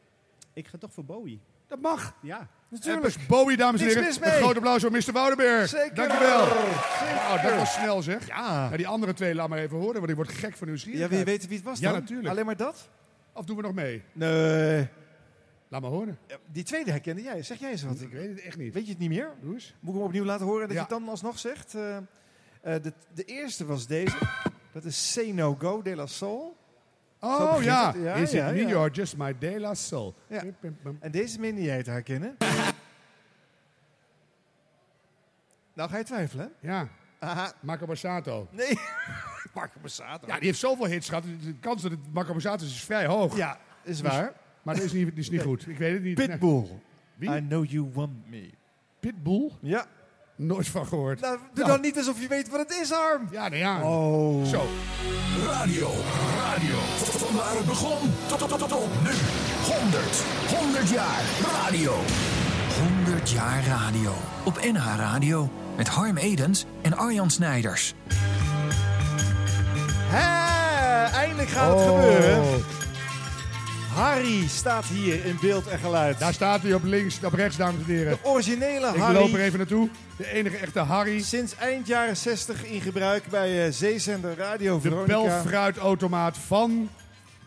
Speaker 23: ik ga toch voor Bowie.
Speaker 6: Dat mag.
Speaker 23: Ja.
Speaker 6: Natuurlijk. Bowie, dames en
Speaker 23: Niks
Speaker 6: heren.
Speaker 23: mis mee.
Speaker 6: Een groot applaus voor Mr. Woudenberg.
Speaker 23: Zeker.
Speaker 6: Dankjewel.
Speaker 23: Zeker.
Speaker 6: Nou, dat was snel zeg. Ja. die andere twee laat maar even horen, want ik word gek van nieuwsgierigheid.
Speaker 5: Ja, wil je weten wie het was
Speaker 6: Ja,
Speaker 5: dan?
Speaker 6: natuurlijk.
Speaker 5: Alleen maar dat?
Speaker 6: Of doen we nog mee?
Speaker 23: Eh.
Speaker 5: Nee.
Speaker 6: Laat maar horen.
Speaker 5: Die tweede herkende jij. Zeg jij eens wat?
Speaker 6: Ik weet het echt niet.
Speaker 5: Weet je het niet meer? Moet ik hem opnieuw laten horen en dat
Speaker 6: Ja.
Speaker 5: je het dan alsnog zegt? Eh, eh, de, de eerste was deze. Dat is Say No Go de la Soul. Zo
Speaker 6: Oh
Speaker 5: begint
Speaker 6: ja.
Speaker 5: het. Ja,
Speaker 6: Is
Speaker 5: ja,
Speaker 6: it me
Speaker 5: ja.
Speaker 6: or just my de la soul?
Speaker 5: Ja. En deze minder jij te herkennen. nou ga je twijfelen, hè?
Speaker 6: Ja. Marco Borsato.
Speaker 5: Nee. Marco Borsato.
Speaker 6: Ja, die heeft zoveel hits gehad. De kans dat het Marco Borsato is, is vrij hoog. Dus-
Speaker 5: Ja, is waar.
Speaker 6: maar dat is niet, dat is niet goed. Ik weet het niet.
Speaker 5: Pitbull.
Speaker 6: Wie?
Speaker 5: I know you want me.
Speaker 6: Pitbull?
Speaker 5: Ja.
Speaker 6: Nooit van gehoord.
Speaker 5: Nou, doe
Speaker 6: Nou.
Speaker 5: dan niet alsof je weet wat het is, Arm.
Speaker 6: Ja, nou ja.
Speaker 5: Oh.
Speaker 6: Zo.
Speaker 15: Radio, radio. Tot, tot waar het begon. Tot, tot, tot, tot, tot nu. 100, 100 jaar radio. 100 jaar radio. Op NH Radio. Met Harm Edens en Arjan Snijders.
Speaker 5: Hé, eindelijk gaat
Speaker 6: Oh.
Speaker 5: het gebeuren. Harry staat hier in beeld en geluid.
Speaker 6: Daar staat hij op links, op rechts, dames en heren.
Speaker 5: Originele
Speaker 6: Ik
Speaker 5: Harry.
Speaker 6: loop er even naartoe. De enige echte Harry.
Speaker 5: Sinds eind jaren 60 in gebruik bij eh zeezender Radio
Speaker 6: De
Speaker 5: Veronica.
Speaker 6: belfruitautomaat van...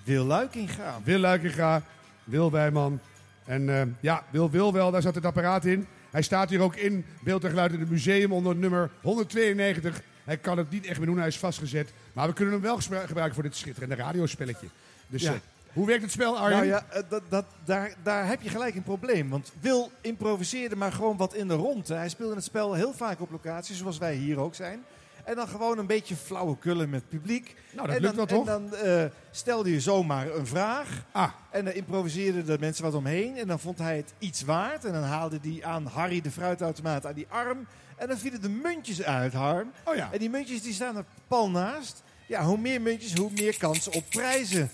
Speaker 5: Wil Luikinga.
Speaker 6: Wil Luikinga, Wil Wijman. En eh, ja, Wil Wil wel, daar zat het apparaat in. Hij staat hier ook in beeld en geluid in het museum onder het nummer 192. Hij kan het niet echt meer doen, hij is vastgezet. Maar we kunnen hem wel gesp- gebruiken voor dit schitterende radiospelletje. Dus
Speaker 5: Ja.
Speaker 6: eh, hoe werkt het spel, Arjen?
Speaker 5: Nou ja, eh, dat, dat, daar, daar heb je gelijk een probleem. Want Wil improviseerde maar gewoon wat in de ronde. Hij speelde het spel heel vaak op locatie, zoals wij hier ook zijn. En dan gewoon een beetje flauwekullen met het publiek.
Speaker 6: Nou, dat
Speaker 5: en
Speaker 6: lukt
Speaker 5: dan,
Speaker 6: wel, toch? Ah.
Speaker 5: En dan eh, stelde je zomaar een vraag. En dan improviseerden de mensen wat omheen. En dan vond hij het iets waard. En dan haalde die aan Harry de fruitautomaat aan die arm. En dan vielen de muntjes uit, Harm.
Speaker 6: Oh ja.
Speaker 5: En die muntjes die staan er pal naast. Ja, hoe meer muntjes, hoe meer kans op prijzen.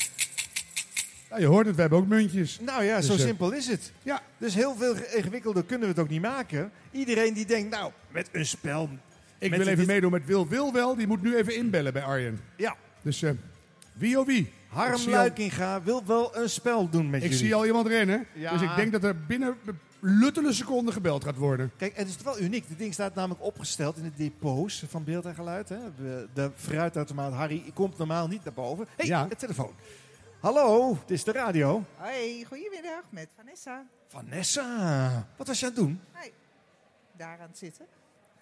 Speaker 6: Nou, je hoort het, we hebben ook muntjes.
Speaker 5: Nou ja,
Speaker 6: Dus,
Speaker 5: zo
Speaker 6: eh,
Speaker 5: simpel is het.
Speaker 6: Ja.
Speaker 5: Dus heel veel ingewikkelder kunnen we het ook niet maken. Iedereen die denkt, nou, met een spel.
Speaker 6: Ik
Speaker 5: met
Speaker 6: wil
Speaker 5: een-
Speaker 6: even meedoen met Wil Wil wel. Die moet nu even inbellen bij Arjen.
Speaker 5: Ja.
Speaker 6: Dus eh, wie oh wie? Ik
Speaker 5: Harm
Speaker 6: zie al-
Speaker 5: Luikinga wil wel een spel doen met
Speaker 6: Ik
Speaker 5: jullie.
Speaker 6: zie al iemand rennen.
Speaker 5: Ja.
Speaker 6: Dus ik denk dat er binnen luttele seconden gebeld gaat worden.
Speaker 5: Kijk, en het is wel uniek. Het ding staat namelijk opgesteld in de depots van beeld en geluid. Hè? De, de fruitautomaat Harry komt normaal niet naar boven. Hé, hey, de telefoon. Hallo, het is de radio.
Speaker 4: Hoi, Nou, goedemiddag met Vanessa.
Speaker 5: Vanessa, wat was je aan het doen?
Speaker 4: Hoi. Daar aan het zitten.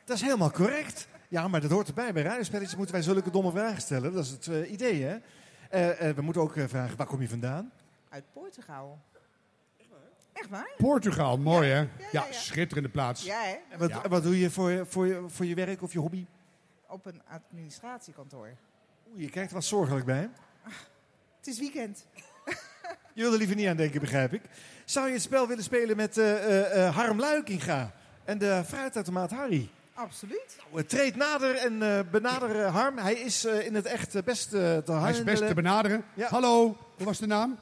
Speaker 5: Dat is helemaal correct. Ja, maar dat hoort erbij. Bij radiospelletjes moeten wij zulke domme vragen stellen. Dat is het eh, idee, hè? Eh, eh, we moeten ook eh, vragen, waar kom je vandaan?
Speaker 4: Uit Portugal. Echt waar?
Speaker 6: Portugal, mooi hè? Ja, schitterende plaats.
Speaker 4: Ja, hè?
Speaker 5: En wat,
Speaker 4: Ja.
Speaker 5: en wat doe je voor, je voor je voor je werk of je hobby?
Speaker 4: Op een administratiekantoor.
Speaker 5: Oeh, je kijkt er wat zorgelijk bij.
Speaker 4: Het is weekend.
Speaker 5: Je wil er liever niet aan denken, begrijp ik. Zou je het spel willen spelen met eh, eh, eh, Harm Luikinga en de fruitautomaat Harry?
Speaker 4: Absoluut.
Speaker 5: Nou, eh, treed nader en eh, benader eh, Harm. Hij is eh, in het echt eh, best eh, te
Speaker 6: Hij is best te benaderen. Hallo, hoe was de naam?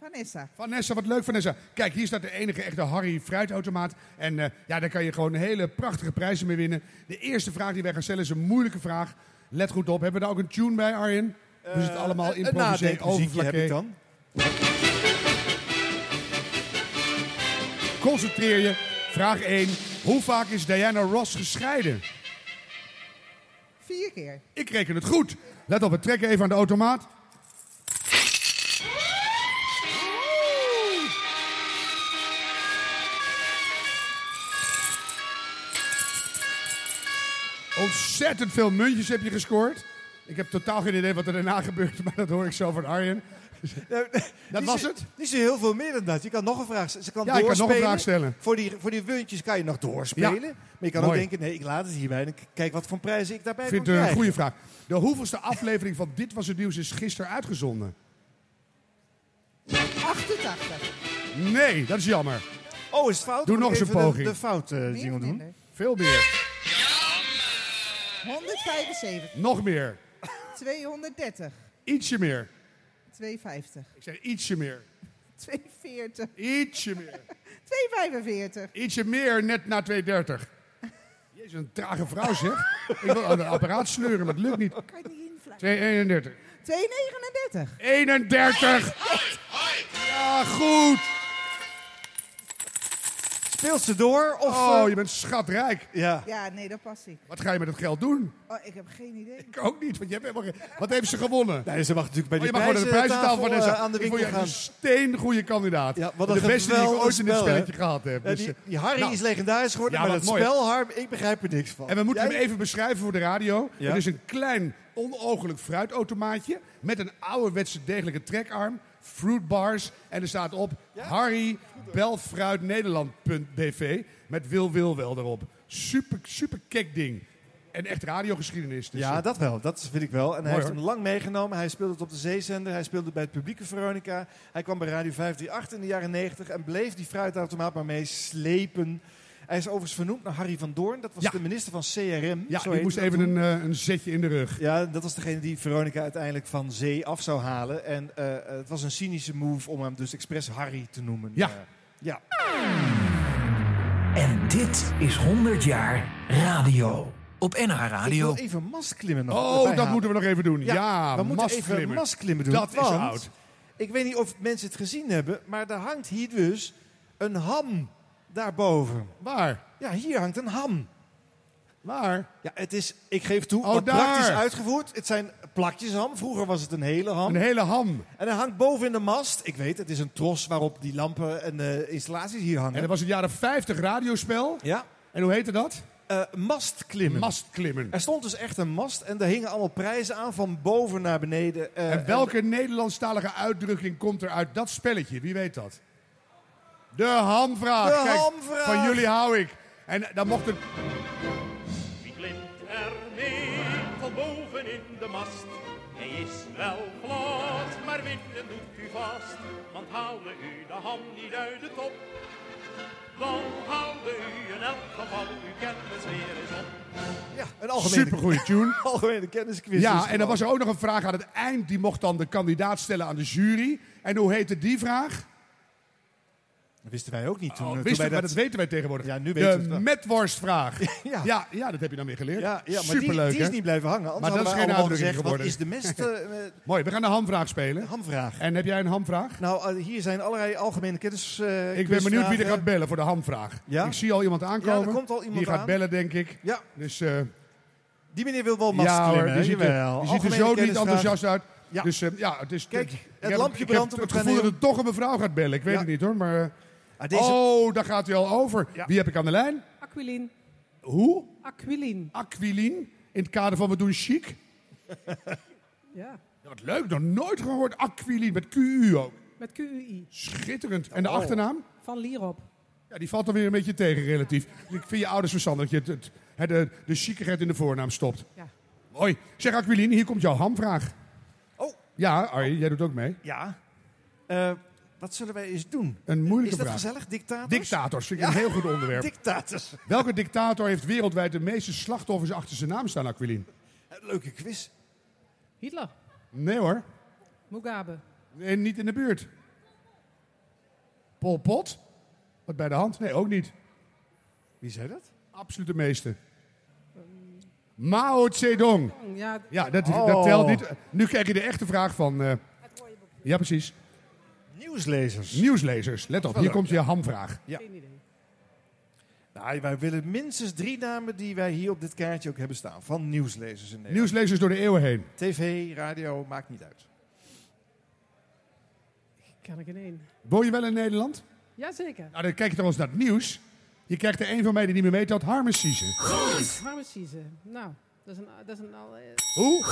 Speaker 4: Vanessa.
Speaker 6: Vanessa, wat leuk Vanessa. Kijk, hier staat de enige echte Harry fruitautomaat. En eh, ja, daar kan je gewoon hele prachtige prijzen mee winnen. De eerste vraag die wij gaan stellen is een moeilijke vraag. Let goed op. Hebben we daar ook een tune bij, Arjen? Hoe is het allemaal
Speaker 5: Eh, een- een
Speaker 6: improviseren?
Speaker 5: nadenkmuziekje heb
Speaker 6: overvlakken?
Speaker 5: ik dan.
Speaker 6: Concentreer je. Vraag 1. Hoe vaak is Diana Ross gescheiden?
Speaker 4: Vier keer.
Speaker 6: Ik reken het goed. Let op, we trekken even aan de automaat. Ontzettend veel muntjes heb je gescoord. Ik heb totaal geen idee wat er daarna gebeurt, maar dat hoor ik zo van Arjen. Dat was het?
Speaker 5: Niet zo heel veel meer dan dat. Je kan nog een vraag stellen. Ze kan
Speaker 6: Ja, ik kan nog een
Speaker 5: doorspelen.
Speaker 6: vraag stellen.
Speaker 5: Voor die, voor die wuntjes kan je nog doorspelen.
Speaker 6: Ja.
Speaker 5: Maar je kan
Speaker 6: Mooi.
Speaker 5: ook denken, nee, ik laat het hierbij. En ik kijk wat voor prijzen ik daarbij
Speaker 6: Ik vind
Speaker 5: kan
Speaker 6: het een
Speaker 5: krijgen.
Speaker 6: goede vraag. De hoeveelste aflevering van Dit Was Het Nieuws is gisteren uitgezonden?
Speaker 4: 88.
Speaker 6: Nee, dat is jammer.
Speaker 5: Oh, is het fout?
Speaker 6: Doe
Speaker 5: Moet
Speaker 6: nog
Speaker 5: ik
Speaker 6: eens een
Speaker 5: even de-
Speaker 6: poging.
Speaker 5: de fout, eh, Meer of jingle doen? minder?
Speaker 6: Veel meer.
Speaker 4: 175.
Speaker 6: Nog meer.
Speaker 4: 230.
Speaker 6: Ietsje meer.
Speaker 4: 250.
Speaker 6: Ik zeg ietsje meer.
Speaker 4: 240.
Speaker 6: Ietsje meer.
Speaker 4: 245.
Speaker 6: Ietsje meer, net na 230. Jezus, een trage vrouw zeg. Ik wil aan het apparaat sleuren, maar het lukt niet.
Speaker 4: Kan je het niet invlakken?
Speaker 6: 231.
Speaker 4: 239.
Speaker 6: 31! Ja, Ah, goed!
Speaker 5: Speelt ze door? Of,
Speaker 6: oh,
Speaker 5: eh,
Speaker 6: je bent schatrijk.
Speaker 5: Ja.
Speaker 4: Ja, nee, dat past niet.
Speaker 6: Wat ga je met het geld doen?
Speaker 4: Oh, ik heb geen idee.
Speaker 6: Ik ook niet, want je hebt helemaal geen- Wat heeft ze gewonnen?
Speaker 5: Nee, ze mag natuurlijk bij
Speaker 6: Oh, je
Speaker 5: die
Speaker 6: mag gewoon naar de
Speaker 5: prijzentafel,
Speaker 6: prijzentafel Vanessa.
Speaker 5: eh, aan de
Speaker 6: Ik vond
Speaker 5: winkel
Speaker 6: je
Speaker 5: gaan.
Speaker 6: Een steen goede kandidaat.
Speaker 5: Ja, wat
Speaker 6: de
Speaker 5: een
Speaker 6: beste die ik
Speaker 5: geweldig
Speaker 6: ooit in dit
Speaker 5: spel, hè?
Speaker 6: spelletje gehad heb.
Speaker 5: Ja,
Speaker 6: Dus,
Speaker 5: die,
Speaker 6: eh,
Speaker 5: die Harry
Speaker 6: nou,
Speaker 5: is legendarisch geworden,
Speaker 6: ja,
Speaker 5: maar
Speaker 6: wat
Speaker 5: dat
Speaker 6: mooi.
Speaker 5: spel, Harm, ik begrijp er niks van.
Speaker 6: En we moeten
Speaker 5: Jij-
Speaker 6: hem even beschrijven voor de radio.
Speaker 5: Ja.
Speaker 6: Het is een klein, onoogelijk fruitautomaatje met een ouderwetse degelijke trekarm, fruitbars en er staat op Harry Belfruitnederland.bv met Wil Wil wel erop. Super, super kek ding. En echt radiogeschiedenis. Dus
Speaker 5: Ja,
Speaker 6: eh,
Speaker 5: dat wel. Dat vind ik wel. En hij
Speaker 6: Mooi,
Speaker 5: heeft
Speaker 6: hoor.
Speaker 5: hem lang meegenomen. Hij speelde het op de zeezender. Hij speelde bij het publieke Veronica. Hij kwam bij Radio 538 in de jaren 90 en bleef die fruitautomaat maar mee slepen. Hij is overigens vernoemd naar Harry van Doorn. Dat was de minister van CRM.
Speaker 6: Ja,
Speaker 5: zo
Speaker 6: die
Speaker 5: heette
Speaker 6: moest
Speaker 5: dat
Speaker 6: even
Speaker 5: toen.
Speaker 6: een, eh, een zetje in de rug.
Speaker 5: Ja, dat was degene die Veronica uiteindelijk van zee af zou halen. En eh, eh, het was een cynische move om hem dus expres Harry te noemen.
Speaker 6: Ja.
Speaker 5: Eh, ja.
Speaker 15: En dit is 100 jaar radio. Op NH
Speaker 5: Ik
Speaker 15: Radio.
Speaker 5: wil even masklimmen nog erbij
Speaker 6: Oh, dat
Speaker 5: halen.
Speaker 6: moeten we nog even doen. Ja,
Speaker 5: we moeten even
Speaker 6: mastklimmen.
Speaker 5: masklimmen doen.
Speaker 6: Dat is
Speaker 5: want
Speaker 6: oud.
Speaker 5: Ik weet niet of mensen het gezien hebben, maar er hangt hier dus een ham daarboven.
Speaker 6: Waar?
Speaker 5: Ja, hier hangt een ham.
Speaker 6: Waar?
Speaker 5: Ja, het is, ik geef toe,
Speaker 6: Oh,
Speaker 5: wat
Speaker 6: daar.
Speaker 5: praktisch uitgevoerd. Het zijn plakjes ham. Vroeger was het een hele ham.
Speaker 6: Een hele ham.
Speaker 5: En hij hangt boven in de mast. Ik weet, het is een tros waarop die lampen en eh, installaties hier hangen.
Speaker 6: En dat was het jaren 50 radiospel.
Speaker 5: Ja.
Speaker 6: En hoe heette dat?
Speaker 5: eh, mastklimmen.
Speaker 6: Mastklimmen.
Speaker 5: Er stond dus echt een mast en daar hingen allemaal prijzen aan van boven naar beneden. eh,
Speaker 6: en welke Nederlandstalige uitdrukking komt er uit dat spelletje? Wie weet dat? De hamvraag.
Speaker 5: De
Speaker 6: Kijk,
Speaker 5: hamvraag.
Speaker 6: Van jullie hou ik. En dan mocht het...
Speaker 9: Wie klimt er mee van boven in de mast? Hij is wel glad, maar winnen doet u vast. Want haalde u de ham niet uit de top, dan haalde u in elk geval uw kennis weer eens op.
Speaker 5: Een algemene,
Speaker 6: Supergoeie tune.
Speaker 5: algemene kennisquiz. is
Speaker 6: Ja,
Speaker 5: het
Speaker 6: en dan
Speaker 5: gewoon.
Speaker 6: was er ook nog een vraag aan het eind. Die mocht dan de kandidaat stellen aan de jury. En hoe heette die vraag?
Speaker 5: Dat wisten wij ook niet toen. eh, toen
Speaker 6: Wist
Speaker 5: wij
Speaker 6: het, maar Oh, dat weten wij tegenwoordig.
Speaker 5: Ja, nu weten we het
Speaker 6: de
Speaker 5: wel.
Speaker 6: metworstvraag.
Speaker 5: Ja.
Speaker 6: Ja, ja, dat heb je dan weer geleerd.
Speaker 5: Ja, ja, maar die-
Speaker 6: Superleuk,
Speaker 5: die is
Speaker 6: hè?
Speaker 5: niet blijven hangen, anders
Speaker 6: Maar dat is geen
Speaker 5: hadden wij allemaal
Speaker 6: uitdrukking
Speaker 5: gezegd, wat is
Speaker 6: geworden.
Speaker 5: de mest, eh, eh,
Speaker 6: Mooi, we gaan de hamvraag spelen. Hamvraag. En heb jij een hamvraag?
Speaker 5: Nou, eh, hier zijn allerlei algemene kennis. eh,
Speaker 6: Ik ben benieuwd wie er
Speaker 5: quizvragen.
Speaker 6: gaat bellen voor de hamvraag.
Speaker 5: Ja?
Speaker 6: Ik zie al iemand aankomen.
Speaker 5: Ja, er komt al iemand
Speaker 6: Die gaat
Speaker 5: aan.
Speaker 6: bellen, denk ik.
Speaker 5: Ja.
Speaker 6: Dus, eh,
Speaker 5: Die meneer wil wel mast
Speaker 6: ja hoor,
Speaker 5: klimmen,
Speaker 6: die ziet er,
Speaker 5: jawel.
Speaker 6: die ziet er
Speaker 5: Algemene
Speaker 6: zo niet
Speaker 5: kennisvraag.
Speaker 6: enthousiast uit.
Speaker 5: Ja.
Speaker 6: Dus eh, ja, het is...
Speaker 5: Kijk,
Speaker 6: ik
Speaker 5: het
Speaker 6: heb-
Speaker 5: lampje
Speaker 6: ik heb
Speaker 5: brandt op
Speaker 6: het
Speaker 5: het
Speaker 6: gevoel dat
Speaker 5: paneel.
Speaker 6: er toch een mevrouw gaat bellen. Ik weet
Speaker 5: Ja.
Speaker 6: het niet hoor, maar... eh,
Speaker 5: Ah, deze-
Speaker 6: Oh, daar gaat hij al over.
Speaker 5: Ja.
Speaker 6: Wie heb ik aan de lijn?
Speaker 10: Aquilin.
Speaker 6: Hoe?
Speaker 10: Aquilin.
Speaker 6: Aquilin. In het kader van we doen chic.
Speaker 10: Ja.
Speaker 6: Wat leuk, nog nooit gehoord. Aquilin met QU ook.
Speaker 10: Met QUI.
Speaker 6: Schitterend. En de
Speaker 10: Oh.
Speaker 6: achternaam?
Speaker 10: Van Lierop.
Speaker 6: Ja, die valt dan weer een beetje tegen relatief. Ik vind je ouders verstandig dat je het, het, hè, de, de chicigheid in de voornaam stopt.
Speaker 10: Ja.
Speaker 6: Mooi. Zeg Aquilin, hier komt jouw hamvraag. Oh. Ja, Arjen, jij doet ook mee.
Speaker 5: Ja. Eh, wat zullen wij eens doen?
Speaker 6: Een moeilijke
Speaker 5: Is dat
Speaker 6: vraag.
Speaker 5: gezellig, dictators?
Speaker 6: Dictators vind ik een heel goed onderwerp.
Speaker 5: Dictators.
Speaker 6: Welke dictator heeft wereldwijd de meeste slachtoffers achter zijn naam staan, Aquilin?
Speaker 5: Leuke quiz.
Speaker 10: Hitler.
Speaker 6: Nee hoor.
Speaker 10: Mugabe.
Speaker 6: Nee, niet in de buurt. Pol Pot? Wat bij de hand? Nee, ook niet.
Speaker 5: Wie zei dat?
Speaker 6: Absoluut de meeste. Mao Zedong.
Speaker 10: Ja,
Speaker 6: Ja, dat,
Speaker 5: Oh.
Speaker 6: dat telt niet. Nu krijg je de echte vraag van... eh, ja, precies.
Speaker 5: Nieuwslezers.
Speaker 6: Nieuwslezers. Let op,
Speaker 5: Wel
Speaker 6: hier
Speaker 5: leuk,
Speaker 6: komt je
Speaker 5: ja.
Speaker 6: hamvraag.
Speaker 5: Ja. Nou, wij willen minstens drie namen die wij hier op dit kaartje ook hebben staan. Van nieuwslezers in Nederland.
Speaker 6: Nieuwslezers door de eeuwen heen.
Speaker 5: TV, radio, maakt niet uit.
Speaker 10: Kan ik in één.
Speaker 6: Woon je wel in Nederland?
Speaker 10: Jazeker.
Speaker 6: Nou, dan kijk je trouwens naar het nieuws. Je krijgt er een van mij die niet meer meetelt, Harmen Siezen.
Speaker 10: Harmen Siezen. Nou, dat is een... Dat is een al- eh,
Speaker 6: Hoe?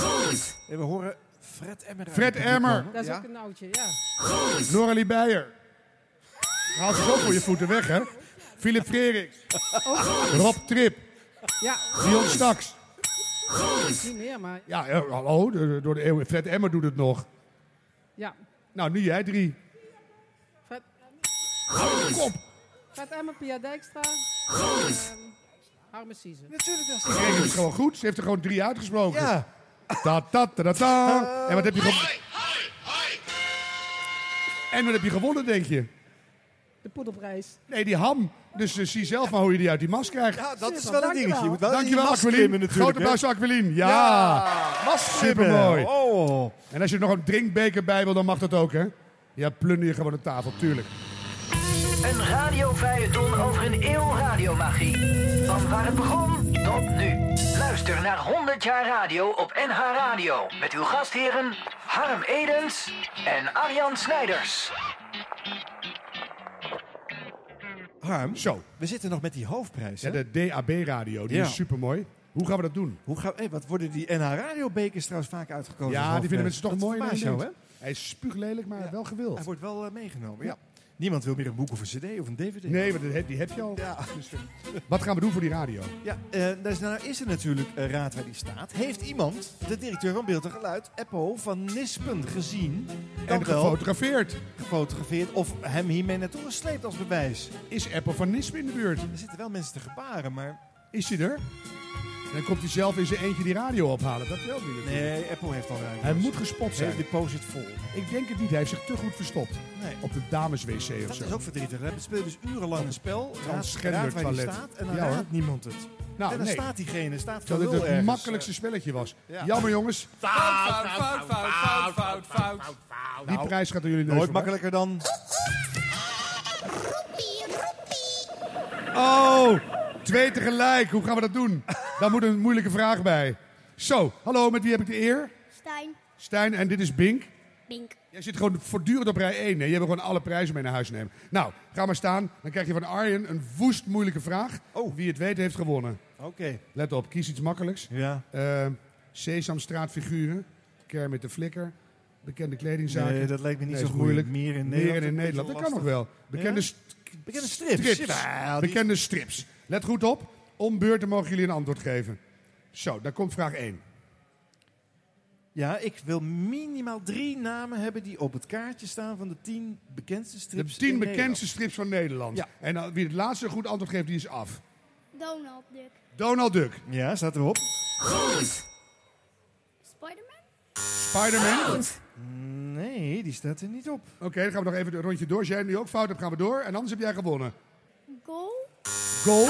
Speaker 5: En we horen Fred Emmer. uit
Speaker 6: Fred
Speaker 5: het publiek
Speaker 6: Emmer.
Speaker 5: komen.
Speaker 10: Dat is
Speaker 5: Ja.
Speaker 10: ook een oudje, ja.
Speaker 6: Noralie Beijer. Haal ze zo voor je voeten weg, hè? Philip Freriks. Rob Trip.
Speaker 10: Ja.
Speaker 6: Dion Staks.
Speaker 10: Niet meer, maar...
Speaker 6: Ja, eh, hallo, de- door de eeuwen. Fred Emmer doet het nog.
Speaker 10: Ja.
Speaker 6: Nou, nu jij drie.
Speaker 10: Fred,
Speaker 6: Kom.
Speaker 10: Fred Emmer, Pia Dijkstra. Ehm, Harmen Siezen.
Speaker 5: Natuurlijk, dat
Speaker 6: Ik kreeg het gewoon goed. Ze heeft er gewoon drie uitgesproken.
Speaker 5: Ja.
Speaker 6: Ta ta ta ta ta. En wat heb je gewonnen? En wat heb je gewonnen, denk je?
Speaker 10: De poedelprijs.
Speaker 6: Nee, die ham. Dus eh, zie zelf maar hoe je die uit die mas krijgt.
Speaker 5: Ja, dat is wel een dingetje. Je moet wel
Speaker 6: Dankjewel, Aquilin.
Speaker 5: Aquilin.
Speaker 6: Grote applaus, voor Aquilin. Ja.
Speaker 5: Masklimmen.
Speaker 6: Supermooi.
Speaker 5: Oh.
Speaker 6: En als je er nog een drinkbeker bij wil, dan mag dat ook, hè? Ja, plunder je gewoon de tafel, tuurlijk.
Speaker 19: Een radiovijton over een eeuw radiomagie. Van waar het begon tot nu. Luister naar 100 jaar radio op NH Radio. Met uw gastheren Harm Edens en Arjan Snijders.
Speaker 5: Harm,
Speaker 6: Zo.
Speaker 5: we zitten nog met die hoofdprijs.
Speaker 6: Ja,
Speaker 5: hè?
Speaker 6: de DAB-radio, die
Speaker 5: Ja.
Speaker 6: is supermooi. Hoe gaan we dat doen?
Speaker 5: Hoe gaan, hé, wat worden die NH-radiobekers trouwens vaak uitgekozen? als
Speaker 6: Ja, die vinden
Speaker 5: hoofdprijs?
Speaker 6: mensen toch
Speaker 5: Dat
Speaker 6: mooi in
Speaker 5: verbaast jou, hè?
Speaker 6: Nederland. Hij is spuuglelijk, maar wel gewild.
Speaker 5: Hij wordt wel eh, meegenomen, ja. Niemand wil meer een boek of een cd of een dvd.
Speaker 6: Nee, maar die heb- die heb je al. Dus, eh, Wat gaan we doen voor die radio?
Speaker 5: Ja, eh, dus nou is er natuurlijk eh, raad waar die staat. Heeft iemand, de directeur van Beeld en Geluid, Eppo van Nispen, gezien? dan
Speaker 6: En
Speaker 5: wel
Speaker 6: gefotografeerd.
Speaker 5: Gefotografeerd of hem hiermee naartoe gesleept als bewijs.
Speaker 6: Is Eppo van Nispen in de buurt?
Speaker 5: Er zitten wel mensen te gebaren, maar...
Speaker 6: Is hij er? Dan komt hij zelf in zijn eentje die radio ophalen. Dat wel niet.
Speaker 5: Nee, Eppo heeft al ruimte.
Speaker 6: Hij moet gespot zijn.
Speaker 5: Heeft deposit vol.
Speaker 6: Ik denk het niet. Hij heeft zich te goed verstopt.
Speaker 5: Nee.
Speaker 6: Op de dameswc of
Speaker 5: Dat
Speaker 6: zo.
Speaker 5: is ook verdrietig. hè? We spelen dus urenlang een spel. Raad,
Speaker 6: transgender
Speaker 5: raad waar die
Speaker 6: toilet.
Speaker 5: staat en dan
Speaker 6: Ja, hoor.
Speaker 5: raadt niemand het.
Speaker 6: Nou,
Speaker 5: en dan
Speaker 6: nee.
Speaker 5: staat diegene, staat
Speaker 6: dat het
Speaker 5: Verwul
Speaker 6: het
Speaker 5: ergens.
Speaker 6: makkelijkste spelletje was.
Speaker 5: ja.
Speaker 6: Jammer jongens.
Speaker 5: Fout, fout, fout, fout, fout, fout, fout.
Speaker 2: Nou,
Speaker 6: Die prijs gaat door jullie neus
Speaker 5: Nooit
Speaker 6: voorbij.
Speaker 5: makkelijker dan... Oh,
Speaker 6: twee tegelijk. Hoe gaan we dat doen? Daar moet een moeilijke vraag bij. Zo, hallo, met wie heb ik de eer?
Speaker 13: Stijn,
Speaker 6: Stijn en dit is Bink.
Speaker 13: Bink.
Speaker 6: Jij zit gewoon voortdurend op rij 1. Hè? Je wil gewoon alle prijzen mee naar huis nemen. Nou, ga maar staan. Dan krijg je van Arjen een woest moeilijke vraag. Wie het weet heeft gewonnen.
Speaker 5: Oh. Oké.
Speaker 6: Let op, kies iets makkelijks.
Speaker 5: Ja.
Speaker 6: Sesamstraatfiguren, Kermit de Flikker, bekende kledingzaken.
Speaker 5: Nee, dat lijkt me niet
Speaker 6: is
Speaker 5: zo moeilijk. Meer in Nederland
Speaker 6: Meer in
Speaker 5: een
Speaker 6: Nederland, dat
Speaker 5: beetje
Speaker 6: kan nog wel.
Speaker 5: lastig.
Speaker 6: Bekende,
Speaker 5: Ja?
Speaker 6: st-
Speaker 5: Bekende strips. Jawel, die-
Speaker 6: Bekende strips. Let goed op, om beurten mogen jullie een antwoord geven. Zo, daar komt vraag 1.
Speaker 5: Ja, ik wil minimaal drie namen hebben die op het kaartje staan van de tien bekendste
Speaker 6: De
Speaker 5: strips.
Speaker 6: tien
Speaker 5: in
Speaker 6: bekendste strips van Nederland.
Speaker 5: Ja.
Speaker 6: En dan wie het laatste goed antwoord geeft, die is af.
Speaker 17: Donald Duck.
Speaker 6: Donald Duck.
Speaker 5: Ja, staat erop.
Speaker 6: Goed!
Speaker 17: Spider-Man?
Speaker 6: Spider-Man.
Speaker 5: Nee, die staat er niet op.
Speaker 6: Oké, dan gaan we nog even een rondje door. Als jij nu ook fout hebt, gaan we door. En anders heb jij gewonnen.
Speaker 17: Goal?
Speaker 6: Goal.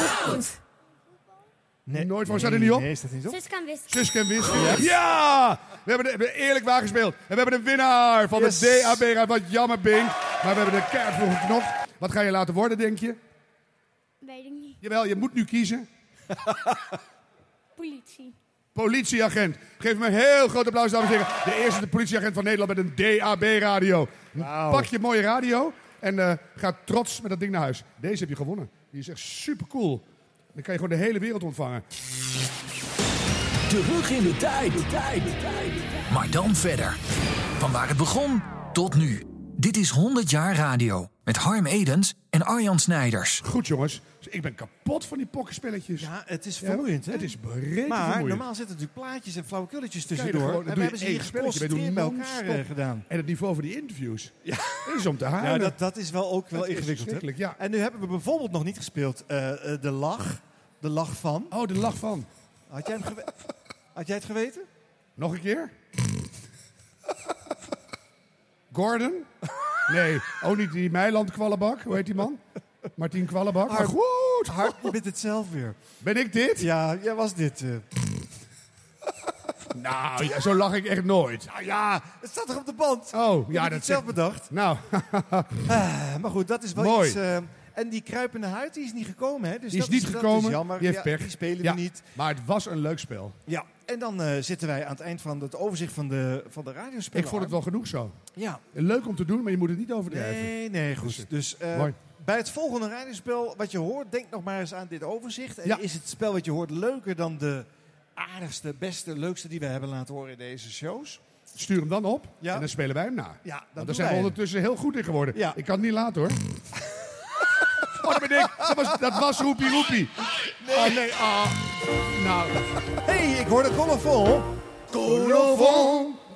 Speaker 6: Nee, Nooit van, staat er niet op? Nee,
Speaker 5: staat niet
Speaker 17: Suske en Wiske.
Speaker 6: Suske en Wiske. Ja! We hebben, de- we hebben eerlijk waar gespeeld. En we hebben een winnaar van
Speaker 5: Yes.
Speaker 6: de DAB. Raad. Wat jammer, Bing. Maar we hebben de kaart voor geknopt. Wat ga je laten worden, denk je?
Speaker 17: Weet ik niet.
Speaker 6: Jawel, je moet nu kiezen.
Speaker 17: Politie.
Speaker 6: Politieagent. Geef me een heel groot applaus, dames en heren. De eerste politieagent van Nederland met een DAB-radio. Pak je mooie radio en eh, ga trots met dat ding naar huis. Deze heb je gewonnen. Die is echt super cool. Dan kan je gewoon de hele wereld ontvangen.
Speaker 15: Terug in de tijd. Maar dan verder. Van waar het begon tot nu. Dit is 100 jaar radio met Harm Edens en Arjan Snijders.
Speaker 6: Goed jongens, ik ben kapot van die pokkenspelletjes.
Speaker 5: Ja, het is
Speaker 6: Ja,
Speaker 5: vermoeiend, hè?
Speaker 6: het is bereten
Speaker 5: Maar
Speaker 6: vermoeiend.
Speaker 5: normaal zitten natuurlijk plaatjes en flauwekulletjes
Speaker 6: Kijk,
Speaker 5: tussendoor.
Speaker 6: gewoon- dan
Speaker 5: en
Speaker 6: doe
Speaker 5: we
Speaker 6: je
Speaker 5: hebben ze
Speaker 6: één
Speaker 5: hier
Speaker 6: spelletje, we doen
Speaker 5: geconcentreerd bij elkaar eh,
Speaker 6: non-stop.
Speaker 5: gedaan.
Speaker 6: En het niveau van die interviews dat is om te halen.
Speaker 5: Ja, dat, dat is wel ook wel
Speaker 6: Dat is
Speaker 5: ingewikkeld, hè?
Speaker 6: verschrikkelijk, ja.
Speaker 5: En nu hebben we bijvoorbeeld nog niet gespeeld eh, eh, de lach. De lach van.
Speaker 6: Oh, de lach van.
Speaker 5: Had jij, hem gewe- Had jij het geweten?
Speaker 6: Nog een keer? Gordon? Nee, ook niet die Meiland Kwallebak. Hoe heet die man? Martien Kwallebak. Maar
Speaker 5: Harm.
Speaker 6: goed.
Speaker 5: Harm, je bent het zelf weer.
Speaker 6: Ben ik dit?
Speaker 5: Ja, jij was dit. eh.
Speaker 6: Nou, ja, zo lach ik echt nooit. Ah, ja,
Speaker 5: Nou het staat toch op de band?
Speaker 6: Oh,
Speaker 5: Je hebt
Speaker 6: ja,
Speaker 5: het
Speaker 6: dat
Speaker 5: zelf
Speaker 6: bedacht. Nou,
Speaker 5: Ah, maar goed, dat is wel
Speaker 6: Mooi.
Speaker 5: iets... eh, en die kruipende huid, die is niet gekomen, hè? Dus
Speaker 6: die is
Speaker 5: dat
Speaker 6: niet
Speaker 5: dat
Speaker 6: gekomen.
Speaker 5: jammer.
Speaker 6: Die heeft
Speaker 5: Ja,
Speaker 6: pech.
Speaker 5: Die spelen
Speaker 6: Ja,
Speaker 5: we niet.
Speaker 6: Maar het was een leuk spel.
Speaker 5: Ja, en dan eh, zitten wij aan het eind van het overzicht van de, van de radiospelen.
Speaker 6: Ik vond het wel genoeg zo.
Speaker 5: Ja.
Speaker 6: Leuk om te doen, maar je moet het niet overdrijven.
Speaker 5: Nee, nee, goed. Dus eh,
Speaker 6: Mooi.
Speaker 5: bij het volgende radiospel wat je hoort, denk nog maar eens aan dit overzicht. En is het spel wat je hoort leuker dan de aardigste, beste, leukste die we hebben laten horen in deze shows?
Speaker 6: Stuur hem dan op
Speaker 5: Ja.
Speaker 6: en dan spelen wij hem na.
Speaker 5: Ja, dan
Speaker 6: Want
Speaker 5: doen
Speaker 6: daar zijn we
Speaker 5: wij hem.
Speaker 6: ondertussen heel goed in geworden.
Speaker 5: Ja.
Speaker 6: Ik kan het niet laten hoor. oh, dat ben ik. Dat was, dat was roepie roepie. Nee. Oh nee, ah. Nou.
Speaker 5: Hé, hey, ik hoor de colofon.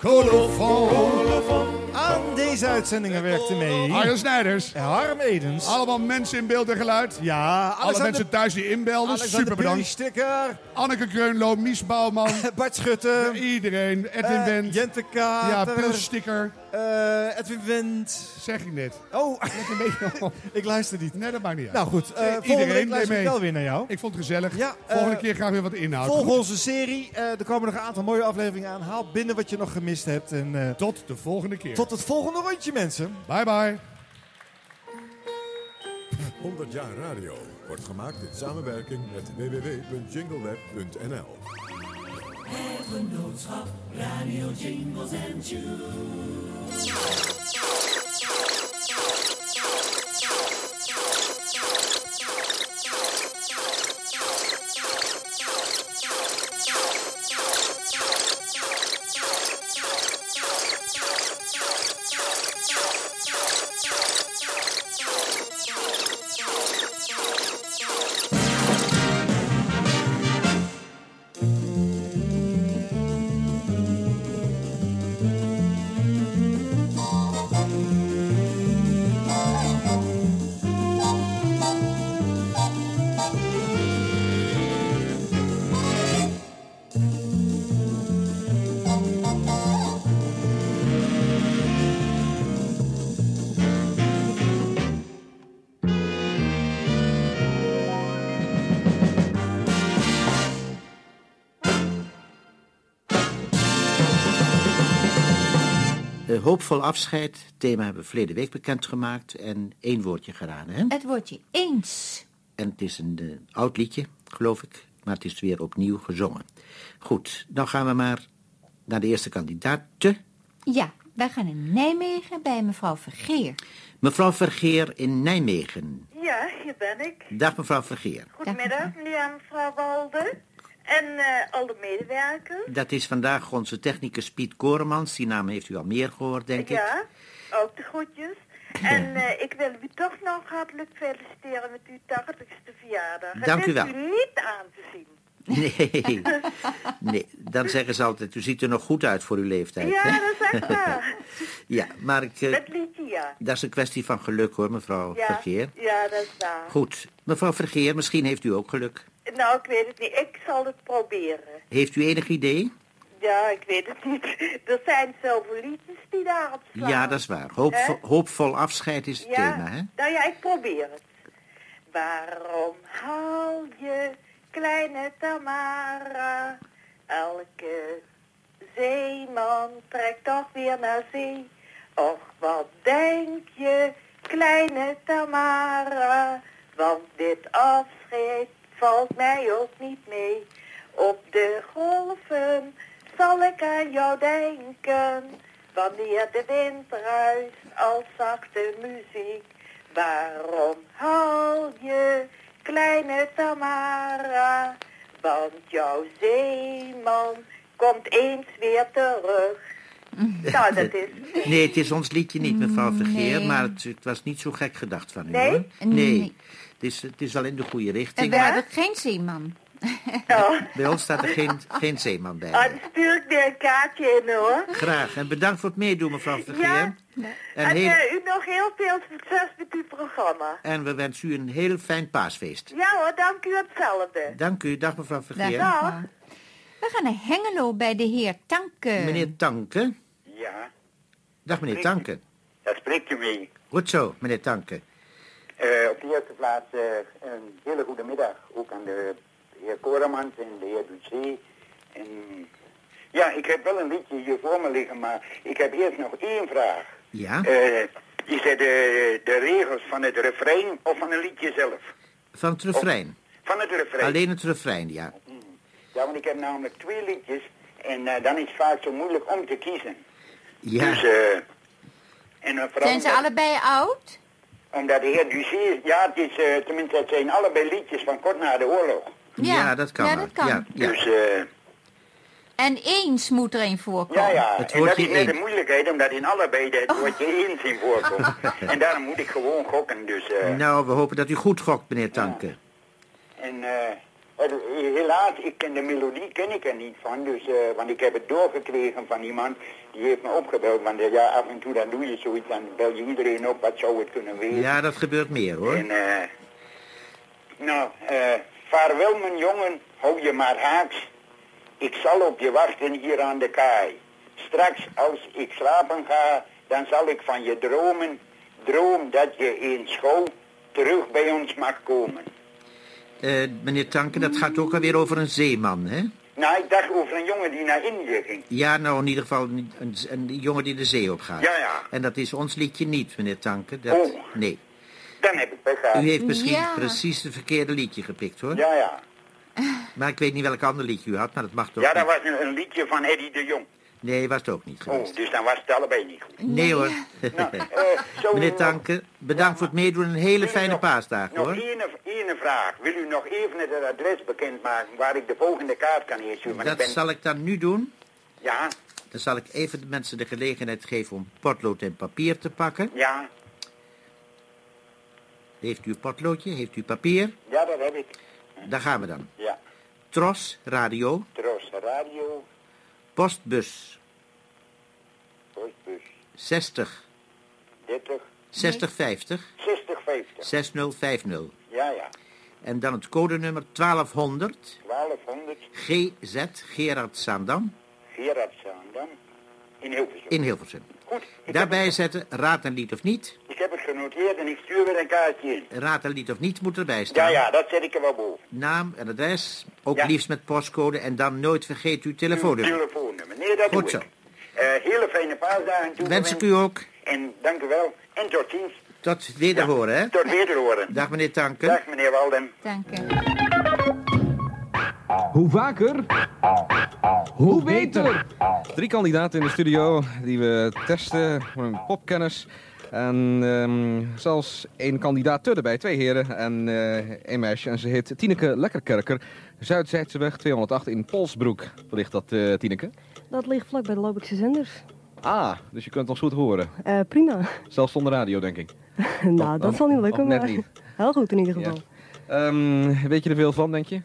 Speaker 6: Colofon, colofon.
Speaker 5: Aan deze uitzendingen werkte mee.
Speaker 6: Arjan Snijders.
Speaker 5: En Harm Edens.
Speaker 6: Allemaal mensen in beeld en geluid.
Speaker 5: Ja,
Speaker 6: Alle mensen thuis die inbelden, super bedankt.
Speaker 5: Sticker,
Speaker 6: Anneke Kreunlo, Mies Bouwman.
Speaker 5: Bart Schutte.
Speaker 6: Iedereen, Edwin
Speaker 5: Eh,
Speaker 6: Wendt.
Speaker 5: Jente
Speaker 6: Ja,
Speaker 5: Kater.
Speaker 6: Pilsticker.
Speaker 5: Eh, Edwin Wendt.
Speaker 6: Zeg ik net.
Speaker 5: Oh,
Speaker 6: een beetje
Speaker 5: ik luister niet.
Speaker 6: Nee, dat maakt niet uit.
Speaker 5: Nou goed, eh,
Speaker 6: Nee,
Speaker 5: volgende week luister ik wel weer naar jou.
Speaker 6: Ik vond het gezellig.
Speaker 5: Ja,
Speaker 6: Volgende
Speaker 5: eh,
Speaker 6: keer graag weer wat inhoud.
Speaker 5: Volg
Speaker 6: Goed?
Speaker 5: onze serie. Eh, er komen nog een aantal mooie afleveringen aan. Haal binnen wat je nog gemist hebt. En, eh,
Speaker 6: Tot de volgende keer.
Speaker 5: tot het volgende rondje, mensen.
Speaker 6: Bye bye.
Speaker 3: 100 jaar radio wordt gemaakt in samenwerking met www.jingleweb.nl.
Speaker 2: Het genootschap Radio Jingles en Tunes.
Speaker 11: Eh, hoopvol afscheid, thema hebben we verleden week bekendgemaakt en één woordje geraden. Hè?
Speaker 21: Het woordje eens.
Speaker 11: En het is een eh, oud liedje, geloof ik, maar het is weer opnieuw gezongen. Goed, dan gaan we maar naar de eerste kandidaat.
Speaker 21: Ja,
Speaker 14: Wij gaan in Nijmegen bij mevrouw Vergeer.
Speaker 11: Mevrouw Vergeer in Nijmegen.
Speaker 21: Ja, hier ben ik.
Speaker 11: Dag mevrouw Vergeer.
Speaker 21: Goedemiddag, meneer en mevrouw Walde. En eh, al de medewerkers.
Speaker 11: Dat is vandaag onze technicus Piet Koremans. Die naam heeft u al meer gehoord, denk ik.
Speaker 21: ja, ook de groetjes. En eh, ik wil u toch nog hartelijk feliciteren met uw 80ste verjaardag.
Speaker 11: Dank
Speaker 21: Het
Speaker 11: u
Speaker 21: is
Speaker 11: wel.
Speaker 21: niet aan te zien.
Speaker 11: Nee. nee, dan zeggen ze altijd, u ziet er nog goed uit voor uw leeftijd. hè?
Speaker 21: Ja, dat is echt waar.
Speaker 11: ja, maar ik, eh,
Speaker 21: Dat liedje, ja.
Speaker 11: dat is een kwestie van geluk hoor, mevrouw
Speaker 21: ja.
Speaker 11: Vergeer.
Speaker 21: Ja, dat is waar.
Speaker 11: Goed, mevrouw Vergeer, misschien heeft u ook geluk.
Speaker 21: Nou, ik weet het niet. Ik zal het proberen.
Speaker 11: Heeft u enig idee?
Speaker 21: Ja, ik weet het niet. Er zijn zoveel liedjes die daarop slaan.
Speaker 11: Ja, dat is waar. Hoop,
Speaker 21: Hè?
Speaker 11: hoopvol afscheid is het
Speaker 21: ja,
Speaker 11: thema, hè?
Speaker 21: Nou ja, ik probeer het. Waarom haal je kleine Tamara? Elke zeeman trekt toch weer naar zee. Och, wat denk je, kleine Tamara? Want dit afscheid valt mij ook niet mee. Op de golven zal ik aan jou denken. Wanneer de wind ruist als zachte muziek. Waarom haal je kleine Tamara? Want jouw zeeman komt eens weer terug. Nou, dat is...
Speaker 11: Nee, het is ons liedje niet, mevrouw Vergeer,
Speaker 21: Nee.
Speaker 11: maar het, het was niet zo gek gedacht van u,
Speaker 21: Nee?
Speaker 11: hoor.
Speaker 14: Nee.
Speaker 11: Het is, het is wel in de goede
Speaker 14: En
Speaker 11: richting,
Speaker 14: we
Speaker 11: maar
Speaker 14: hebben geen zeeman.
Speaker 11: bij ons staat er geen, geen zeeman bij.
Speaker 21: Ah, dan stuur ik weer een kaartje in, hoor.
Speaker 11: Graag, en bedankt voor het meedoen, mevrouw Vergeer.
Speaker 21: Ja, en,
Speaker 11: En, heel-
Speaker 21: eh, u nog heel veel succes met uw programma.
Speaker 11: en we wensen u een heel fijn paasfeest.
Speaker 21: Ja hoor, dank u hetzelfde.
Speaker 11: Dank u, dag mevrouw Vergeer.
Speaker 14: We gaan naar Hengelo bij de heer Tanke.
Speaker 11: Meneer Tanke.
Speaker 22: Ja,
Speaker 11: Dag meneer Tanke.
Speaker 22: daar spreekt u mee.
Speaker 11: Goed zo, meneer Tanke.
Speaker 22: Eh, op de eerste plaats eh, een hele goede middag. Ook aan de heer Koremans en de heer Ducé. En... Ja, ik heb wel een liedje hier voor me liggen, maar ik heb eerst nog één vraag.
Speaker 11: Ja?
Speaker 22: Eh, is het de, de regels van het refrein of van het liedje zelf?
Speaker 11: Van het refrein.
Speaker 22: Van het refrein.
Speaker 11: Alleen het refrein, ja.
Speaker 22: Ja, want ik heb namelijk twee liedjes en eh, dan is het vaak zo moeilijk om te kiezen.
Speaker 11: Ja.
Speaker 22: Dus, eh, en eh, vooral
Speaker 14: Zijn ze
Speaker 22: omdat-
Speaker 14: allebei oud?
Speaker 22: Omdat de heer Ducé is, ja, het is, eh, tenminste, het zijn allebei liedjes van kort na de oorlog.
Speaker 14: Ja, Ja, dat kan ja, dat wel. kan. Ja, ja.
Speaker 22: Dus, eh,
Speaker 14: En eens moet er een voorkomen.
Speaker 22: ja, ja, Ah, en dat is net de
Speaker 14: één.
Speaker 22: moeilijkheid, omdat in allebei het woordje eens in voorkomt. en daarom moet ik gewoon gokken, dus, eh,
Speaker 11: Nou, we hopen dat u goed gokt, meneer Tanke.
Speaker 22: en, eh, het- helaas, ik ken de melodie, ken ik er niet van, dus, eh, want ik heb het doorgekregen van iemand, die heeft me opgebeld, want eh, ja, af en toe dan doe je zoiets, dan bel je iedereen op, wat zou het kunnen weten.
Speaker 11: Ja, dat gebeurt meer, hoor.
Speaker 22: En, eh, nou, eh, vaarwel mijn jongen, hou je maar haaks. Ik zal op je wachten hier aan de kaai. Straks als ik slapen ga, dan zal ik van je dromen. Droom dat je eens school terug bij ons mag komen.
Speaker 11: Eh, meneer Tanke, dat gaat ook alweer over een zeeman, hè?
Speaker 22: Nou, ik dacht over een jongen die naar Indië ging.
Speaker 11: Ja, nou, in ieder geval een, een, een jongen die de zee opgaat.
Speaker 22: Ja, ja.
Speaker 11: En dat is ons liedje niet, meneer Tanke. Dat,
Speaker 22: Oh.
Speaker 11: Nee.
Speaker 22: Dan heb ik pech gehad.
Speaker 11: U heeft misschien
Speaker 22: Ja.
Speaker 11: precies het verkeerde liedje gepikt, hoor.
Speaker 22: Ja, ja.
Speaker 11: Maar ik weet niet welk ander liedje u had, maar dat mag toch
Speaker 22: Ja, dat
Speaker 11: niet.
Speaker 22: was een, een liedje van Eddie de Jong.
Speaker 11: Nee, was het ook niet geweest.
Speaker 22: Oh, dus dan was het allebei niet goed.
Speaker 11: Nee, hoor.
Speaker 22: Nou, eh,
Speaker 11: meneer Tanke, bedankt voor het meedoen. Een hele fijne paasdag,
Speaker 22: Nog
Speaker 11: hoor.
Speaker 22: één, één vraag. Wil u nog even het adres bekendmaken waar ik de volgende kaart kan insturen? Want
Speaker 11: Dat
Speaker 22: ik ben...
Speaker 11: zal ik dan nu doen.
Speaker 22: Ja,
Speaker 11: Dan zal ik even de mensen de gelegenheid geven om potlood en papier te pakken.
Speaker 22: ja,
Speaker 11: Heeft u een potloodje? Heeft u papier?
Speaker 22: ja, dat heb ik.
Speaker 11: Daar gaan we dan.
Speaker 22: Ja,
Speaker 11: Tros Radio,
Speaker 22: Tros Radio,
Speaker 11: postbus
Speaker 22: postbus
Speaker 11: 60
Speaker 22: 30,
Speaker 11: 6050
Speaker 22: 60, 50.
Speaker 11: 6050.
Speaker 22: Ja, ja,
Speaker 11: En dan het codenummer 1200
Speaker 22: 1200
Speaker 11: GZ Gerard Zaandam
Speaker 22: Gerard Zaandam in Hilversum.
Speaker 11: in Hilversum.
Speaker 22: Goed,
Speaker 11: Daarbij zetten raad en lied of niet.
Speaker 22: ik heb het genoteerd en ik stuur weer een kaartje in.
Speaker 11: Raad en lied of niet moet erbij
Speaker 22: Ja,
Speaker 11: staan.
Speaker 22: ja, dat zet ik er wel boven.
Speaker 11: Naam en adres, ook liefst met postcode en dan nooit vergeet uw
Speaker 22: Uw
Speaker 11: telefoonnummer.
Speaker 22: telefoonnummer. Nee, dat
Speaker 11: Goed
Speaker 22: doe
Speaker 11: zo.
Speaker 22: ik. Eh, hele fijne paasdagen toe.
Speaker 11: Wens ik u ook.
Speaker 22: En dank u wel. En tot ziens.
Speaker 11: Tot wederhoren, hè?
Speaker 22: Tot wederhoren.
Speaker 11: Dag meneer Tanken.
Speaker 22: Dag meneer Walden.
Speaker 14: Dank u.
Speaker 21: Hoe vaker, hoe beter.
Speaker 16: Drie kandidaten in de studio die we testen voor hun popkennis. En ehm, zelfs één kandidaat erbij, twee heren en eh één meisje. En ze heet Tineke Lekkerkerker, Zuidzijdseweg 208 in Polsbroek. Waar ligt dat, eh, Tineke?
Speaker 20: Dat ligt vlak bij de Lobikse zenders.
Speaker 16: Ah, dus je kunt ons goed horen.
Speaker 20: Eh, prima.
Speaker 16: Zelfs zonder radio, denk ik.
Speaker 20: nou, dat
Speaker 16: oh,
Speaker 20: zal niet
Speaker 16: oh,
Speaker 20: lukken,
Speaker 16: net
Speaker 20: maar
Speaker 16: niet.
Speaker 20: heel goed in ieder geval.
Speaker 16: Ehm, weet je er veel van, denk je?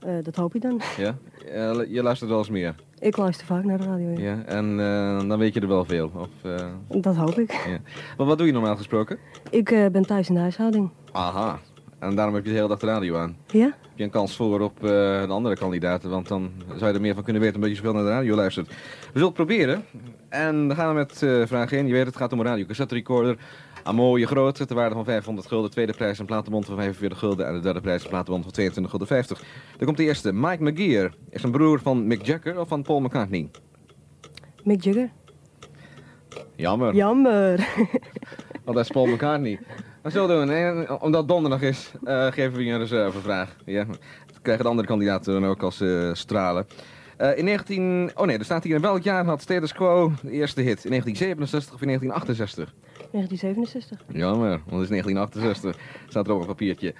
Speaker 20: Eh, dat hoop ik dan.
Speaker 16: Ja? Eh, je luistert wel eens meer.
Speaker 20: Ik luister vaak naar de radio. ja.
Speaker 16: Ja, en eh, dan weet je er wel veel. Of, eh,
Speaker 20: Dat hoop ik.
Speaker 16: ja. Maar wat doe je normaal gesproken?
Speaker 20: Ik eh, ben thuis in de huishouding.
Speaker 16: Aha. En daarom heb je de hele dag de radio aan.
Speaker 20: Ja?
Speaker 16: Heb je een kans voor op eh, de andere kandidaten, want dan zou je er meer van kunnen weten omdat je zoveel naar de radio luistert. We zullen het proberen. En dan gaan we met eh, vraag 1. Je weet het, het gaat om een radiocassette recorder. Een mooie grootte, ter waarde van 500 gulden. Tweede prijs een platenbond van 45 gulden. En de derde prijs een platenbond van 22 gulden 50. Dan komt de eerste. Mike McGear is een broer van Mick Jagger of van Paul McCartney.
Speaker 20: Mick Jagger.
Speaker 16: Jammer.
Speaker 20: Jammer.
Speaker 16: Want dat is Paul McCartney. Dat zullen we doen. En omdat het donderdag is, eh, geven we je een reservevraag. Ja. Dat krijgen de andere kandidaten dan ook als eh, stralen. Eh, in 19... Oh nee, er staat hier in welk jaar had Status Quo de eerste hit? In 1967 of in 1968?
Speaker 20: 1967.
Speaker 16: Jammer, want het is 1968. Staat er ook op een papiertje.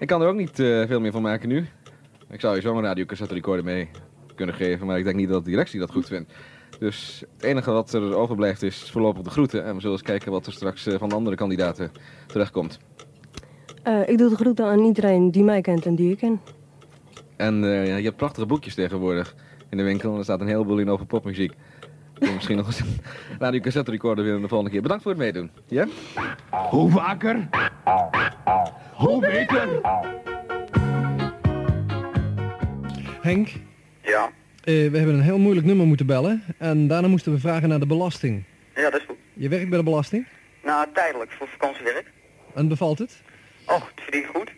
Speaker 16: Ik kan er ook niet eh, veel meer van maken nu. Ik zou je zo'n radiocassette recorder mee kunnen geven, maar ik denk niet dat de directie dat goed vindt. Dus het enige wat er overblijft is voorlopig de groeten. En we zullen eens kijken wat er straks eh, van de andere kandidaten terechtkomt.
Speaker 20: Eh, ik doe de groeten aan iedereen die mij kent en die ik ken.
Speaker 16: En eh, ja, je hebt prachtige boekjes tegenwoordig in de winkel. En er staat een heleboel in over popmuziek. Ik wil misschien nog eens een radiocassette recorder willen de volgende keer. Bedankt voor het meedoen. Ja? Hoe vaker, hoe beter.
Speaker 10: Henk,
Speaker 25: Ja,
Speaker 10: eh, we hebben een heel moeilijk nummer moeten bellen. En daarna moesten we vragen naar de belasting.
Speaker 25: ja, dat is goed.
Speaker 10: Je werkt bij de belasting
Speaker 25: Nou, tijdelijk, voor vakantiewerk.
Speaker 10: en bevalt het?
Speaker 25: Och, het verdient goed.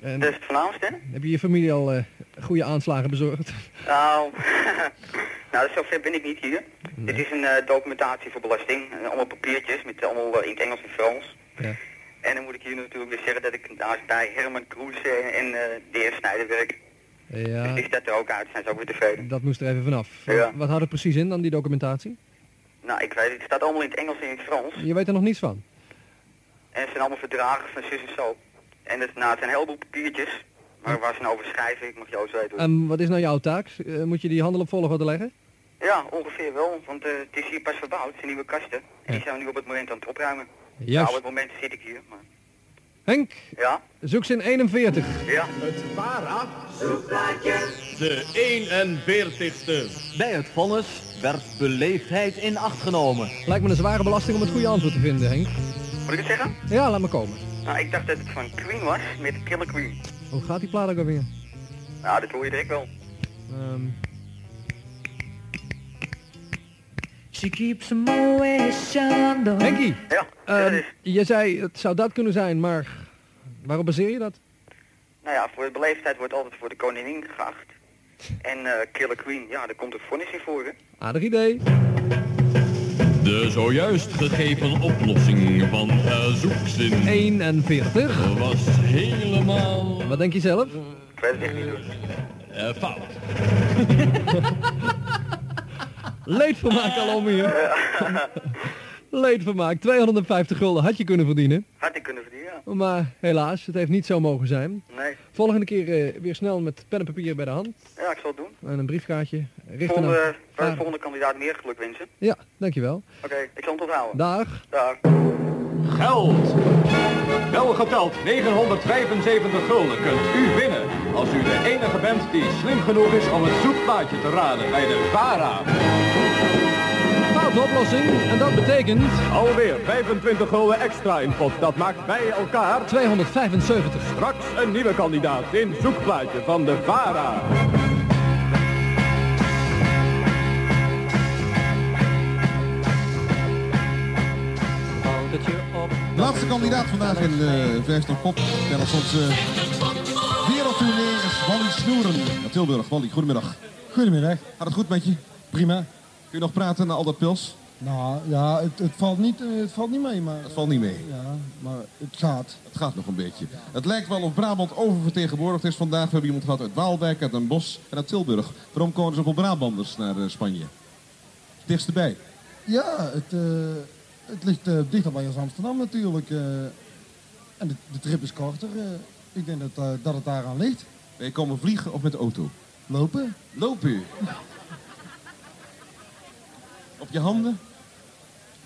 Speaker 10: En
Speaker 25: Dat is het voornaamste, hè?
Speaker 10: heb je je familie al eh, goede aanslagen bezorgd?
Speaker 25: Nou, nou, zover ben ik niet hier. Dit is een eh, documentatie voor belasting. Eh, allemaal papiertjes, met allemaal eh, in het Engels en Frans.
Speaker 10: Ja.
Speaker 25: En dan moet ik hier natuurlijk weer zeggen dat ik naast bij Herman Kroes eh, en eh, de heer Snijder werk.
Speaker 10: Ja,
Speaker 25: Dus dat er ook uit, zijn ze ook weer tevreden.
Speaker 10: dat moest er even vanaf.
Speaker 25: Ja.
Speaker 10: Wat houdt het precies in dan, die documentatie?
Speaker 25: Nou, ik weet het, het staat allemaal in het Engels en in het Frans.
Speaker 10: Je weet er nog niets van.
Speaker 25: En het zijn allemaal verdragen van zus en zo. En het, nou, het zijn een heleboel papiertjes. Maar waar ze nou over schrijven, ik mag Joost weten. hoor.
Speaker 10: En wat is nou jouw taak? Eh, moet je die handel op volgorde leggen?
Speaker 25: Ja, ongeveer wel, want eh, het is hier pas verbouwd, het zijn nieuwe kasten. En die zijn we nu op het moment aan het opruimen.
Speaker 10: Juist.
Speaker 25: Nou, op het moment zit ik hier, maar...
Speaker 10: Henk,
Speaker 25: Ja?
Speaker 10: zoek ze in 41.
Speaker 25: Ja. Het para
Speaker 26: De 41ste. Bij het vonnis werd beleefdheid in acht genomen.
Speaker 10: Lijkt me een zware belasting om het goede antwoord te vinden, Henk.
Speaker 25: Moet ik het zeggen?
Speaker 10: Ja, laat me komen.
Speaker 25: Nou, ik dacht dat het van Queen was, met Killer Queen.
Speaker 10: Hoe gaat die plaat ook alweer?
Speaker 25: Nou, dat hoor je direct wel.
Speaker 10: Ehm,
Speaker 27: She keeps him always shined on.
Speaker 10: Henkie, Ehm,
Speaker 25: ja,
Speaker 10: je zei het zou dat kunnen zijn, maar waarop baseer je dat?
Speaker 25: Nou ja, voor de beleefdheid wordt altijd voor de koningin geacht. En eh Killer Queen, ja, daar komt een vonnis in voor, hè?
Speaker 10: Aardig idee.
Speaker 26: De zojuist gegeven oplossing van eh, zoekzin
Speaker 10: 41.
Speaker 26: was helemaal
Speaker 10: Wat denk je zelf?
Speaker 25: Ik weet het echt niet, hoor.
Speaker 26: eh, fout.
Speaker 10: Leedvermaak alom hier. Leedvermaak, 250 gulden had je kunnen verdienen.
Speaker 25: Had ik kunnen verdienen, ja.
Speaker 10: Maar helaas, het heeft niet zo mogen zijn.
Speaker 25: Nee.
Speaker 10: Volgende keer eh, weer snel met pen en papier bij de hand.
Speaker 25: Ja, ik zal het doen.
Speaker 10: En een briefkaartje. Richten
Speaker 25: Volgende,
Speaker 10: naar...
Speaker 25: waar de
Speaker 10: Ah,
Speaker 25: volgende kandidaat meer geluk wensen.
Speaker 10: Ja, dankjewel.
Speaker 25: Oké, ik zal het onthouden.
Speaker 10: Dag.
Speaker 25: Dag.
Speaker 26: Geld. Wel geteld 975 gulden kunt u winnen als u de enige bent die slim genoeg is om het zoekplaatje te raden bij de VARA.
Speaker 10: Foute oplossing en dat betekent...
Speaker 26: Alweer 25 gulden extra in pot. Dat maakt bij elkaar
Speaker 10: 275.
Speaker 26: Straks een nieuwe kandidaat in zoekplaatje van de VARA.
Speaker 27: Laatste kandidaat vandaag in de Vijfster Pop. Tijdens onze wereldtournee is Wally Snoeren. Naar Tilburg. Wally, goedemiddag. Goedemiddag. Gaat het goed met je? Prima. Kun je nog praten na al dat pils? Nou ja, het, het, valt niet, eh, het valt niet mee, maar... Het valt niet mee. Ja, maar het gaat. Het gaat nog een beetje. Het lijkt wel of Brabant oververtegenwoordigd is vandaag. We hebben iemand gehad uit Waalwijk, uit Den Bosch en uit Tilburg. Waarom komen er zoveel Brabanders naar eh, Spanje? Het Dichtst erbij.
Speaker 5: Ja, het, eh, het ligt eh, dichter bij ons Amsterdam natuurlijk. eh. en de, de trip is korter. eh. ik denk dat, eh, dat het daaraan ligt.
Speaker 27: Wij komen vliegen of met de auto?
Speaker 5: Lopen?
Speaker 27: Lopen u? Op je handen?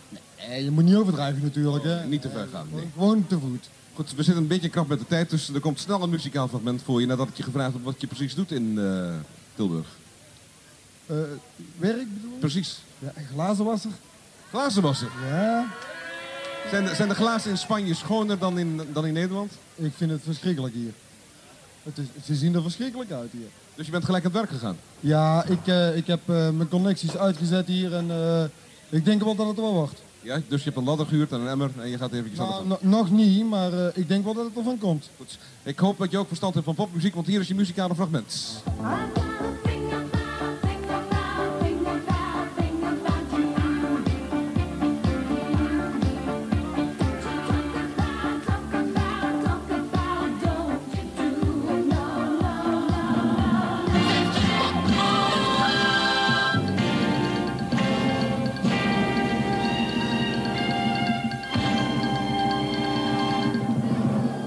Speaker 5: Nee, Eh, je moet niet overdrijven natuurlijk. Hè.
Speaker 27: Niet te ver gaan, nee.
Speaker 5: Gewoon te voet.
Speaker 27: Goed, we zitten een beetje krap met de tijd, dus er komt snel een muzikaal fragment voor je nadat ik je gevraagd heb wat je precies doet in eh, Tilburg.
Speaker 5: Eh, werk bedoel je?
Speaker 27: Precies.
Speaker 5: Ja, en glazenwasser?
Speaker 27: Glazenwasser.
Speaker 5: Ja.
Speaker 27: Zijn de, zijn de glazen in Spanje schoner dan in, dan in Nederland?
Speaker 5: Ik vind het verschrikkelijk hier. Het is, ze zien er verschrikkelijk uit hier.
Speaker 27: Dus je bent gelijk aan het werk gegaan?
Speaker 5: Ja, ik, eh, ik heb eh, mijn connecties uitgezet hier en eh, ik denk wel dat het wel wordt.
Speaker 27: Ja, dus je hebt een ladder gehuurd en een emmer en je gaat eventjes aan de
Speaker 5: Nou,
Speaker 27: gang.
Speaker 5: no- nog niet, maar eh, ik denk wel dat het ervan komt.
Speaker 27: Goed. Ik hoop dat je ook verstand hebt van popmuziek, want hier is je muzikale fragment.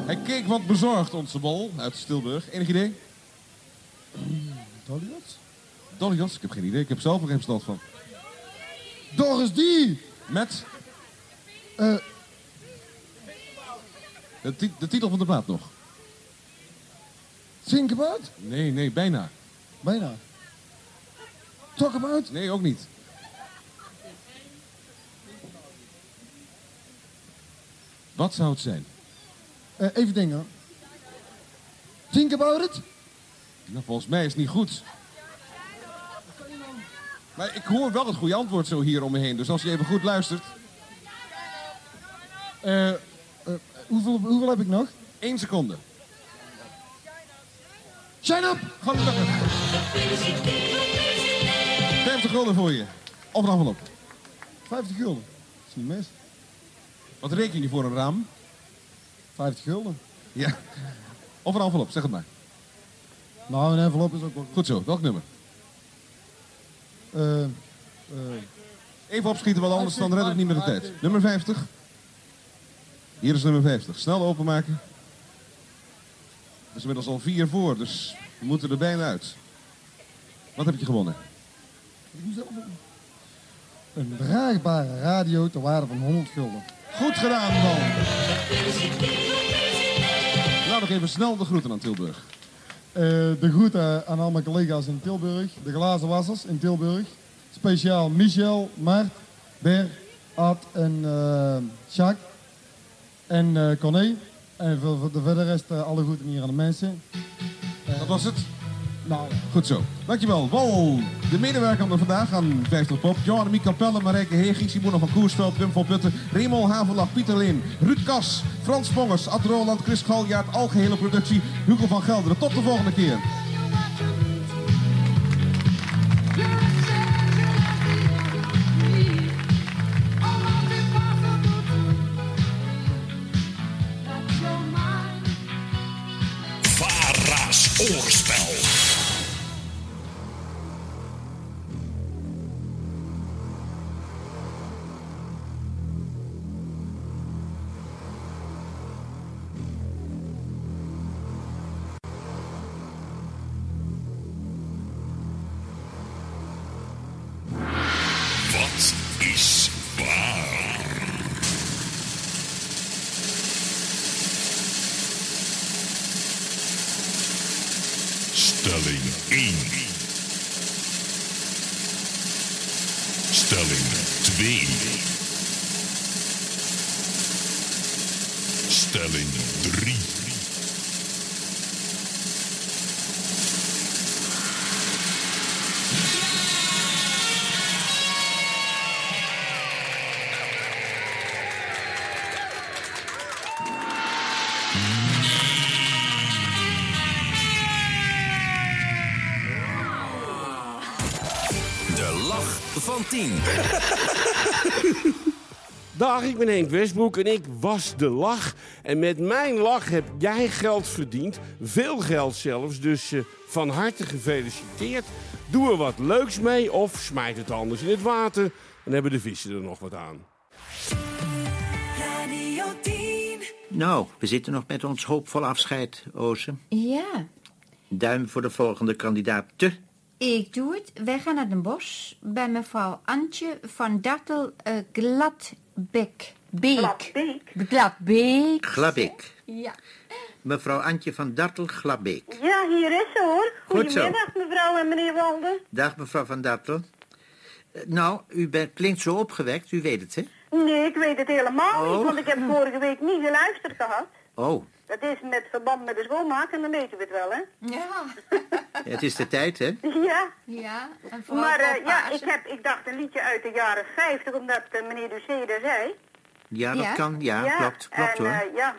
Speaker 27: Hij keek wat bezorgd, onze bol, uit Stilburg. Enig idee?
Speaker 5: Dollywood?
Speaker 27: Dollyos? Ik heb geen idee, ik heb zelf er geen verstand van.
Speaker 5: Doris die!
Speaker 27: Met
Speaker 5: Eh,
Speaker 27: de, ti- de titel van de plaat nog.
Speaker 5: think about?
Speaker 27: Nee, nee, bijna.
Speaker 5: Bijna. Talk about?
Speaker 27: Nee, ook niet. Wat zou het zijn?
Speaker 5: Eh, even dingen. Think about it?
Speaker 27: Nou, volgens mij is het niet goed. Maar ik hoor wel het goede antwoord zo hier om me heen. Dus als je even goed luistert.
Speaker 5: Eh, eh, hoeveel, hoeveel heb ik nog?
Speaker 27: Eén seconde.
Speaker 5: Shine up!
Speaker 27: Gelukkig. 50 gulden voor je. Of een envelop.
Speaker 5: 50 gulden. Dat is niet mis.
Speaker 27: Wat reken je voor een raam?
Speaker 5: 50 gulden.
Speaker 27: Ja. Of een envelop, zeg het maar.
Speaker 5: Nou, een envelop is ook wel
Speaker 27: Goed zo, welk nummer?
Speaker 5: Eh, eh,
Speaker 27: Even opschieten, want anders dan red ik niet meer de tijd. Nummer 50. Hier is nummer 50. Snel openmaken. Er is inmiddels al vier voor, dus we moeten er bijna uit. Wat heb je gewonnen?
Speaker 5: een draagbare radio ter waarde van 100 gulden.
Speaker 27: Goed gedaan, man. Nou, nog even snel de groeten aan Tilburg.
Speaker 5: Eh, de groeten aan al mijn collega's in Tilburg, de glazenwassers in Tilburg. Speciaal Michel, Mart, Ber, Ad en eh Jacques. En eh, Corné. En voor, voor de verder rest eh, alle groeten hier aan de mensen.
Speaker 27: Dat was het.
Speaker 5: Nou,
Speaker 27: Goed zo. Dankjewel. Wow. De medewerker van vandaag aan 50 Pop. Johan Mie Capelle, Marijke Heging, Simona van Koersveld, Pim van Putten, Raymond Havelach, Pieter Leen, Ruud Kas, Frans Bongers, Ad Roland, Chris Galjaard, Algehele Productie, Hugo van Gelderen. Tot de volgende keer.
Speaker 2: Vara's oorspel. Wat is waar? Stelling 1. Stelling 2. Stelling 3.
Speaker 26: De lach van 10.
Speaker 6: Dag, ik ben Henk Westbroek en ik was de lach. En met mijn lach heb jij geld verdiend. Veel geld zelfs, dus eh, van harte gefeliciteerd. Doe er wat leuks mee of smijt het anders in het water. Dan hebben de vissen er nog wat aan.
Speaker 2: Radio 10.
Speaker 11: Nou, we zitten nog met ons hoopvol afscheid, Ozen.
Speaker 14: Ja,
Speaker 11: Duim voor de volgende kandidaat. Te.
Speaker 14: ik doe het. Wij gaan naar Den Bosch bij mevrouw Antje van Dartel eh, Gladbeek. Beek. Gladbeek? Gladbeek.
Speaker 11: Glabbeek.
Speaker 14: Ja.
Speaker 11: Mevrouw Antje van Dartel Glabbeek.
Speaker 21: Ja, hier is ze hoor.
Speaker 11: Goed zo.
Speaker 21: Goedemiddag mevrouw en meneer Walden.
Speaker 11: Dag mevrouw van Dartel. Eh, Nou, u bent, klinkt zo opgewekt, u weet het, hè?
Speaker 21: Nee, ik weet het helemaal
Speaker 11: Oh.
Speaker 21: niet, want ik heb vorige week niet geluisterd gehad.
Speaker 11: Oh,
Speaker 21: Dat is met verband met de schoonmaak en dan weten we het wel, hè?
Speaker 14: Ja.
Speaker 11: het is de tijd, hè?
Speaker 21: Ja.
Speaker 14: Ja, en vooral
Speaker 21: Maar eh,
Speaker 14: voor
Speaker 21: ja, ik,
Speaker 14: Pasen.
Speaker 21: heb, ik dacht een liedje uit de jaren 50, omdat eh, meneer Doucet dat zei.
Speaker 11: Ja, dat kan. Ja, klopt, klopt
Speaker 21: en,
Speaker 11: hoor.
Speaker 21: eh, ja,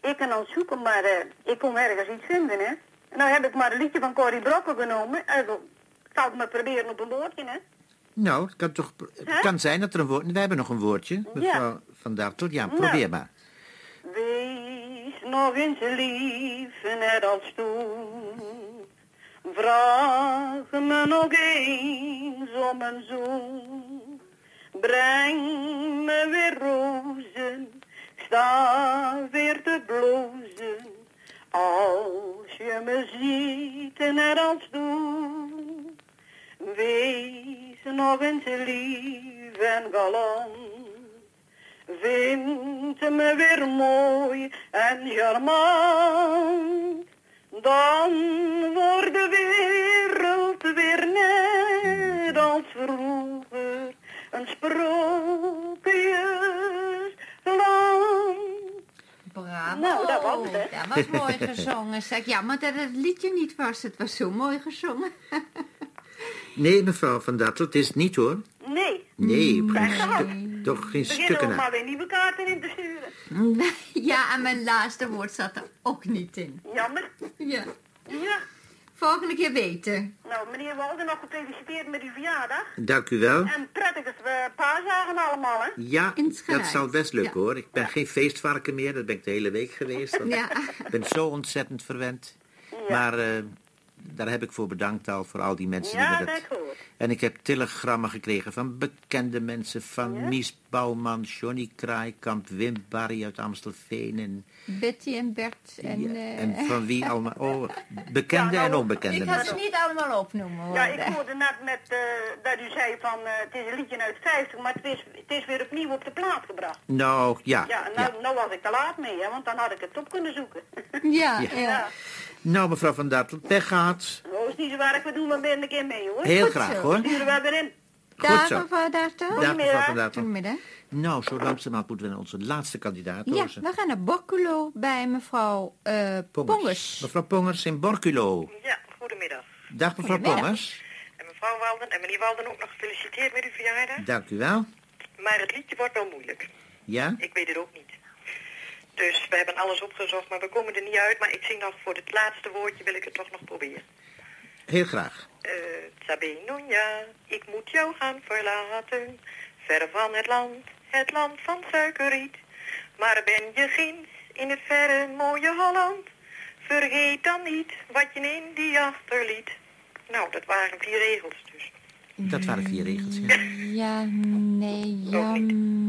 Speaker 21: ik kan al zoeken, maar eh, ik kon ergens iets vinden, hè. En nou heb ik maar een liedje van Corrie Brokken genomen. En ik zal het maar proberen op een woordje, hè.
Speaker 11: Nou, het kan, toch, het
Speaker 21: Hè?
Speaker 11: kan zijn dat er een woord... We hebben nog een woordje, mevrouw van Dartel. Ja,
Speaker 21: Nou.
Speaker 11: probeer maar.
Speaker 21: Wees nog eens lief, net als toen. Vraag me nog eens om een zoen. Breng me weer rozen, ik sta weer te blozen. Als je me ziet, net als toen. Wees nog eens lief en galant. Vind me weer mooi en charmant. Dan wordt de wereld weer net als vroeger een sprookjesland.
Speaker 14: Bravo.
Speaker 21: Nou, dat was het, hè?
Speaker 14: Dat was mooi gezongen, zeg. Ja, maar dat het liedje niet was. Het was zo mooi gezongen.
Speaker 11: Nee, mevrouw van Dartel, het is het niet hoor.
Speaker 21: Nee.
Speaker 11: Nee,
Speaker 21: Mm,
Speaker 11: geen
Speaker 21: krijg je
Speaker 11: stu-
Speaker 21: hand.
Speaker 11: toch geen
Speaker 21: Beginnen
Speaker 11: stukken
Speaker 21: we maar
Speaker 11: aan.
Speaker 21: weer nieuwe kaarten in te sturen.
Speaker 14: Ja, en mijn laatste woord zat er ook niet in.
Speaker 21: Jammer.
Speaker 14: Ja.
Speaker 21: Ja.
Speaker 14: Volgende keer weten.
Speaker 21: Nou, meneer Walden, nog gefeliciteerd met uw verjaardag.
Speaker 11: Dank u wel.
Speaker 21: En prettige eh, paasdagen allemaal, hè.
Speaker 11: Ja, dat
Speaker 21: Insgelijks.
Speaker 11: zal best lukken
Speaker 21: Ja.
Speaker 11: hoor. Ik ben geen feestvarken meer, dat ben ik de hele week geweest. want
Speaker 21: Ja.
Speaker 11: Ik ben zo ontzettend verwend. Maar eh, daar heb ik voor bedankt al, voor al die mensen
Speaker 21: Ja,
Speaker 11: die me
Speaker 21: dat
Speaker 11: dat...
Speaker 21: hoor.
Speaker 11: En ik heb telegrammen gekregen van bekende mensen,
Speaker 14: Oh
Speaker 11: van Mies Bouwman, Johnny Kraaikamp, Wim Barry uit Amstelveen en,
Speaker 14: Betty en Bert en...
Speaker 11: ja,
Speaker 14: eh, nou,
Speaker 11: en van wie allemaal. Oh, bekende en onbekende
Speaker 14: Ik ga ze
Speaker 11: mensen.
Speaker 14: niet allemaal opnoemen hoor.
Speaker 21: Ja, ik hoorde net met, eh, dat u zei van eh, het is een liedje uit 50, maar het is, het is weer opnieuw op de plaat gebracht.
Speaker 11: Nou, ja.
Speaker 21: Ja, nou, nou was ik te laat mee, hè, want dan had ik het op kunnen zoeken.
Speaker 14: Ja,
Speaker 11: Ja.
Speaker 21: ja.
Speaker 11: Nou, mevrouw van Dartel, pech gehad.
Speaker 21: Nou, is niet zo waar, we doen maar weer een keer mee, hoor.
Speaker 11: Heel Goed graag, zo. hoor.
Speaker 21: Sturen we weer in.
Speaker 11: Goed Dag, zo. mevrouw
Speaker 14: Dartel.
Speaker 11: Dag, mevrouw van Dartel.
Speaker 14: Goedemiddag.
Speaker 11: Nou, zo langzamerhand moeten we naar onze laatste kandidaat.
Speaker 14: Ja,
Speaker 11: Roze.
Speaker 14: we gaan naar Bokkulo bij mevrouw eh
Speaker 11: Pongers.
Speaker 14: Pongers.
Speaker 11: Mevrouw Pongers in Borculo.
Speaker 28: Ja, goedemiddag.
Speaker 11: Dag mevrouw
Speaker 28: Goedemiddag.
Speaker 11: Pongers.
Speaker 28: En mevrouw Walden en meneer Walden ook nog gefeliciteerd met uw verjaardag.
Speaker 11: Dank u wel.
Speaker 28: Maar het liedje wordt wel moeilijk.
Speaker 11: Ja?
Speaker 28: Ik weet het ook niet. Dus we hebben alles opgezocht, maar we komen er niet uit. Maar ik zing nog voor het laatste woordje, wil ik het toch nog proberen.
Speaker 11: Heel graag.
Speaker 28: Eh, Sabinonia, ik moet jou gaan verlaten. Ver van het land, het land van suikerriet. Maar ben je ginds in het verre mooie Holland? Vergeet dan niet wat je in India achterliet. Nou, dat waren vier regels.
Speaker 11: Dat waren vier regels. Ja.
Speaker 14: Ja, nee, ja,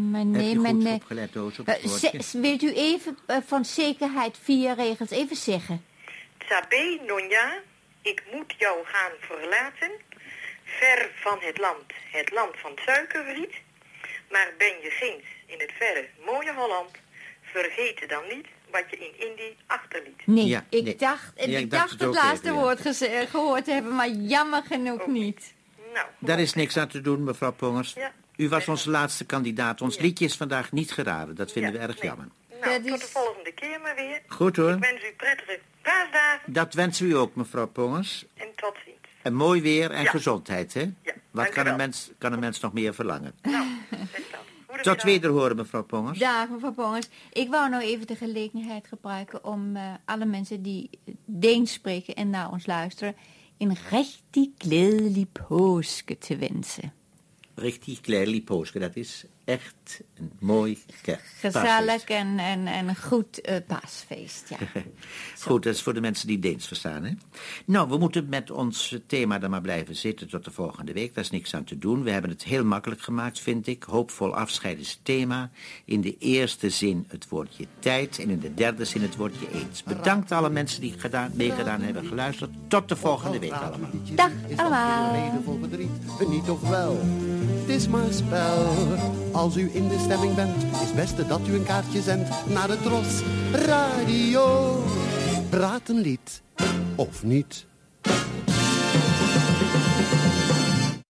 Speaker 14: maar
Speaker 11: Heb
Speaker 14: nee,
Speaker 11: je
Speaker 14: maar
Speaker 11: goed
Speaker 14: nee.
Speaker 11: opgelet, Roos, op
Speaker 14: Eh,
Speaker 11: het woordje?
Speaker 14: ze- wilt u even eh, van zekerheid vier regels even zeggen?
Speaker 28: Tabé Nonja, ik moet jou gaan verlaten. Ver van het land, het land van suikerriet. Maar ben je ginds in het verre mooie Holland, vergeet dan niet wat je in Indië achterliet.
Speaker 14: Nee, ik dacht, eh,
Speaker 11: Ja,
Speaker 14: ik
Speaker 11: ik dacht
Speaker 14: dacht
Speaker 11: het
Speaker 14: het,
Speaker 11: ook
Speaker 14: laatste
Speaker 11: even, ja.
Speaker 14: woord geze- gehoord te hebben, maar jammer genoeg niet.
Speaker 11: Daar is niks aan te doen, mevrouw Pongers. U was onze laatste kandidaat. Ons liedje is vandaag niet geraden. Dat vinden we erg jammer.
Speaker 28: Nou, tot de volgende keer maar weer.
Speaker 11: Goed, hoor.
Speaker 28: Ik wens u prettige paasdagen
Speaker 11: Dat wensen we u ook, mevrouw Pongers.
Speaker 28: en tot ziens.
Speaker 11: En mooi weer en gezondheid, hè? Wat
Speaker 28: dank u
Speaker 11: kan een,
Speaker 28: wel.
Speaker 11: mens, kan een mens nog meer verlangen?
Speaker 28: Nou,
Speaker 11: Tot wederhoren, mevrouw Pongers.
Speaker 14: Dag mevrouw Bongers. Ik wou nou even de gelegenheid gebruiken om eh, alle mensen die Deens spreken en naar ons luisteren een richtig lelijk pooske te wensen.
Speaker 11: Richtig klein Pooske, dat is echt een mooi kerk.
Speaker 14: Gezellig en, en, en een goed eh, paasfeest, ja.
Speaker 11: Goed, dat is voor de mensen die Deens verstaan, hè? Nou, we moeten met ons thema dan maar blijven zitten tot de volgende week. Daar is niks aan te doen. We hebben het heel makkelijk gemaakt, vind ik. Hoopvol afscheid is het thema. In de eerste zin het woordje tijd en in de derde zin het woordje eens. Bedankt alle mensen die gedaan, meegedaan hebben geluisterd. Tot de volgende week allemaal.
Speaker 14: Dag allemaal.
Speaker 24: voor verdriet, een niet of wel. Het is maar spel. Als u in de stemming bent, is beste dat u een kaartje zendt naar de Tros Radio. Praat een lied, of niet.